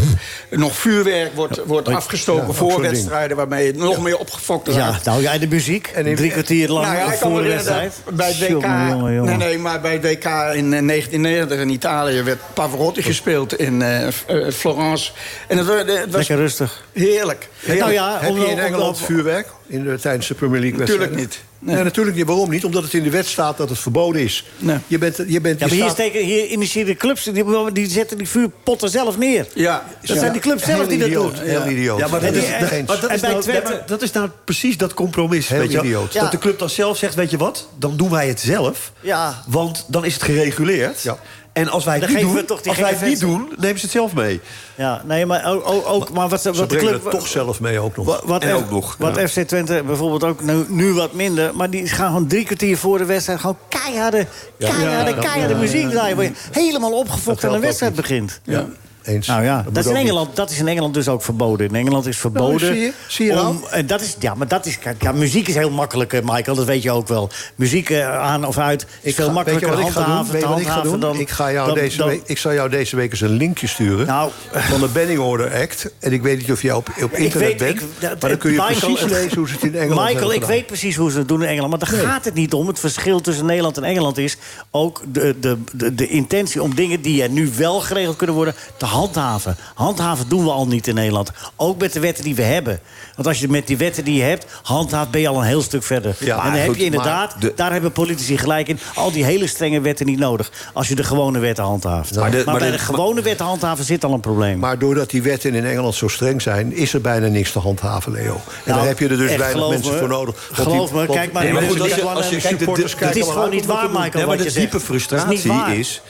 Speaker 11: nog vuurwerk wordt, wordt
Speaker 4: ja,
Speaker 11: afgestoken
Speaker 4: ook
Speaker 11: voor
Speaker 4: zo'n ding.
Speaker 11: wedstrijden... waarmee het nog meer opgefokt raakt.
Speaker 4: Ja, nou ja, en de muziek. Drie kwartier lang
Speaker 11: Nou ja, ik kan
Speaker 4: voor
Speaker 11: me
Speaker 4: de
Speaker 11: herinneren
Speaker 4: wedstrijd.
Speaker 6: eh,
Speaker 11: dat bij het WK...
Speaker 4: Jongen, jongen, jongen.
Speaker 11: Nee, nee, maar bij het WK in eh, 1990 in Italië werd Pavarotti gespeeld in eh, F- eh, Florence. En het, wa- het was
Speaker 4: Lekker rustig.
Speaker 11: heerlijk. heerlijk.
Speaker 4: Nou ja,
Speaker 6: Heb je
Speaker 4: om- om-
Speaker 6: in Engeland
Speaker 4: om-
Speaker 6: vuurwerk in de, tijdens de Premier League
Speaker 11: Natuurlijk
Speaker 6: wedstrijden?
Speaker 11: niet.
Speaker 6: Nee. natuurlijk niet. Waarom niet? Omdat het in de wet staat dat het verboden is.
Speaker 11: Nee.
Speaker 6: Je bent, je bent,
Speaker 4: Ja,
Speaker 6: je
Speaker 4: maar hier,
Speaker 6: staat-
Speaker 4: steken, hier initiëren clubs, die, die zetten die vuurpotten zelf neer.
Speaker 11: Ja,
Speaker 4: Dat zijn die clubs zelf
Speaker 6: Heel
Speaker 4: die dat
Speaker 6: idioot,
Speaker 4: doen.
Speaker 6: Heel idioot.
Speaker 3: Ja, maar dat
Speaker 6: Heel
Speaker 3: is,
Speaker 6: idioot.
Speaker 3: maar dat
Speaker 4: En
Speaker 3: is,
Speaker 4: bij
Speaker 3: nou,
Speaker 4: Twente-
Speaker 3: ja, maar dat is nou precies dat compromis.
Speaker 6: Heel
Speaker 3: weet je wel?
Speaker 6: idioot.
Speaker 4: Ja.
Speaker 3: Dat de club dan zelf zegt, weet je wat, dan doen wij het zelf.
Speaker 4: Ja.
Speaker 3: Want dan is het gereguleerd.
Speaker 6: Ja.
Speaker 3: En als wij het,
Speaker 4: Dan
Speaker 3: niet
Speaker 4: geven
Speaker 3: doen,
Speaker 4: we toch die
Speaker 3: als wij het
Speaker 4: gekke
Speaker 3: niet
Speaker 4: vesten.
Speaker 3: doen, nemen ze het zelf mee.
Speaker 4: Ja, nee, maar ook, ook- ook maar wat,
Speaker 6: Ze
Speaker 4: wat de
Speaker 6: brengen
Speaker 4: club...
Speaker 6: het toch zelf mee ook nog.
Speaker 4: Wat, wat
Speaker 3: En
Speaker 4: F-
Speaker 3: ook nog,
Speaker 4: wat
Speaker 3: ja.
Speaker 4: FC Twente bijvoorbeeld ook nu, nu wat minder. Maar die gaan gewoon drie kwartier voor de wedstrijd... gewoon keiharde, keiharde, keiharde muziek draaien. Word je helemaal opgefokt aan de
Speaker 6: geldt
Speaker 4: wedstrijd begint.
Speaker 6: Ja, eens.
Speaker 4: Nou ja, dat,
Speaker 6: moet
Speaker 4: is in
Speaker 6: ook niet.
Speaker 4: Engeland, dat is in Engeland dus ook verboden. In Engeland is verboden.
Speaker 6: Nou, zie je- zie je nou?
Speaker 4: en dat is, ja, maar dat is. Kijk, ja, muziek is heel makkelijk, eh, Michael, dat weet je ook wel. Muziek eh, aan of uit is veel
Speaker 6: Ga-
Speaker 4: makkelijker
Speaker 6: weet je wat ik ga doen?
Speaker 4: handhaven,
Speaker 6: Weet
Speaker 4: te
Speaker 6: je wat ik ga
Speaker 4: handhaven
Speaker 6: doen?
Speaker 4: dan.
Speaker 6: ik, ga jou
Speaker 4: dan-
Speaker 6: deze
Speaker 4: dan-
Speaker 6: week, ik zal jou deze week eens een linkje sturen
Speaker 4: Nou,
Speaker 6: van de Banning Order Act. En ik weet niet of jij op, op internet bent,
Speaker 4: dat-
Speaker 6: maar dan kun je
Speaker 4: Michael,
Speaker 6: precies
Speaker 4: het-
Speaker 6: lezen hoe ze het in Engeland
Speaker 4: Michael,
Speaker 6: hebben
Speaker 4: ik weet precies hoe ze het doen in Engeland. Maar daar gaat het niet om. Het verschil tussen Nederland en Engeland is ook de, de, de, de intentie om dingen die er nu wel geregeld kunnen worden te handhaven. Handhaven doen we al niet in Nederland. Ook met de wetten die we hebben. Want als je met die wetten die je hebt handhaaft, ben je al een heel stuk verder.
Speaker 6: Ja,
Speaker 4: en dan heb
Speaker 6: goed,
Speaker 4: je inderdaad,
Speaker 6: maar de-
Speaker 4: daar hebben politici gelijk in, al die hele strenge wetten niet nodig. Als je de gewone wetten handhaaft. Maar,
Speaker 3: Maar de- maar
Speaker 4: bij de,
Speaker 3: de-
Speaker 4: gewone wetten handhaven zit al een probleem.
Speaker 6: Maar doordat die wetten in Engeland zo streng zijn... is er bijna niks te handhaven, Leo. En daar
Speaker 4: Nou,
Speaker 6: heb je er dus
Speaker 4: echt,
Speaker 6: weinig
Speaker 4: geloof
Speaker 6: mensen
Speaker 4: me.
Speaker 6: voor nodig. Want
Speaker 4: Geloof
Speaker 6: die-
Speaker 4: me,
Speaker 6: want-
Speaker 4: kijk maar
Speaker 6: Nee,
Speaker 4: naar
Speaker 3: goed,
Speaker 4: de
Speaker 3: als je-
Speaker 4: Nederlandse
Speaker 3: als je kijkt, de-
Speaker 4: supporters
Speaker 3: de-
Speaker 4: kijken
Speaker 3: het
Speaker 6: is
Speaker 4: allemaal
Speaker 6: gewoon
Speaker 4: uit
Speaker 6: niet
Speaker 4: wat
Speaker 6: waar,
Speaker 4: we doen.
Speaker 6: Michael,
Speaker 3: Nee, maar
Speaker 4: Nee, wat
Speaker 3: de
Speaker 4: je zegt.
Speaker 3: diepe
Speaker 4: Dat is niet
Speaker 3: frustratie
Speaker 4: waar.
Speaker 3: is...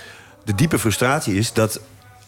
Speaker 3: De diepe frustratie is dat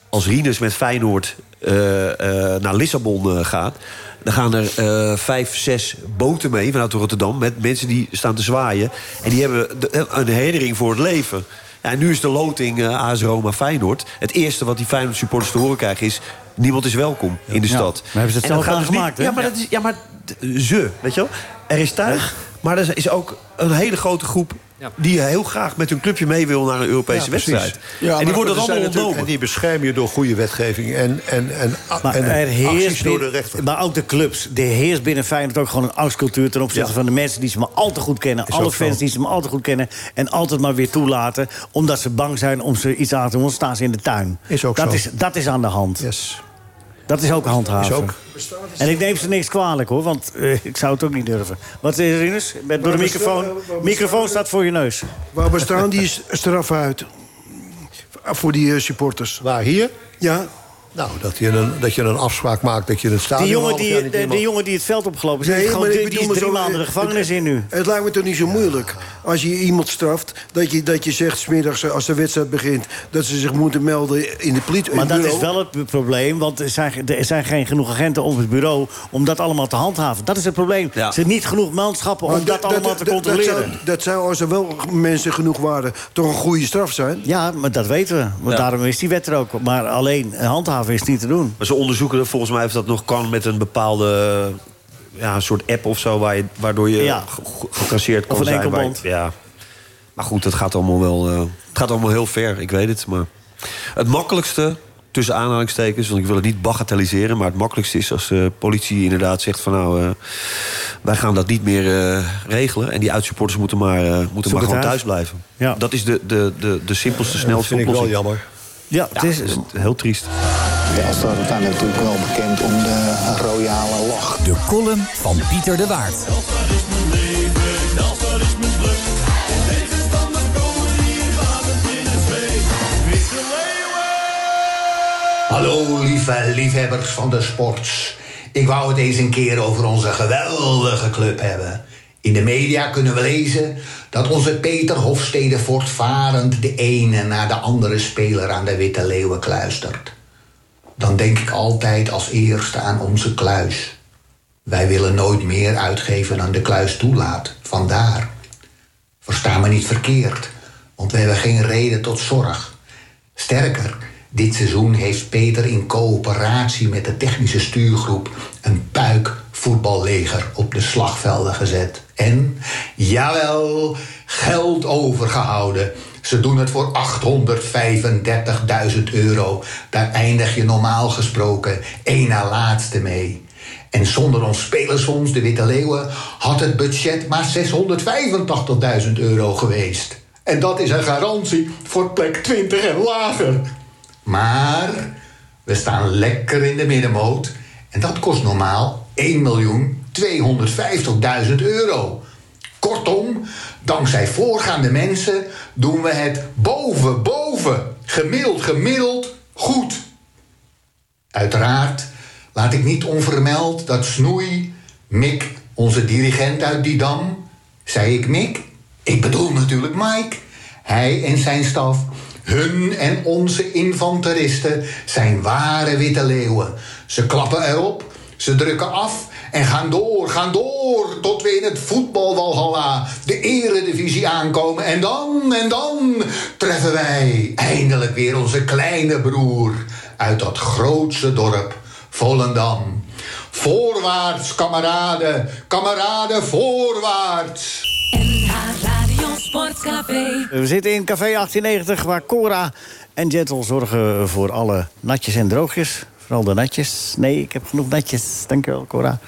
Speaker 3: als Rieders met Feyenoord eh, eh, naar Lissabon eh, gaat... dan gaan er eh, vijf, zes boten mee vanuit Rotterdam... met mensen die staan te zwaaien. En die hebben de- eh, een herinnering voor het leven. Ja, en nu is de loting eh AS Roma Feyenoord. Het eerste wat die Feyenoord supporters te horen krijgen is... niemand is welkom in de
Speaker 4: Ja,
Speaker 3: stad.
Speaker 4: maar hebben ze het
Speaker 3: En dat
Speaker 4: zelf
Speaker 3: gaat dus niet-
Speaker 4: aangemaakt, hè?
Speaker 3: Ja, maar, dat is, ja, maar t- ze, weet je wel? Er is tuig, maar er is ook een hele grote groep... die heel graag met hun clubje mee wil naar een Europese wedstrijd. en die worden
Speaker 6: dat
Speaker 3: dan allemaal ontnomen.
Speaker 6: En die bescherm je door goede wetgeving en, en, en,
Speaker 4: Maar,
Speaker 6: Ah, en
Speaker 4: er
Speaker 6: acties
Speaker 4: heerst
Speaker 6: door de
Speaker 4: binnen-
Speaker 6: rechter.
Speaker 4: maar ook de clubs. Er heerst binnen Feyenoord ook gewoon een angstcultuur... ten opzichte
Speaker 6: Ja.
Speaker 4: van de mensen die ze maar al te goed kennen.
Speaker 6: Is
Speaker 4: alle
Speaker 6: ook zo.
Speaker 4: fans die ze maar al te goed kennen. En altijd maar weer toelaten. Omdat ze bang zijn om ze iets aan te doen. want staan ze in de tuin.
Speaker 6: Is ook
Speaker 4: dat
Speaker 6: zo.
Speaker 4: Is, dat is aan de hand.
Speaker 6: Yes.
Speaker 4: Dat is ook handhaven.
Speaker 6: Is ook.
Speaker 4: En ik neem ze niks kwalijk, hoor. Want eh, ik zou het ook niet durven. Wat is er, Rinus? Met- Door de
Speaker 8: Maar bestel-
Speaker 4: microfoon.
Speaker 8: eh, maar
Speaker 4: Microfoon staat voor je neus.
Speaker 8: Waar bestaan die s- straffen uit? Voor die eh, supporters.
Speaker 6: Waar, hier?
Speaker 8: Ja.
Speaker 6: Nou, dat je, een, dat je een afspraak maakt dat je het stadion...
Speaker 4: Die jongen
Speaker 6: half jaar
Speaker 4: die,
Speaker 6: niet
Speaker 4: de,
Speaker 6: iemand-
Speaker 4: de jongen die het veld opgelopen is, die is, gewoon,
Speaker 8: maar ik
Speaker 4: die, die
Speaker 8: bedoel
Speaker 4: is
Speaker 8: maar
Speaker 4: drie
Speaker 8: zo- eh,
Speaker 4: maanden de
Speaker 8: het-
Speaker 4: gevangenis in nu.
Speaker 8: Het lijkt me toch niet zo moeilijk als je iemand straft... dat je, dat je zegt, 's middags eh, als de wedstrijd begint... dat ze zich moeten melden in de politie.
Speaker 4: Maar dat is wel het bu- probleem, want er zijn, er zijn geen genoeg agenten op het bureau om dat allemaal te handhaven. Dat is het probleem. Er zijn niet genoeg manschappen om dat allemaal te
Speaker 8: Dat
Speaker 4: controleren.
Speaker 8: zou, dat zou, als er wel mensen genoeg waren, toch een goede straf zijn?
Speaker 4: Ja, maar dat weten we.
Speaker 3: Ja.
Speaker 4: Want daarom is die wet er ook. Maar alleen handhaven is niet te doen.
Speaker 3: Maar ze onderzoeken dat volgens mij of dat nog kan met een bepaalde eh, ja, een soort app of zo, waar je, waardoor je
Speaker 4: Ja.
Speaker 3: ge- ge- gecasseerd kan
Speaker 4: Of een
Speaker 3: zijn. waar je-
Speaker 4: enkelband.
Speaker 3: ja. Maar goed, het gaat allemaal wel. eh, het gaat allemaal heel ver, ik weet het. Maar het makkelijkste, tussen aanhalingstekens, want ik wil het niet bagatelliseren, maar het makkelijkste is als de politie inderdaad zegt van nou, eh, wij gaan dat niet meer eh, regelen. En die uitsupporters moeten maar, eh, moeten
Speaker 4: het
Speaker 3: maar gewoon
Speaker 4: uit.
Speaker 3: thuis blijven.
Speaker 4: Ja.
Speaker 3: Dat is de, de, de, de simpelste,
Speaker 6: Ja, Dat
Speaker 3: snelste
Speaker 6: vind ik wel
Speaker 3: oplossing.
Speaker 6: jammer.
Speaker 4: Ja, het is,
Speaker 3: Dat is heel triest.
Speaker 12: Ja, staat uiteindelijk natuurlijk wel bekend om de royale lach.
Speaker 10: De column van Pieter de Waard.
Speaker 12: Hallo lieve liefhebbers van de sports. Ik wou het eens een keer over onze geweldige club hebben. In de media kunnen we lezen dat onze Peter Hofstede voortvarend de ene na de andere speler aan de Witte Leeuwen kluistert. Dan denk ik altijd als eerste aan onze kluis. Wij willen nooit meer uitgeven dan de kluis toelaat, vandaar. Versta me niet verkeerd, want we hebben geen reden tot zorg. Sterker, dit seizoen heeft Peter in coöperatie met de technische stuurgroep een puik voetballeger op de slagvelden gezet. En, jawel, geld overgehouden. Ze doen het voor 835.000 euro. Daar eindig je normaal gesproken één na laatste mee. En zonder ons spelersfonds, de Witte Leeuwen, had het budget maar 685.000 euro geweest. En dat is een garantie voor plek 20 en lager. Maar we staan lekker in de middenmoot. En dat kost normaal 1.250.000 euro. Kortom, dankzij voorgaande mensen doen we het boven, boven, gemiddeld, gemiddeld goed. Uiteraard laat ik niet onvermeld dat Snoei, Mick, onze dirigent uit Didam, zei ik Mick, ik bedoel natuurlijk Mike, hij en zijn staf, hun en onze infanteristen zijn ware witte leeuwen. Ze klappen erop, ze drukken af en gaan door, gaan door tot we in het voetbalwalhalla de eredivisie aankomen. En dan, en dan treffen wij eindelijk weer onze kleine broer uit dat grootste dorp, Volendam. Voorwaarts,
Speaker 6: [LAUGHS]
Speaker 12: kameraden, kameraden, voorwaarts.
Speaker 1: Radio Sportcafé.
Speaker 4: We zitten in Café 1890, waar Cora en Gentle zorgen voor alle natjes en droogjes. Vooral de natjes. Nee, ik heb genoeg natjes. Dankjewel, Cora.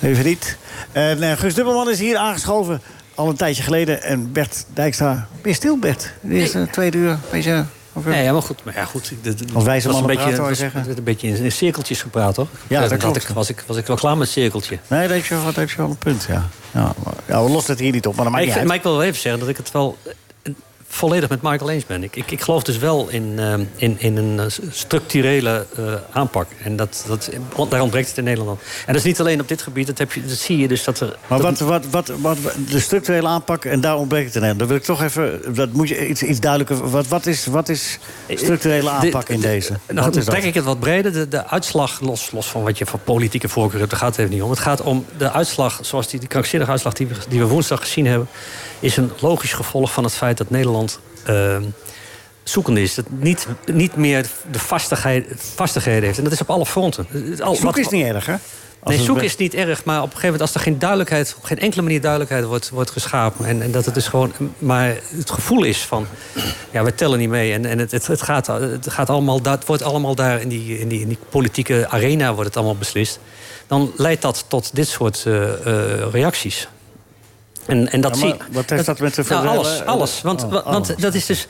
Speaker 4: Even niet. En eh, Guus Dubbelman is hier aangeschoven al een tijdje geleden. En Bert Dijkstra. Ben je stil, Bert? De eerste tweede uur. Beetje, of,
Speaker 7: Nee, ja, maar goed. Maar ja, goed ik- dat-
Speaker 4: Als wijze
Speaker 7: was
Speaker 4: mannen
Speaker 7: een beetje,
Speaker 4: praten, zou je
Speaker 7: was-
Speaker 4: zeggen.
Speaker 7: werd een beetje in, in cirkeltjes gepraat, toch?
Speaker 4: Ja, dat
Speaker 7: Dan had
Speaker 4: klopt.
Speaker 7: ik- was, ik, was ik wel klaar met cirkeltje.
Speaker 4: Nee, dat heb, je, wel- dat heb je wel een punt, ja. Ja, maar- ja we lossen het hier niet op, maar dat
Speaker 7: Maar
Speaker 4: maakt
Speaker 7: ik, vind-
Speaker 4: niet uit.
Speaker 7: maar ik wil wel even zeggen dat ik het wel eh, volledig met Michael eens ben. Ik, ik, ik geloof dus wel in, ehm, in, in een eh, structurele eh, aanpak. En dat, dat, want daar ontbreekt het in Nederland aan. En dat is niet alleen op dit gebied. Dat, heb je, dat zie je dus dat er...
Speaker 4: Maar
Speaker 7: dat-
Speaker 4: wat, wat, wat, wat, de structurele aanpak, en daar ontbreekt het aan. Dan wil ik toch even, dat moet je iets, iets duidelijker... Wat, wat, is, wat is
Speaker 7: Eh,
Speaker 4: structurele aanpak in
Speaker 7: De- de-
Speaker 4: deze?
Speaker 7: Nou,
Speaker 4: Wat
Speaker 7: dan
Speaker 4: is dat?
Speaker 7: trek ik het wat breder. De, de uitslag, los, los van wat je voor politieke voorkeur hebt, daar gaat het even niet om. Het gaat om de uitslag, zoals die, die krankzinnige uitslag die we, die we woensdag gezien hebben, is een logisch gevolg van het feit dat Nederland eh, zoekende is. Dat niet, niet meer de vastigheid, vastigheden heeft. En dat is op alle fronten. Al-
Speaker 4: Zoek
Speaker 7: wat-
Speaker 4: is niet erg, hè? Als
Speaker 7: nee,
Speaker 4: het
Speaker 7: zoeken
Speaker 4: be-
Speaker 7: is niet erg, maar op een gegeven moment... als er geen duidelijkheid, op geen enkele manier duidelijkheid wordt, wordt geschapen... En, en dat het dus gewoon maar het gevoel is van... ja, we tellen niet mee en, en het, het, het, gaat, het gaat allemaal... dat wordt allemaal daar in die, in, die, in die politieke arena wordt het allemaal beslist... dan leidt dat tot dit soort eh, eh, reacties. En, en dat
Speaker 4: Ja, maar
Speaker 7: zie
Speaker 4: wat heeft dat met de
Speaker 7: nou, alles,
Speaker 4: verdere-
Speaker 7: alles. Want,
Speaker 4: Oh,
Speaker 7: wa- want
Speaker 4: alles.
Speaker 7: dat is dus...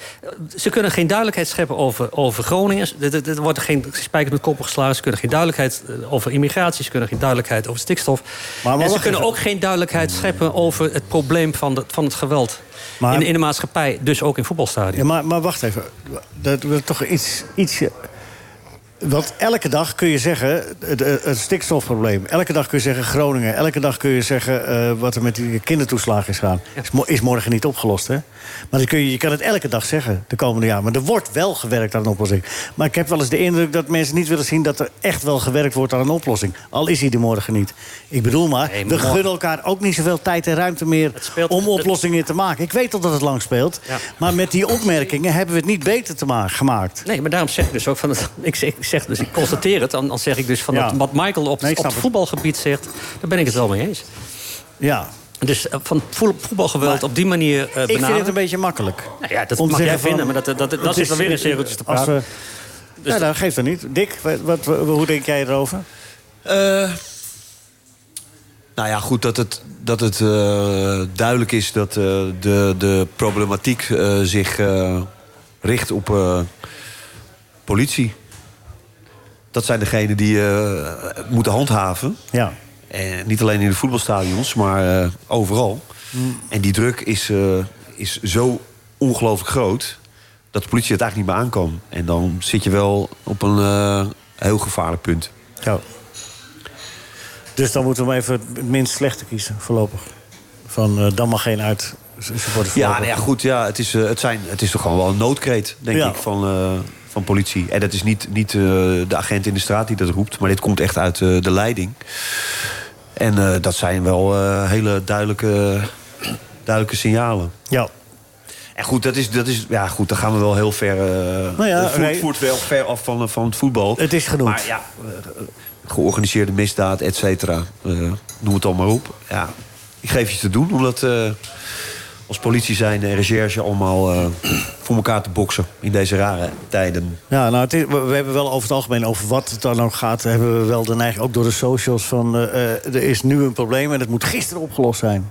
Speaker 7: Ze kunnen geen duidelijkheid scheppen over, over Groningen. Er- Er er wordt geen spijker met koppen geslagen. Ze kunnen geen duidelijkheid eh, over immigratie. Ze kunnen geen duidelijkheid over stikstof.
Speaker 4: maar
Speaker 7: en ze
Speaker 4: wacht
Speaker 7: kunnen
Speaker 4: even.
Speaker 7: ook geen duidelijkheid scheppen over het probleem van, de, van het geweld.
Speaker 4: Maar-
Speaker 7: in, in de maatschappij, dus ook in voetbalstadions.
Speaker 4: Ja, maar, maar wacht even. Dat wil toch iets, iets. Want elke dag kun je zeggen. Het, het stikstofprobleem. Elke dag kun je zeggen Groningen. Elke dag kun je zeggen. eh, wat er met die kindertoeslagen is gaan. Is, mo- is morgen niet opgelost, hè? Maar dan kun je, je kan het elke dag zeggen de komende jaren. Maar er wordt wel gewerkt aan een oplossing. Maar ik heb wel eens de indruk dat mensen niet willen zien. dat er echt wel gewerkt wordt aan een oplossing. Al is die er morgen niet. Ik bedoel maar.
Speaker 7: Nee,
Speaker 4: we
Speaker 7: morgen-
Speaker 4: gunnen elkaar ook niet zoveel tijd en ruimte meer. om oplossingen te maken. Ik weet al dat het lang speelt.
Speaker 7: Ja.
Speaker 4: Maar met die opmerkingen hebben we het niet beter te ma- gemaakt.
Speaker 7: Nee, maar daarom zeg ik dus ook van. het- [LAUGHS] Ik zeg, ik zeg dus, ik constateer het. Dan, dan zeg ik dus van
Speaker 4: Ja.
Speaker 7: dat wat Michael op,
Speaker 4: Nee, ik
Speaker 7: op
Speaker 4: snap
Speaker 7: het voetbalgebied zegt. Daar ben ik het wel mee eens.
Speaker 4: Ja.
Speaker 7: Dus eh, van voel- voetbalgeweld op die manier eh
Speaker 4: ik vind
Speaker 7: benaderen.
Speaker 4: het een beetje makkelijk.
Speaker 7: Nou ja, dat
Speaker 4: Om te
Speaker 7: mag jij
Speaker 4: zeggen van,
Speaker 7: vinden, maar dat, dat, dat, dat
Speaker 4: het
Speaker 7: zit dan weer in cirkeltjes te
Speaker 4: als
Speaker 7: praten. Dus
Speaker 4: we- ja, dat geeft er niet. Dick, wat, wat- hoe denk jij erover?
Speaker 3: Nou ja, goed dat het, dat het eh, duidelijk is dat eh, de, de problematiek eh, zich eh, richt op eh, politie. Dat zijn degenen die eh, moeten handhaven.
Speaker 4: Ja.
Speaker 3: En niet alleen in de voetbalstadions, maar eh, overal. En die druk is, eh, is zo ongelooflijk groot dat de politie het eigenlijk niet meer aankan. En dan zit je wel op een eh, heel gevaarlijk punt.
Speaker 4: Ja. Dus dan moeten we hem even het minst slechte kiezen, voorlopig. Van eh, dan mag geen uit.
Speaker 3: Ja,
Speaker 4: supporters voorlopig.
Speaker 3: nou ja, goed. Ja, het, is, eh, het, zijn, het is toch gewoon wel een noodkreet, denk
Speaker 4: Ja.
Speaker 3: ik, van, eh, van politie. En dat is niet, niet eh, de agent in de straat die dat roept, maar dit komt echt uit eh, de leiding. En eh, dat zijn wel eh, hele duidelijke, [CLEARS THROAT] duidelijke signalen.
Speaker 4: Ja.
Speaker 3: En goed, dat is, dat is, ja, goed, dan gaan we wel heel ver. eh
Speaker 4: Nou ja,
Speaker 3: het voert,
Speaker 4: nee.
Speaker 3: voert wel ver af van, eh, van het voetbal.
Speaker 4: Het is genoemd.
Speaker 3: Maar ja, eh, georganiseerde misdaad, et cetera. Eh, noem het allemaal op. Ja, ik geef je te doen om dat eh, als politie zijn en recherche allemaal eh, voor elkaar te boksen in deze rare tijden.
Speaker 4: Ja, nou, het is- we we hebben wel over het algemeen over wat het dan ook gaat. Hebben we wel de neiging, ook door de socials, van eh, eh, er is nu een probleem en het moet gisteren opgelost zijn.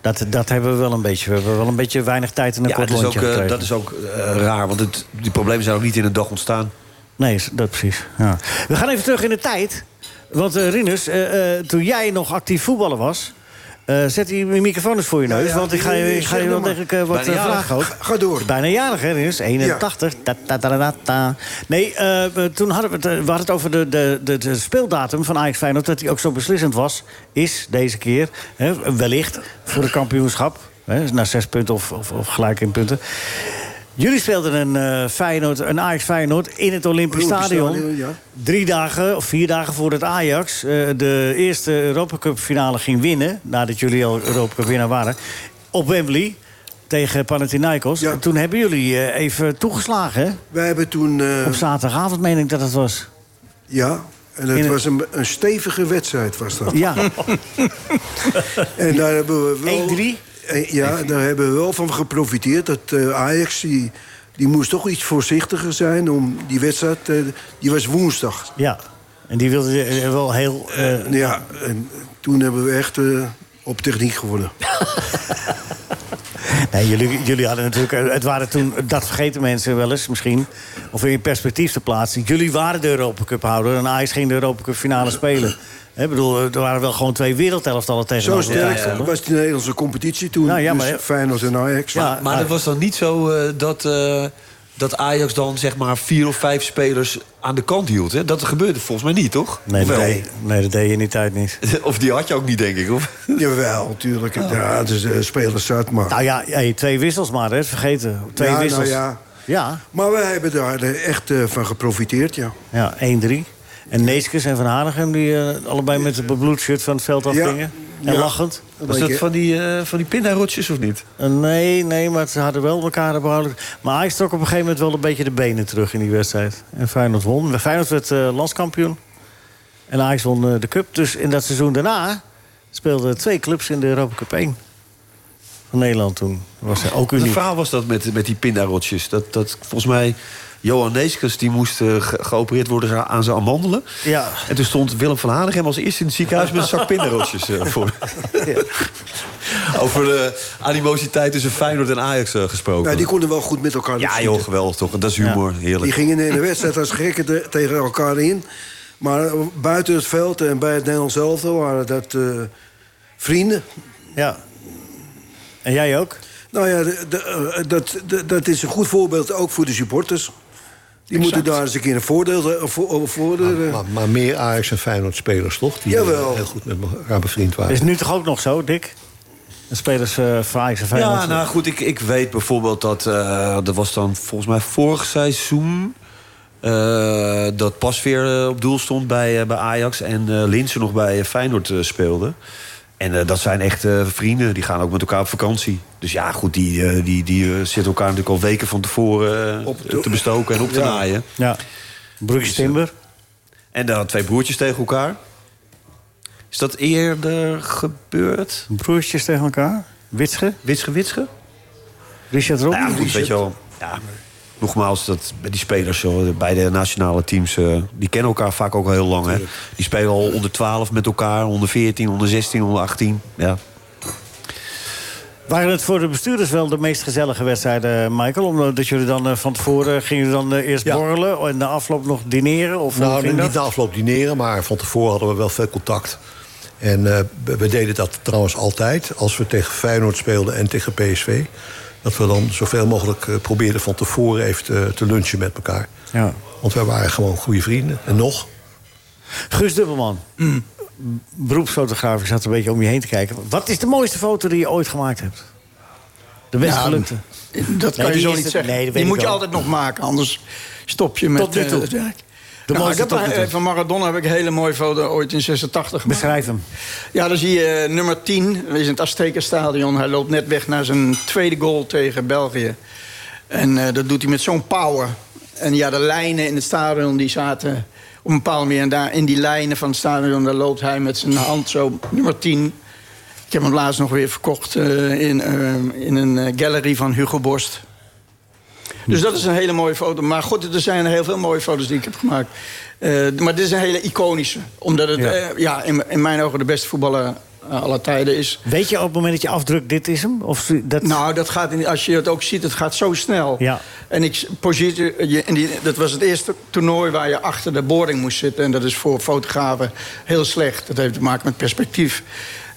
Speaker 4: Dat, dat hebben we wel een beetje. We hebben wel een beetje weinig tijd en een
Speaker 3: Ja,
Speaker 4: kort
Speaker 3: dat is ook,
Speaker 4: lontje
Speaker 3: eh,
Speaker 4: gekregen.
Speaker 3: dat is ook eh, raar, want het, die problemen zijn ook niet in een dag ontstaan.
Speaker 4: Nee, is- dat precies. Ja. We gaan even terug in de tijd. Want eh, Rinus, eh, eh, toen jij nog actief voetballer was... eh, zet die microfoon eens voor je neus,
Speaker 8: Ja, ja,
Speaker 4: want ik ga je, ik ga
Speaker 8: zeg
Speaker 4: je
Speaker 8: nog
Speaker 4: wel
Speaker 8: maar.
Speaker 4: degelijk eh, wat
Speaker 8: Bijna
Speaker 4: eh,
Speaker 8: jarig.
Speaker 4: vragen ook.
Speaker 8: Ga- ga door.
Speaker 4: Bijna jarig, hè Rinus? 81. Ta, ta, ta, ta, ta. Nee, eh, we- toen hadden we het, eh, we hadden het over de, de, de, de speeldatum van Ajax Feyenoord... dat die ook zo beslissend was, is deze keer, hè, wellicht, voor het kampioenschap. Hè, naar zes punten of, of, of gelijk in punten. Jullie speelden een, eh, Feyenoord, een Ajax Feyenoord in het Olympisch
Speaker 8: Olympisch
Speaker 4: Stadion.
Speaker 8: Stadion, ja.
Speaker 4: Drie dagen of vier dagen voordat Ajax eh, de eerste Europa Cup finale ging winnen... nadat jullie al Europa Cup winnaar waren, op Wembley tegen Panathinaikos. En Toen hebben jullie eh, even toegeslagen, hè?
Speaker 8: Wij hebben toen... eh,
Speaker 4: Op zaterdagavond meen ik dat het was.
Speaker 8: Ja, en het
Speaker 4: In een-
Speaker 8: was een, een stevige wedstrijd was dat. [LAUGHS]
Speaker 4: Ja.
Speaker 8: en daar hebben we wel...
Speaker 4: 1-3?
Speaker 8: Eh, Ja, daar hebben we wel van geprofiteerd. Dat eh, Ajax, die, die moest toch iets voorzichtiger zijn om die wedstrijd... eh, die was woensdag.
Speaker 4: Ja, en die wilde eh, wel heel... eh,
Speaker 8: Ja, en toen hebben we echt eh, op techniek gewonnen.
Speaker 4: [LAUGHS] Nee, jullie, jullie hadden natuurlijk. eh, Het waren toen, dat vergeten mensen wel eens misschien. Of in perspectief te plaatsen. Jullie waren de Europa Cup houder en Ajax ging de Europa Cup finale spelen. Hè, Ik bedoel, er waren wel gewoon twee wereldelftallen
Speaker 8: Zo
Speaker 4: tegenover elkaar.
Speaker 8: sterk was de Nederlandse competitie toen.
Speaker 4: Nou ja, maar-
Speaker 8: dus Feyenoord en Ajax.
Speaker 3: maar maar dat was dan niet zo eh, dat, eh, dat Ajax dan zeg maar vier of vijf spelers aan de kant hield. Hè? Dat gebeurde volgens mij niet, toch?
Speaker 4: Nee,
Speaker 3: Of
Speaker 4: dat
Speaker 3: wel?
Speaker 4: deed, nee, dat deed je in die tijd niet.
Speaker 3: [LAUGHS] Of die had je ook niet, denk ik. Of?
Speaker 8: Jawel, natuurlijk. Ja, het is de spelers zat, maar...
Speaker 4: Nou ja, hey, twee wissels maar, hè, vergeten. Twee
Speaker 8: Ja, nou
Speaker 4: wissels.
Speaker 8: ja.
Speaker 4: ja.
Speaker 8: Maar we hebben daar eh, echt eh, van geprofiteerd, ja.
Speaker 4: Ja, 1-3. En Neeskens en Van Hanegem, die eh, allebei met het bloedshirt van het veld afgingen. En
Speaker 3: Ja.
Speaker 4: lachend.
Speaker 3: Was dat van die, eh van die pindarotjes of niet?
Speaker 4: Eh, Nee, nee, maar ze hadden wel elkaar behoudelijk. Maar Ajax trok op een gegeven moment wel een beetje de benen terug in die wedstrijd. En Feyenoord won. Feyenoord werd eh, landskampioen. En Ajax won eh, de cup. Dus in dat seizoen daarna speelden twee clubs in de Europa Cup 1. Van Nederland toen. Was hij ook
Speaker 3: Een
Speaker 4: uniek.
Speaker 3: verhaal was dat met, met die pindarotjes. Dat, dat volgens mij... Johan Neeskens die moest eh, ge- geopereerd worden aan zijn amandelen.
Speaker 4: Ja.
Speaker 3: En toen stond Willem van Hanegem als eerste in het ziekenhuis... met een zak pindarotjes
Speaker 4: [LAUGHS]
Speaker 3: eh, voor. Over de animositeit tussen Feyenoord en Ajax eh, gesproken.
Speaker 8: Nou, die konden wel goed met elkaar
Speaker 3: ja,
Speaker 8: opschieten.
Speaker 3: joh, geweldig toch? Dat is humor. Heerlijk.
Speaker 8: Die gingen eh, in de wedstrijd als gekken te- tegen elkaar in. Maar eh, buiten het veld en bij het Nederlands elftal waren dat eh, vrienden.
Speaker 4: Ja. En jij ook?
Speaker 8: Nou ja, de- de- eh, dat, de- dat is een goed voorbeeld ook voor de supporters. Die moeten daar eens een keer een voordeel... eh, Voor, eh, voordeel eh.
Speaker 6: Maar, maar meer Ajax en Feyenoord spelers, toch? Die eh,
Speaker 8: Jawel.
Speaker 6: heel goed met elkaar bevriend waren.
Speaker 4: Is nu toch ook nog zo, Dick? De spelers eh van Ajax en Feyenoord.
Speaker 3: Ja, nou goed, ik, ik weet bijvoorbeeld dat... eh dat was dan volgens mij vorig seizoen... eh, dat Pasveer eh, op doel stond bij, eh, bij Ajax... en eh Linsen nog bij eh, Feyenoord eh, speelde. En eh, dat zijn echt eh, vrienden. Die gaan ook met elkaar op vakantie. Dus ja, goed, die, eh, die, die eh, zitten elkaar natuurlijk al weken van tevoren... eh, te bestoken en op te
Speaker 4: Ja.
Speaker 3: naaien. Dus, eh,
Speaker 4: Ja. Brugge Timber.
Speaker 3: En dan twee broertjes tegen elkaar. Is dat eerder gebeurd?
Speaker 4: Broertjes tegen elkaar. Witsche.
Speaker 3: Witsche, Witsche.
Speaker 4: Richard Robben.
Speaker 3: Nou ja, goed, weet je wel. Ja, nogmaals, dat, die spelers joh, bij de nationale teams... eh, die kennen elkaar vaak ook al heel lang. Hè? Die spelen al onder 12 met elkaar, onder 14, onder 16, onder 18. Ja.
Speaker 4: Waren het voor de bestuurders wel de meest gezellige wedstrijden, Michael? Omdat jullie dan eh, van tevoren eh, gingen jullie dan eh, eerst borrelen en na afloop nog dineren? Of hoe
Speaker 6: Nou,
Speaker 4: ging
Speaker 6: niet
Speaker 4: dat?
Speaker 6: na afloop dineren, maar van tevoren hadden we wel veel contact. En eh, we- we deden dat trouwens altijd. Als we tegen Feyenoord speelden en tegen PSV. Dat we dan zoveel mogelijk eh, probeerden van tevoren even te, te lunchen met elkaar.
Speaker 4: Ja.
Speaker 6: Want wij waren gewoon goede vrienden. En nog?
Speaker 4: Guus Dubbelman,
Speaker 11: Mm.
Speaker 4: beroepsfotograaf, ik zat een beetje om je heen te kijken. Wat is de mooiste foto die je ooit gemaakt hebt? De best
Speaker 11: Ja,
Speaker 4: gelukte.
Speaker 11: Nou, Dat kan
Speaker 4: Nee,
Speaker 11: je
Speaker 4: die
Speaker 11: zo
Speaker 4: is
Speaker 11: niet
Speaker 4: het-
Speaker 11: zeggen.
Speaker 4: nee, dat weet
Speaker 11: die
Speaker 4: ik
Speaker 11: moet je
Speaker 4: wel.
Speaker 11: altijd nog maken, anders stop je met
Speaker 4: Tot nu
Speaker 11: eh,
Speaker 4: toe.
Speaker 11: het werk.
Speaker 4: De
Speaker 11: Nou, ik
Speaker 4: mooiste
Speaker 11: heb,
Speaker 4: tot nu
Speaker 11: eh,
Speaker 4: toe.
Speaker 11: van Maradona heb ik een hele mooie foto ooit in 86 gemaakt.
Speaker 4: Beschrijf hem.
Speaker 11: Ja, dan zie je eh, nummer 10. Dat is in het Aztekenstadion. Hij loopt net weg naar zijn tweede goal tegen België. En eh, dat doet hij met zo'n power. En ja, de lijnen in het stadion die zaten op een bepaalde manier. En daar in die lijnen van het stadion daar loopt hij met zijn hand zo nummer 10. Ik heb hem laatst nog weer verkocht eh, in, eh, in een eh, gallery van Hugo Borst. Dus dat is een hele mooie foto. Maar goed, er zijn heel veel mooie foto's die ik heb gemaakt. Eh, maar dit is een hele iconische. Omdat het eh,
Speaker 4: Ja.
Speaker 11: ja. ja, in, in mijn ogen de beste voetballer eh, aller tijden is.
Speaker 4: Weet je op het moment dat je afdrukt, dit is hem? Of zo- dat...
Speaker 11: Nou, dat gaat, in- als je het ook ziet, het gaat zo snel.
Speaker 4: Ja.
Speaker 11: En ik positie, je- en die, dat was het eerste toernooi waar je achter de boarding moest zitten. En dat is voor fotografen heel slecht. Dat heeft te maken met perspectief.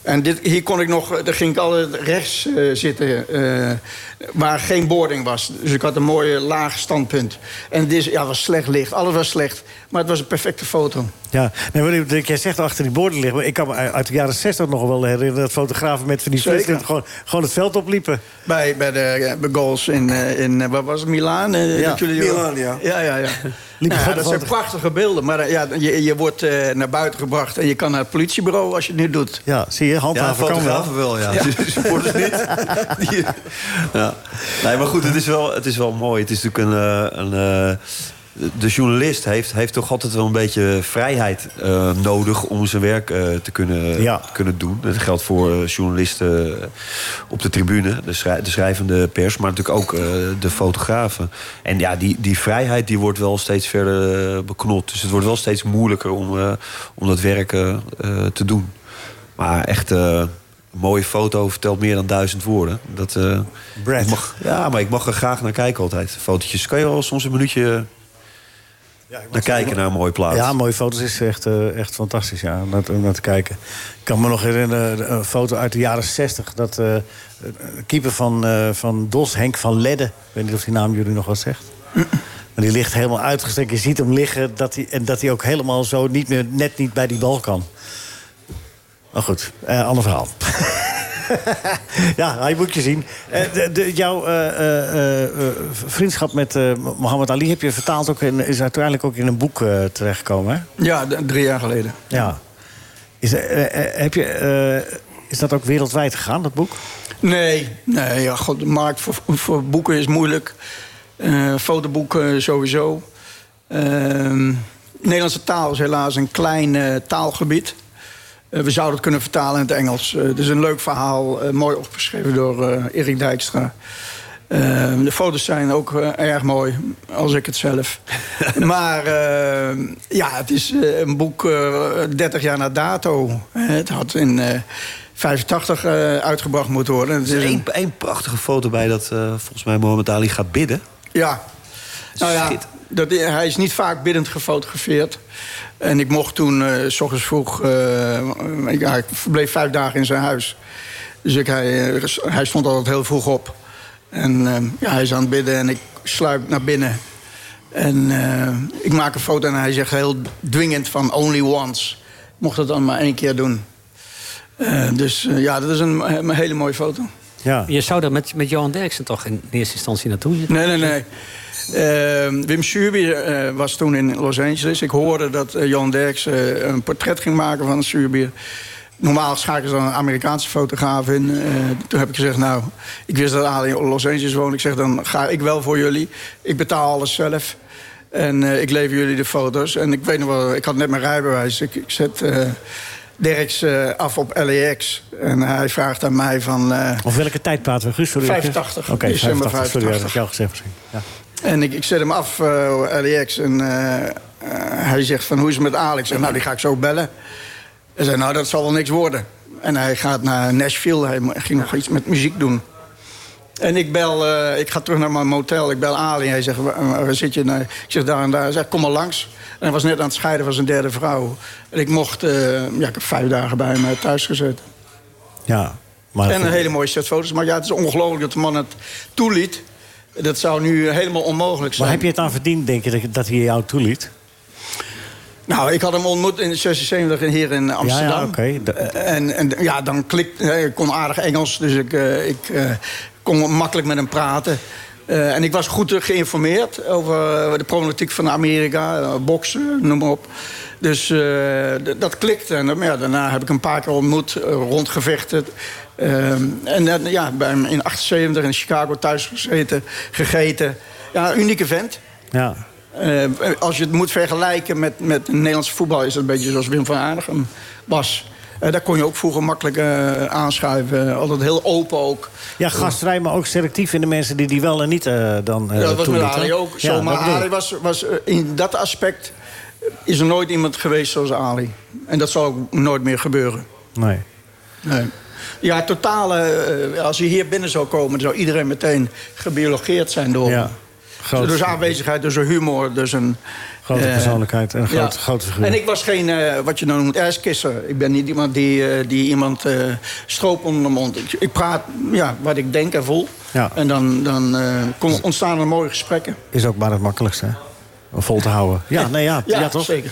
Speaker 11: En dit, hier kon ik nog, daar ging ik altijd rechts eh, zitten, eh, waar geen boarding was. Dus ik had een mooie laag standpunt. En dit is- ja, was slecht licht, alles was slecht. Maar het was een perfecte foto.
Speaker 4: Ja, nee, maar ik- ik- jij zegt achter die borden liggen. Maar ik kan me uit uit de jaren 60 nog wel herinneren dat fotografen met van die
Speaker 11: Zeker.
Speaker 4: flitsen gewoon, gewoon het veld opliepen.
Speaker 11: Bij, bij de eh, bij goals in, eh, in eh, wat was het, Milaan? eh,
Speaker 4: Ja.
Speaker 11: dat jullie-
Speaker 8: Milaan, ja.
Speaker 11: Ja,
Speaker 3: [LAUGHS]
Speaker 11: ja, ja.
Speaker 4: Liep
Speaker 11: Nou,
Speaker 4: God
Speaker 11: dat
Speaker 4: wat-
Speaker 11: zijn prachtige beelden, maar eh, ja, je, je wordt eh, naar buiten gebracht... en je kan naar het politiebureau als je het nu doet.
Speaker 4: Ja, zie je,
Speaker 3: Ja,
Speaker 4: handhaven kan wel.
Speaker 3: fotografen wel, ja. Supporters niet. Die- ja. Nee, maar goed, het is wel, het is wel mooi. Het is natuurlijk een... eh, een eh, de journalist heeft, heeft toch altijd wel een beetje vrijheid eh, nodig... om zijn werk eh, te kunnen,
Speaker 4: Ja.
Speaker 3: te kunnen doen. Dat geldt voor eh, journalisten op de tribune, de, schrij- de schrijvende pers... maar natuurlijk ook eh, de fotografen. En ja, die, die vrijheid die wordt wel steeds verder eh, beknot. Dus het wordt wel steeds moeilijker om, eh, om dat werk eh, eh, te doen. Maar echt eh,
Speaker 2: Een mooie foto vertelt meer dan duizend woorden. Dat, eh,
Speaker 4: Brad.
Speaker 2: ik mag, ja, maar ik mag er graag naar kijken altijd. Fotootjes kan je wel soms een minuutje eh, naar kijken naar een mooie plaats.
Speaker 4: Ja, mooie foto's is echt, eh, echt fantastisch ja, om, naar, om naar te kijken. Ik kan me nog herinneren, eh, een foto uit de jaren 60. Dat eh, een keeper van, eh van DOS, Henk van Ledden... ik weet niet of die naam jullie nog wat zegt... Maar die ligt helemaal uitgestrekt. Je ziet hem liggen dat hij, en dat hij ook helemaal zo niet meer, net niet bij die bal kan. Maar goed, eh ander verhaal. [LAUGHS] ja, hij moet je zien. Eh, de, de- jouw eh, eh, eh, eh, vriendschap met eh Mohammed Ali heb je vertaald ook in, is uiteindelijk ook in een boek eh, terechtgekomen. Hè?
Speaker 11: Ja, d- drie jaar geleden.
Speaker 4: Ja. Is, eh, eh, heb je, eh, is dat ook wereldwijd gegaan, dat boek?
Speaker 11: Nee, nee ja, god, de markt voor, voor boeken is moeilijk. Eh, fotoboeken sowieso. Ehm, Nederlandse taal is helaas een klein eh, taalgebied. Eh, we zouden het kunnen vertalen in het Engels. Eh, het is een leuk verhaal, eh, mooi opgeschreven door eh Erik Dijkstra. Ehm, de foto's zijn ook eh, erg mooi, als ik het zelf. maar eh, ja, het is eh, een boek eh 30 jaar na dato. Eh, het had in eh 85 eh, uitgebracht moeten worden.
Speaker 2: Er
Speaker 11: Het
Speaker 3: Dus
Speaker 11: is
Speaker 2: is
Speaker 11: een-
Speaker 2: één, één prachtige foto bij dat eh, volgens mij Mohammed Ali gaat bidden.
Speaker 11: Ja. Nou ja,
Speaker 2: Schitterend.
Speaker 11: dat, hij is niet vaak biddend gefotografeerd. En ik mocht toen, eh, s ochtends vroeg... eh, ik, ja, ik verbleef vijf dagen in zijn huis. Dus ik, hij, eh, hij stond altijd heel vroeg op. En eh, ja, hij is aan het bidden en ik sluip naar binnen. En eh, ik maak een foto en hij zegt heel dwingend van only once. Ik mocht dat dan maar één keer doen. Eh, dus eh, ja, dat is een, een hele mooie foto.
Speaker 4: Ja.
Speaker 7: Je zou daar met, met Johan Derksen toch in eerste instantie naartoe zitten?
Speaker 11: Nee, nee, nee. Ehm, Wim Suurby eh, was toen in Los Angeles. Ik hoorde dat eh, Johan Derks eh, een portret ging maken van Suurby. Normaal schakelen ze dan een Amerikaanse fotograaf in. Eh, toen heb ik gezegd, nou, ik wist dat Ali in Los Angeles woonde. Ik zeg, dan ga ik wel voor jullie. Ik betaal alles zelf. En eh, ik lever jullie de foto's. En ik weet nog wel, ik had net mijn rijbewijs. Ik, ik zet eh Derks eh, af op LAX. En hij vraagt aan mij van... eh,
Speaker 4: Of welke tijd praten we? Guus, sorry.
Speaker 11: 85,
Speaker 4: Oké,
Speaker 11: december
Speaker 4: 85. Sorry, dat
Speaker 11: 85.
Speaker 4: had ik jou gezegd misschien. Ja.
Speaker 11: En ik, ik zet hem af, eh LAX. En eh, eh, hij zegt van, hoe is het met Alex? Ik zeg, nou, die ga ik zo bellen. Hij zei, nou, dat zal wel niks worden. En hij gaat naar Nashville. Hij mo- ging nog iets met muziek doen. En ik bel, eh, ik ga terug naar mijn motel. Ik bel Ali. Hij zegt, waar, waar zit je? Nou, ik zeg, daar en daar. Hij zegt, kom maar langs. En hij was net aan het scheiden van zijn derde vrouw. En ik mocht, eh, ja, ik heb vijf dagen bij hem eh, thuis gezet.
Speaker 4: ja. Maar
Speaker 11: En een hele mooie set foto's. Maar ja, het is ongelooflijk dat de man het toeliet. Dat zou nu helemaal onmogelijk zijn.
Speaker 4: Maar heb je het aan verdiend, denk je, dat- dat hij jou toeliet?
Speaker 11: Nou, ik had hem ontmoet in 76 in- hier in Amsterdam.
Speaker 4: Ja, ja, oké. Da-
Speaker 11: Eh, En, en ja, dan klikt... hè, Ik kon aardig Engels, dus ik, eh, ik eh, kon makkelijk met hem praten. Eh, en ik was goed eh, geïnformeerd over eh, de problematiek van Amerika. eh, boksen, noem maar op. Dus eh, d- dat klikte. En dan- maar ja, daarna heb ik een paar keer ontmoet, eh, rondgevechten. Eh, en dan, ja, bij hem in 78 in Chicago thuis gezeten, gegeten. Ja, een unieke vent.
Speaker 4: Ja.
Speaker 11: Eh, als je het moet vergelijken met, met Nederlandse voetbal... is dat een beetje zoals Wim van Aardigem was. Eh, daar kon je ook vroeger makkelijk eh, aanschuiven. altijd heel open ook.
Speaker 4: Ja, gastvrij, maar ook selectief in de mensen die die wel en niet eh, dan eh
Speaker 11: Ja, dat was met
Speaker 4: toelieten.
Speaker 11: Ali ook zo.
Speaker 4: Ja,
Speaker 11: maar
Speaker 4: dat bedoel ik.
Speaker 11: Ali was, was eh, in dat aspect... eh, is er nooit iemand geweest zoals Ali. En dat zal ook nooit meer gebeuren.
Speaker 4: Nee.
Speaker 11: Nee. Ja, totale... eh, als je hier binnen zou komen... zou iedereen meteen gebiologeerd zijn door
Speaker 4: Ja.
Speaker 11: hem.
Speaker 4: Groot,
Speaker 11: Dus aanwezigheid, dus een humor, dus een...
Speaker 4: grote
Speaker 11: eh,
Speaker 4: persoonlijkheid en een
Speaker 11: Ja.
Speaker 4: groot, grote figuur.
Speaker 11: En ik was geen, eh, wat je nou noemt, ijskisser. Ik ben niet iemand die, eh, die iemand eh, stroop onder de mond. Ik, ik praat ja, wat ik denk en voel.
Speaker 4: Ja.
Speaker 11: En dan, dan eh, kon- ontstaan er mooie gesprekken.
Speaker 4: Is ook maar het makkelijkste, hè? Om vol te houden. Ja, nee, ja, ja, toch?
Speaker 11: zeker.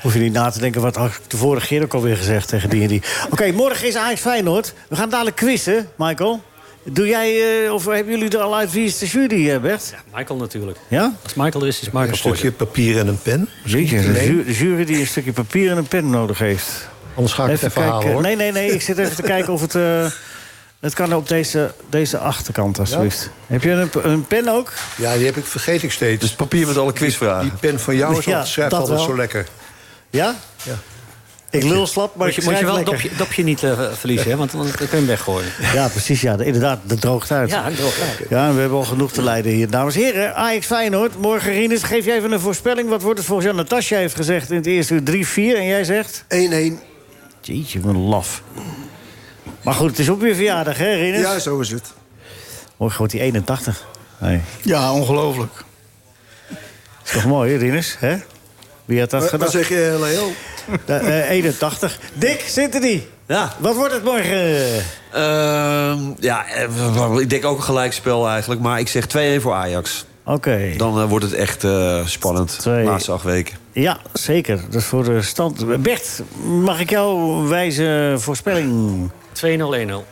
Speaker 4: Hoef je niet na te denken, wat had ik de vorige keer ook alweer gezegd tegen die en die. Oké, morgen is Ajax Feyenoord. We gaan dadelijk quizzen, Michael. Doe jij, eh, of hebben jullie er al uit wie is de jury, eh, Bert?
Speaker 7: Michael natuurlijk.
Speaker 4: Ja?
Speaker 7: Als Michael er is, is Michael
Speaker 6: Een
Speaker 7: voor
Speaker 6: stukje papier en een pen.
Speaker 4: Zeker. De jury die een stukje papier en een pen nodig heeft.
Speaker 6: Anders ga ik het even halen, hoor.
Speaker 4: Nee, nee, nee. Ik zit even te kijken of het... eh, het kan op deze, deze achterkant, alsjeblieft. Heb je een, een pen ook?
Speaker 6: Ja, die heb ik, vergeet ik steeds.
Speaker 2: Dus papier met alle quizvragen.
Speaker 6: die pen van jou is
Speaker 4: Ja,
Speaker 6: altijd, schrijft
Speaker 4: dat
Speaker 6: altijd
Speaker 4: wel.
Speaker 6: zo lekker.
Speaker 4: Ja? Ja. Ik lul slap, maar
Speaker 7: Moet je,
Speaker 4: ik
Speaker 7: moet je
Speaker 4: schrijf
Speaker 7: wel het
Speaker 4: lekker.
Speaker 7: dopje, dopje niet eh, verliezen, hè? want dan kun je hem weggooien.
Speaker 4: Ja, precies. Ja, inderdaad, dat droogt uit.
Speaker 7: Ja, ik droog. Ja.
Speaker 4: Ja, we hebben al genoeg te lijden hier. Dames en heren, Ajax Feyenoord. Morgen, Rinus, geef jij even een voorspelling. Wat wordt het volgens jou? Natasja heeft gezegd in het eerste uur 3-4. En jij zegt?
Speaker 8: 1-1.
Speaker 4: Jeetje, wat een laf. Maar goed, het is ook weer verjaardag, hè, Rinus?
Speaker 8: Ja, zo is het.
Speaker 4: Morgen wordt hij 81. Nee.
Speaker 11: Ja, ongelooflijk.
Speaker 4: Is toch mooi, hè, Rinus? Hè? Wie had dat
Speaker 8: Wat- Wat
Speaker 4: gedacht?
Speaker 8: zeg je, Leo?
Speaker 4: Da- eh, 81. Dick, zit er die?
Speaker 2: Ja.
Speaker 4: Wat wordt het morgen?
Speaker 2: Ehm, ja, eh, ik denk ook een gelijkspel eigenlijk. Maar ik zeg 2-1 voor Ajax.
Speaker 4: Oké.
Speaker 2: Dan eh, wordt het echt eh, spannend.
Speaker 4: Twee.
Speaker 2: Laatste acht weken.
Speaker 4: Ja, zeker. Dat is voor de stand. Bert, mag ik jou wijze voorspelling?
Speaker 7: 2-0-1-0.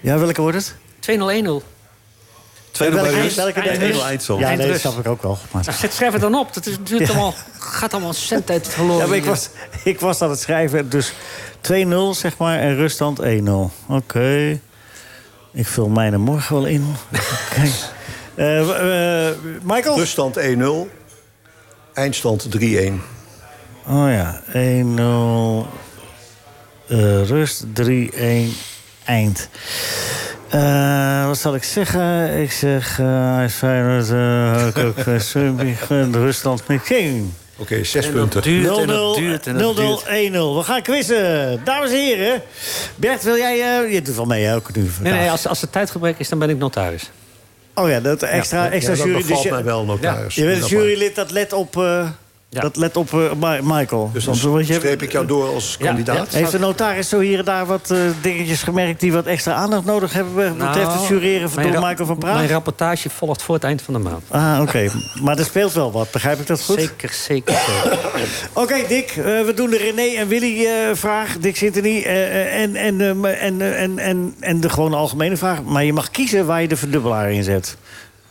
Speaker 4: Ja, welke wordt het?
Speaker 7: 2-0-1-0.
Speaker 2: Tweede
Speaker 4: welke
Speaker 2: bij
Speaker 4: eind-
Speaker 2: rust.
Speaker 4: welke bij rust?
Speaker 2: 1-0 eindsel.
Speaker 4: Ja, nee, dat
Speaker 7: Eindrust.
Speaker 4: snap ik ook wel. Maar...
Speaker 7: Nou, zet- Schrijf het dan op. Dat is, duurt allemaal, gaat allemaal cent uit het verloren.
Speaker 4: Ja, maar ik, was, ik was aan het schrijven, dus 2-0 zeg maar en ruststand 1-0. Oké. Ik vul mijn er morgen wel in. [LAUGHS] Kijk. Eh, w- eh, Michael?
Speaker 6: Ruststand 1-0. Eindstand 3-1.
Speaker 4: Oh ja, 1-0. eh, rust 3-1. Eind. Eh, wat zal ik zeggen? Ik zeg... Hij is Feyenoord... eh, ook, eh,
Speaker 6: [LAUGHS]
Speaker 4: Serbie, eh, Rusland... King.
Speaker 6: Oké, 6
Speaker 7: En dat
Speaker 6: punten.
Speaker 7: duurt
Speaker 4: 0-0,
Speaker 7: en dat duurt en dat duurt.
Speaker 4: 0-0, 1-0. We gaan quizzen. Dames en heren. Bert, wil jij... eh, je doet wel mee, hè, ook nu.
Speaker 7: Nee,
Speaker 4: vandaag.
Speaker 7: nee, als, als er tijdgebrek is, dan ben ik notaris.
Speaker 4: Oh ja, dat extra, extra
Speaker 6: ja, dat
Speaker 4: jury.
Speaker 6: bevalt
Speaker 4: je-
Speaker 6: mij wel nog
Speaker 7: Ja.
Speaker 6: thuis.
Speaker 4: je bent
Speaker 6: Dat
Speaker 4: een
Speaker 6: mag.
Speaker 4: jurylid dat let op... eh,
Speaker 7: Ja.
Speaker 4: Dat let op eh, Ma- Michael.
Speaker 6: Dus dan
Speaker 4: Want je hebt-
Speaker 6: streep ik jou door als
Speaker 7: Ja,
Speaker 6: kandidaat.
Speaker 4: Heeft de notaris zo hier en daar wat eh, dingetjes gemerkt die wat extra aandacht nodig hebben wat betreft het jureren van
Speaker 7: Nou, mijn
Speaker 4: door
Speaker 7: ra-
Speaker 4: Michael van
Speaker 7: Mijn
Speaker 4: Praag?
Speaker 7: rapportage volgt voor het eind van de maand.
Speaker 4: Ah, oké. Maar er speelt wel wat, begrijp ik dat goed?
Speaker 7: Zeker, zeker. zeker.
Speaker 4: Oké, Dick, eh, we doen de René en Willy-vraag. Dick Sintony eh, en, en, ehm, en, eh, en, en, en de gewone algemene vraag. Maar je mag kiezen waar je de verdubbelaar in zet.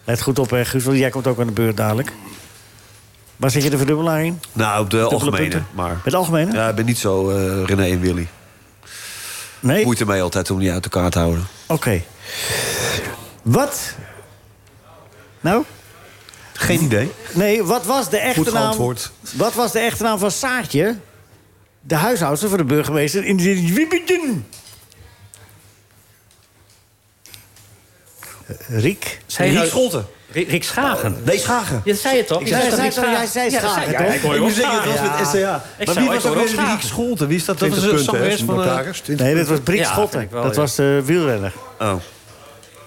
Speaker 4: Let goed op, hè, Guus, want jij komt ook aan de beurt dadelijk. Waar zit je de verdubbelaar in?
Speaker 2: Nou, op de algemene.
Speaker 4: punten.
Speaker 2: Maar
Speaker 4: Met de algemene?
Speaker 2: ja, ik ben niet zo eh, René en Willy.
Speaker 4: nee?
Speaker 2: Moeite mee altijd om die uit elkaar te houden.
Speaker 4: Oké. Wat? Nou?
Speaker 2: Geen idee.
Speaker 4: Nee, wat was de echte
Speaker 6: Goed
Speaker 4: naam?
Speaker 6: geantwoord.
Speaker 4: Wat was de echte naam van Saartje? De huishoudster van de burgemeester in de Wiebeden. Riek.
Speaker 7: Zei je nou-
Speaker 2: Scholten.
Speaker 7: Rick Rick Schagen.
Speaker 2: Nee, Schagen.
Speaker 7: Je zei het toch?
Speaker 4: Ja,
Speaker 7: dat
Speaker 4: jij
Speaker 7: Rick
Speaker 4: zei- jij zei
Speaker 7: Ja, dat
Speaker 4: Schagen,
Speaker 7: zei-
Speaker 4: toch?
Speaker 7: ja, ik hoor
Speaker 2: Ik
Speaker 7: je
Speaker 2: moet
Speaker 7: ook
Speaker 2: zeggen,
Speaker 7: Schagen.
Speaker 2: dat was met SCA.
Speaker 7: Ik
Speaker 2: Maar
Speaker 7: zou-
Speaker 2: wie
Speaker 7: ik
Speaker 2: was
Speaker 7: hoor
Speaker 2: ook
Speaker 7: ook
Speaker 2: weer Riek
Speaker 7: Schagen.
Speaker 4: [LAUGHS]
Speaker 2: Scholten? Wie is dat? Dat was
Speaker 6: 20
Speaker 2: een
Speaker 6: punten, hè,
Speaker 2: zangeres van... eh,
Speaker 6: notaris. 20
Speaker 4: Nee, dat was Briek
Speaker 7: Ja,
Speaker 4: Schotten.
Speaker 7: vind ik wel,
Speaker 4: dat
Speaker 7: ja.
Speaker 4: was de wielrenner.
Speaker 2: Oh.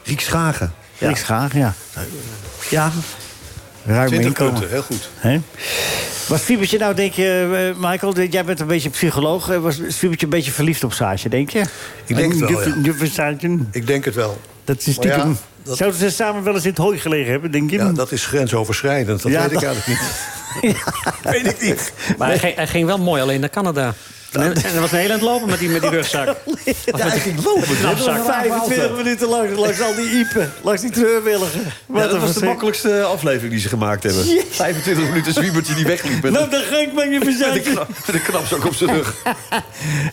Speaker 2: Riek Schagen.
Speaker 4: Ja. Riek Schagen, ja.
Speaker 2: Ja.
Speaker 4: Ruim
Speaker 6: 20
Speaker 4: inkomen.
Speaker 6: punten, heel goed.
Speaker 4: Hè? Was Fiebertje nou, denk je, eh, Michael, dat- jij bent een beetje psycholoog. eh, Was Fiebertje een beetje verliefd op Saartje, denk je?
Speaker 6: Ik denk het wel, ja.
Speaker 4: Juffer Saartje,
Speaker 6: Ik denk het wel.
Speaker 4: dat is
Speaker 6: Maar ja,
Speaker 4: stiekem...
Speaker 6: dat-
Speaker 4: Zouden ze samen wel eens in het hooi gelegen hebben, denk je?
Speaker 6: Ja, dat is grensoverschrijdend. Dat
Speaker 4: Ja,
Speaker 6: weet
Speaker 4: dat-
Speaker 6: ik eigenlijk niet.
Speaker 4: weet ik niet.
Speaker 7: Maar hij ging, hij ging wel mooi alleen naar Canada. En, en er was een heel aan het lopen met die, met die rugzak.
Speaker 4: Ja, hij ging lopen. Dat was 25 minuten lang langs al die iepen. Langs die treurwilligen. Wat
Speaker 2: Ja, dat was
Speaker 4: een
Speaker 2: de
Speaker 4: verschrik-
Speaker 2: makkelijkste aflevering die ze gemaakt hebben. 25 minuten zwiebertje die wegliep. Met
Speaker 4: Nou, dan ga ik
Speaker 6: [LAUGHS]
Speaker 4: maar je
Speaker 2: met een
Speaker 4: verzekeren.
Speaker 2: knap- met een knapzak op zijn rug.
Speaker 4: [LAUGHS]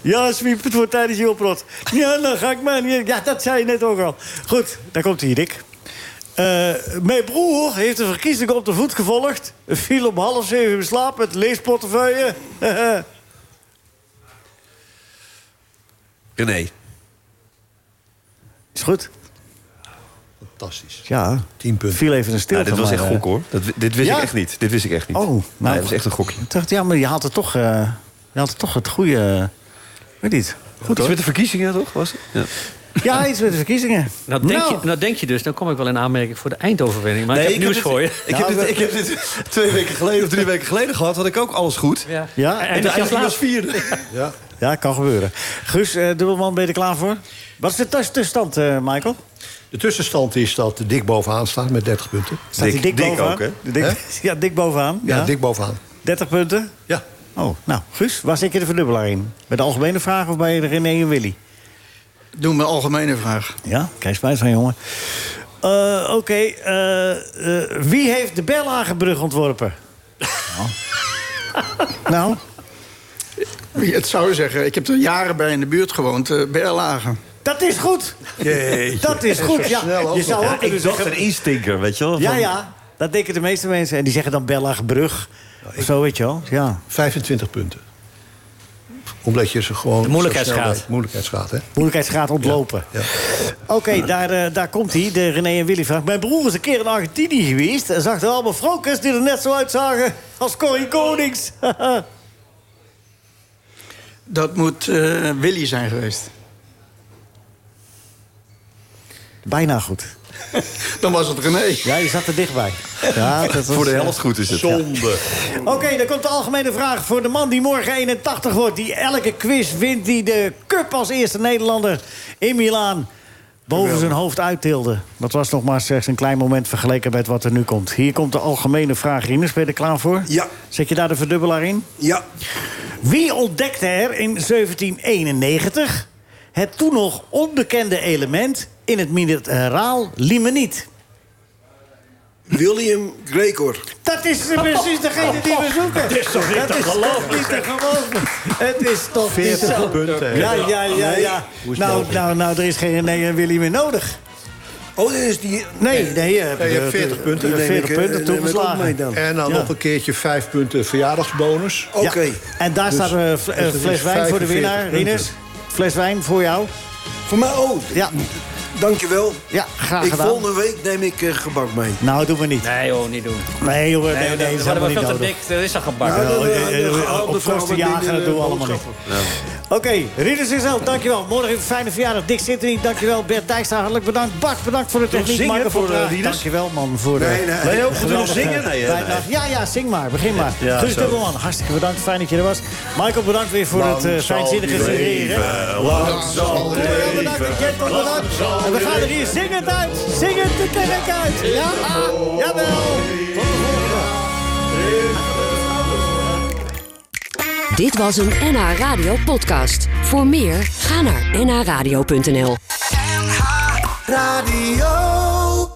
Speaker 4: Ja, sweep, het wordt tijdens je oprot. Ja, dan ga ik maar niet. Ja, dat zei je net ook al. Goed, daar komt hij, Dick. Eh, mijn broer heeft de verkiezingen op de voet gevolgd. Viel om half zeven in slaap met leesportefeuille. [LAUGHS]
Speaker 2: René.
Speaker 4: Is goed?
Speaker 6: Fantastisch.
Speaker 4: Ja.
Speaker 6: 10 punten.
Speaker 4: Viel even een stilte.
Speaker 2: Ja, dit was
Speaker 4: maar,
Speaker 2: echt
Speaker 4: eh,
Speaker 2: gok hoor. Dat, dit wist
Speaker 4: Ja?
Speaker 2: ik echt niet. Dit wist ik echt niet.
Speaker 4: Oh, nou.
Speaker 2: Nee, dat was echt een gokje.
Speaker 4: Ik dacht, ja, maar je had het toch, eh, je had het, toch het goede... eh, weet niet.
Speaker 2: Goed, iets met de verkiezingen toch? Was het? Ja.
Speaker 4: Ja, iets met de verkiezingen.
Speaker 7: Nou denk,
Speaker 4: Nou.
Speaker 7: Je, nou denk je dus, dan kom ik wel in aanmerking voor de eindoverwinning. Maar ik heb nieuws
Speaker 2: dit-
Speaker 7: voor je. Nou,
Speaker 2: Ik, heb dit, ik heb dit [LAUGHS] twee weken geleden of drie weken geleden gehad. Had ik ook alles goed.
Speaker 7: Ja.
Speaker 4: Ja,
Speaker 7: en
Speaker 2: En
Speaker 7: dat
Speaker 2: eigenlijk was
Speaker 7: laatst.
Speaker 2: [LAUGHS] vierde.
Speaker 6: Ja.
Speaker 4: Ja, kan gebeuren. Guus, eh, dubbelman, ben je er klaar voor? Wat is de tuss- tussenstand, eh, Michael?
Speaker 6: De tussenstand is dat Dick bovenaan staat met 30 punten.
Speaker 4: Staat hij
Speaker 2: Dik-
Speaker 4: dik
Speaker 2: dik
Speaker 4: bovenaan?
Speaker 2: ook, hè?
Speaker 4: Dik-
Speaker 6: Hè?
Speaker 4: [LAUGHS] ja, dik bovenaan.
Speaker 6: Ja,
Speaker 4: Ja.
Speaker 6: Dick bovenaan.
Speaker 4: 30 punten.
Speaker 6: Ja.
Speaker 4: Oh, nou, Guus, waar zit je de verdubbelaar in? Bij de algemene vraag of bij de René en Willy?
Speaker 11: Doe me een algemene vraag.
Speaker 4: Ja, kijk spijt van, jongen. Eh, Oké, eh, eh, wie heeft de Berlagebrug ontworpen? Nou. nou,
Speaker 11: Het zou zeggen, ik heb er jaren bij in de buurt gewoond, eh, bij Erlagen.
Speaker 4: dat is goed. Dat is goed, ja. Je zou ook kunnen
Speaker 2: ik dacht
Speaker 4: zeggen...
Speaker 2: een instinker, weet je wel.
Speaker 4: Ja,
Speaker 2: Van-
Speaker 4: ja, dat denken de meeste mensen. En die zeggen dan Berlagebrug. Of zo, weet je wel. Ja.
Speaker 6: 25 punten. Omdat je ze gewoon...
Speaker 7: De moeilijkheidsgraad.
Speaker 6: zo snel- moeilijkheidsgraad, hè?
Speaker 4: Moeilijkheidsgraad ontlopen.
Speaker 6: Ja.
Speaker 4: Oké, daar, eh, daar komt hij, de René en Willy vraag. Mijn broer is een keer in Argentinië geweest... en zag er allemaal frokers die er net zo uitzagen als Corrie Konings.
Speaker 11: Dat moet eh, Willy zijn geweest.
Speaker 4: [LAUGHS] Bijna goed.
Speaker 11: [LAUGHS] Dan was het René.
Speaker 4: Ja, je zat er dichtbij.
Speaker 3: [LAUGHS]
Speaker 2: [LAUGHS]
Speaker 4: Ja, dat was,
Speaker 3: Voor de
Speaker 4: eh,
Speaker 3: helft goed is het. ja.
Speaker 2: Zonde.
Speaker 4: Oké, dan komt de algemene vraag voor de man die morgen 81 wordt. Die elke quiz wint, die de cup als eerste Nederlander in Milaan boven zijn hoofd uittilde. Dat was nog maar slechts een klein moment vergeleken met wat er nu komt. Hier komt de algemene vraag, Rinus. Ben je er klaar voor?
Speaker 8: Ja.
Speaker 4: Zet je daar de verdubbelaar in?
Speaker 8: Ja,
Speaker 4: Wie ontdekte er in 1791 het toen nog onbekende element in het mineraal limoniet?
Speaker 8: William Gregor.
Speaker 4: Dat is precies degene die we zoeken. [LAUGHS] Dat is toch niet te geloven? niet te geloven. Het is toch niet te
Speaker 2: 40
Speaker 4: geloven.
Speaker 2: punten.
Speaker 4: Ja, ja, ja, ja. Nou, nou, nou, er is geen René en Willy meer nodig.
Speaker 8: Oh, dit is die...
Speaker 4: Nee, nee. Je hebt,
Speaker 6: Nee, je
Speaker 4: eh,
Speaker 6: hebt 40 punten,
Speaker 4: eh,
Speaker 6: neem
Speaker 4: 40
Speaker 6: ik, eh,
Speaker 4: punten
Speaker 8: neem ik ook mee
Speaker 4: toegeslagen.
Speaker 8: dan.
Speaker 6: En dan
Speaker 4: Ja.
Speaker 6: nog een keertje vijf punten verjaardagsbonus.
Speaker 8: Oké.
Speaker 4: Ja. En daar staat een fl- eh,
Speaker 6: dus het
Speaker 4: fles
Speaker 6: is
Speaker 4: wijn voor de
Speaker 6: 45
Speaker 4: winnaar,
Speaker 6: punten.
Speaker 4: Rinus. Fles wijn voor jou.
Speaker 8: Voor mij, oh,
Speaker 4: Ja,
Speaker 8: dankjewel.
Speaker 4: ja graag
Speaker 8: Ik,
Speaker 4: gedaan.
Speaker 8: volgende week neem ik eh, gebak mee.
Speaker 4: Nou, doen we niet.
Speaker 7: Nee, joh, niet doen.
Speaker 4: Nee, joh, nee, nee, dat is
Speaker 7: we hadden
Speaker 4: helemaal
Speaker 7: we
Speaker 4: niet
Speaker 7: veel te
Speaker 4: nodig.
Speaker 7: dik. Er is al gebakken.
Speaker 8: Nou,
Speaker 4: Ja,
Speaker 8: dat-
Speaker 4: ja, ja,
Speaker 8: dat-
Speaker 4: ja,
Speaker 8: dat-
Speaker 4: Op kosten jagen, dat doen we allemaal niet. Oké, Rinus is zelf, dankjewel. Morgen heeft een fijne verjaardag. Dick zit er niet, dankjewel. Bert Dijkstra, hartelijk bedankt. Bart, bedankt voor de techniek.
Speaker 2: zingen
Speaker 4: Michael
Speaker 2: voor,
Speaker 4: van Praag,
Speaker 2: eh, Rinus?
Speaker 4: Dankjewel, man, voor de...
Speaker 8: Nee, nee.
Speaker 4: geweldige
Speaker 8: Ben je
Speaker 2: ook goed in het zingen? Nee, hè?
Speaker 4: bijdrage. Ja, ja, zing maar. Begin maar.
Speaker 2: Ja,
Speaker 4: Guus
Speaker 2: zo.
Speaker 4: Dubbelman, hartstikke bedankt. Fijn dat je er was. Michael, bedankt weer voor het eh, fijnzinnige suggereren.
Speaker 2: Lang zal
Speaker 4: Dankjewel, bedankt. Jet, tot bedankt. En we gaan er hier zingend uit. Zingend de kerk uit. Ja, ah, jawel.
Speaker 1: Dit was een NH Radio podcast. Voor meer, ga naar nhradio.nl.
Speaker 10: NH Radio.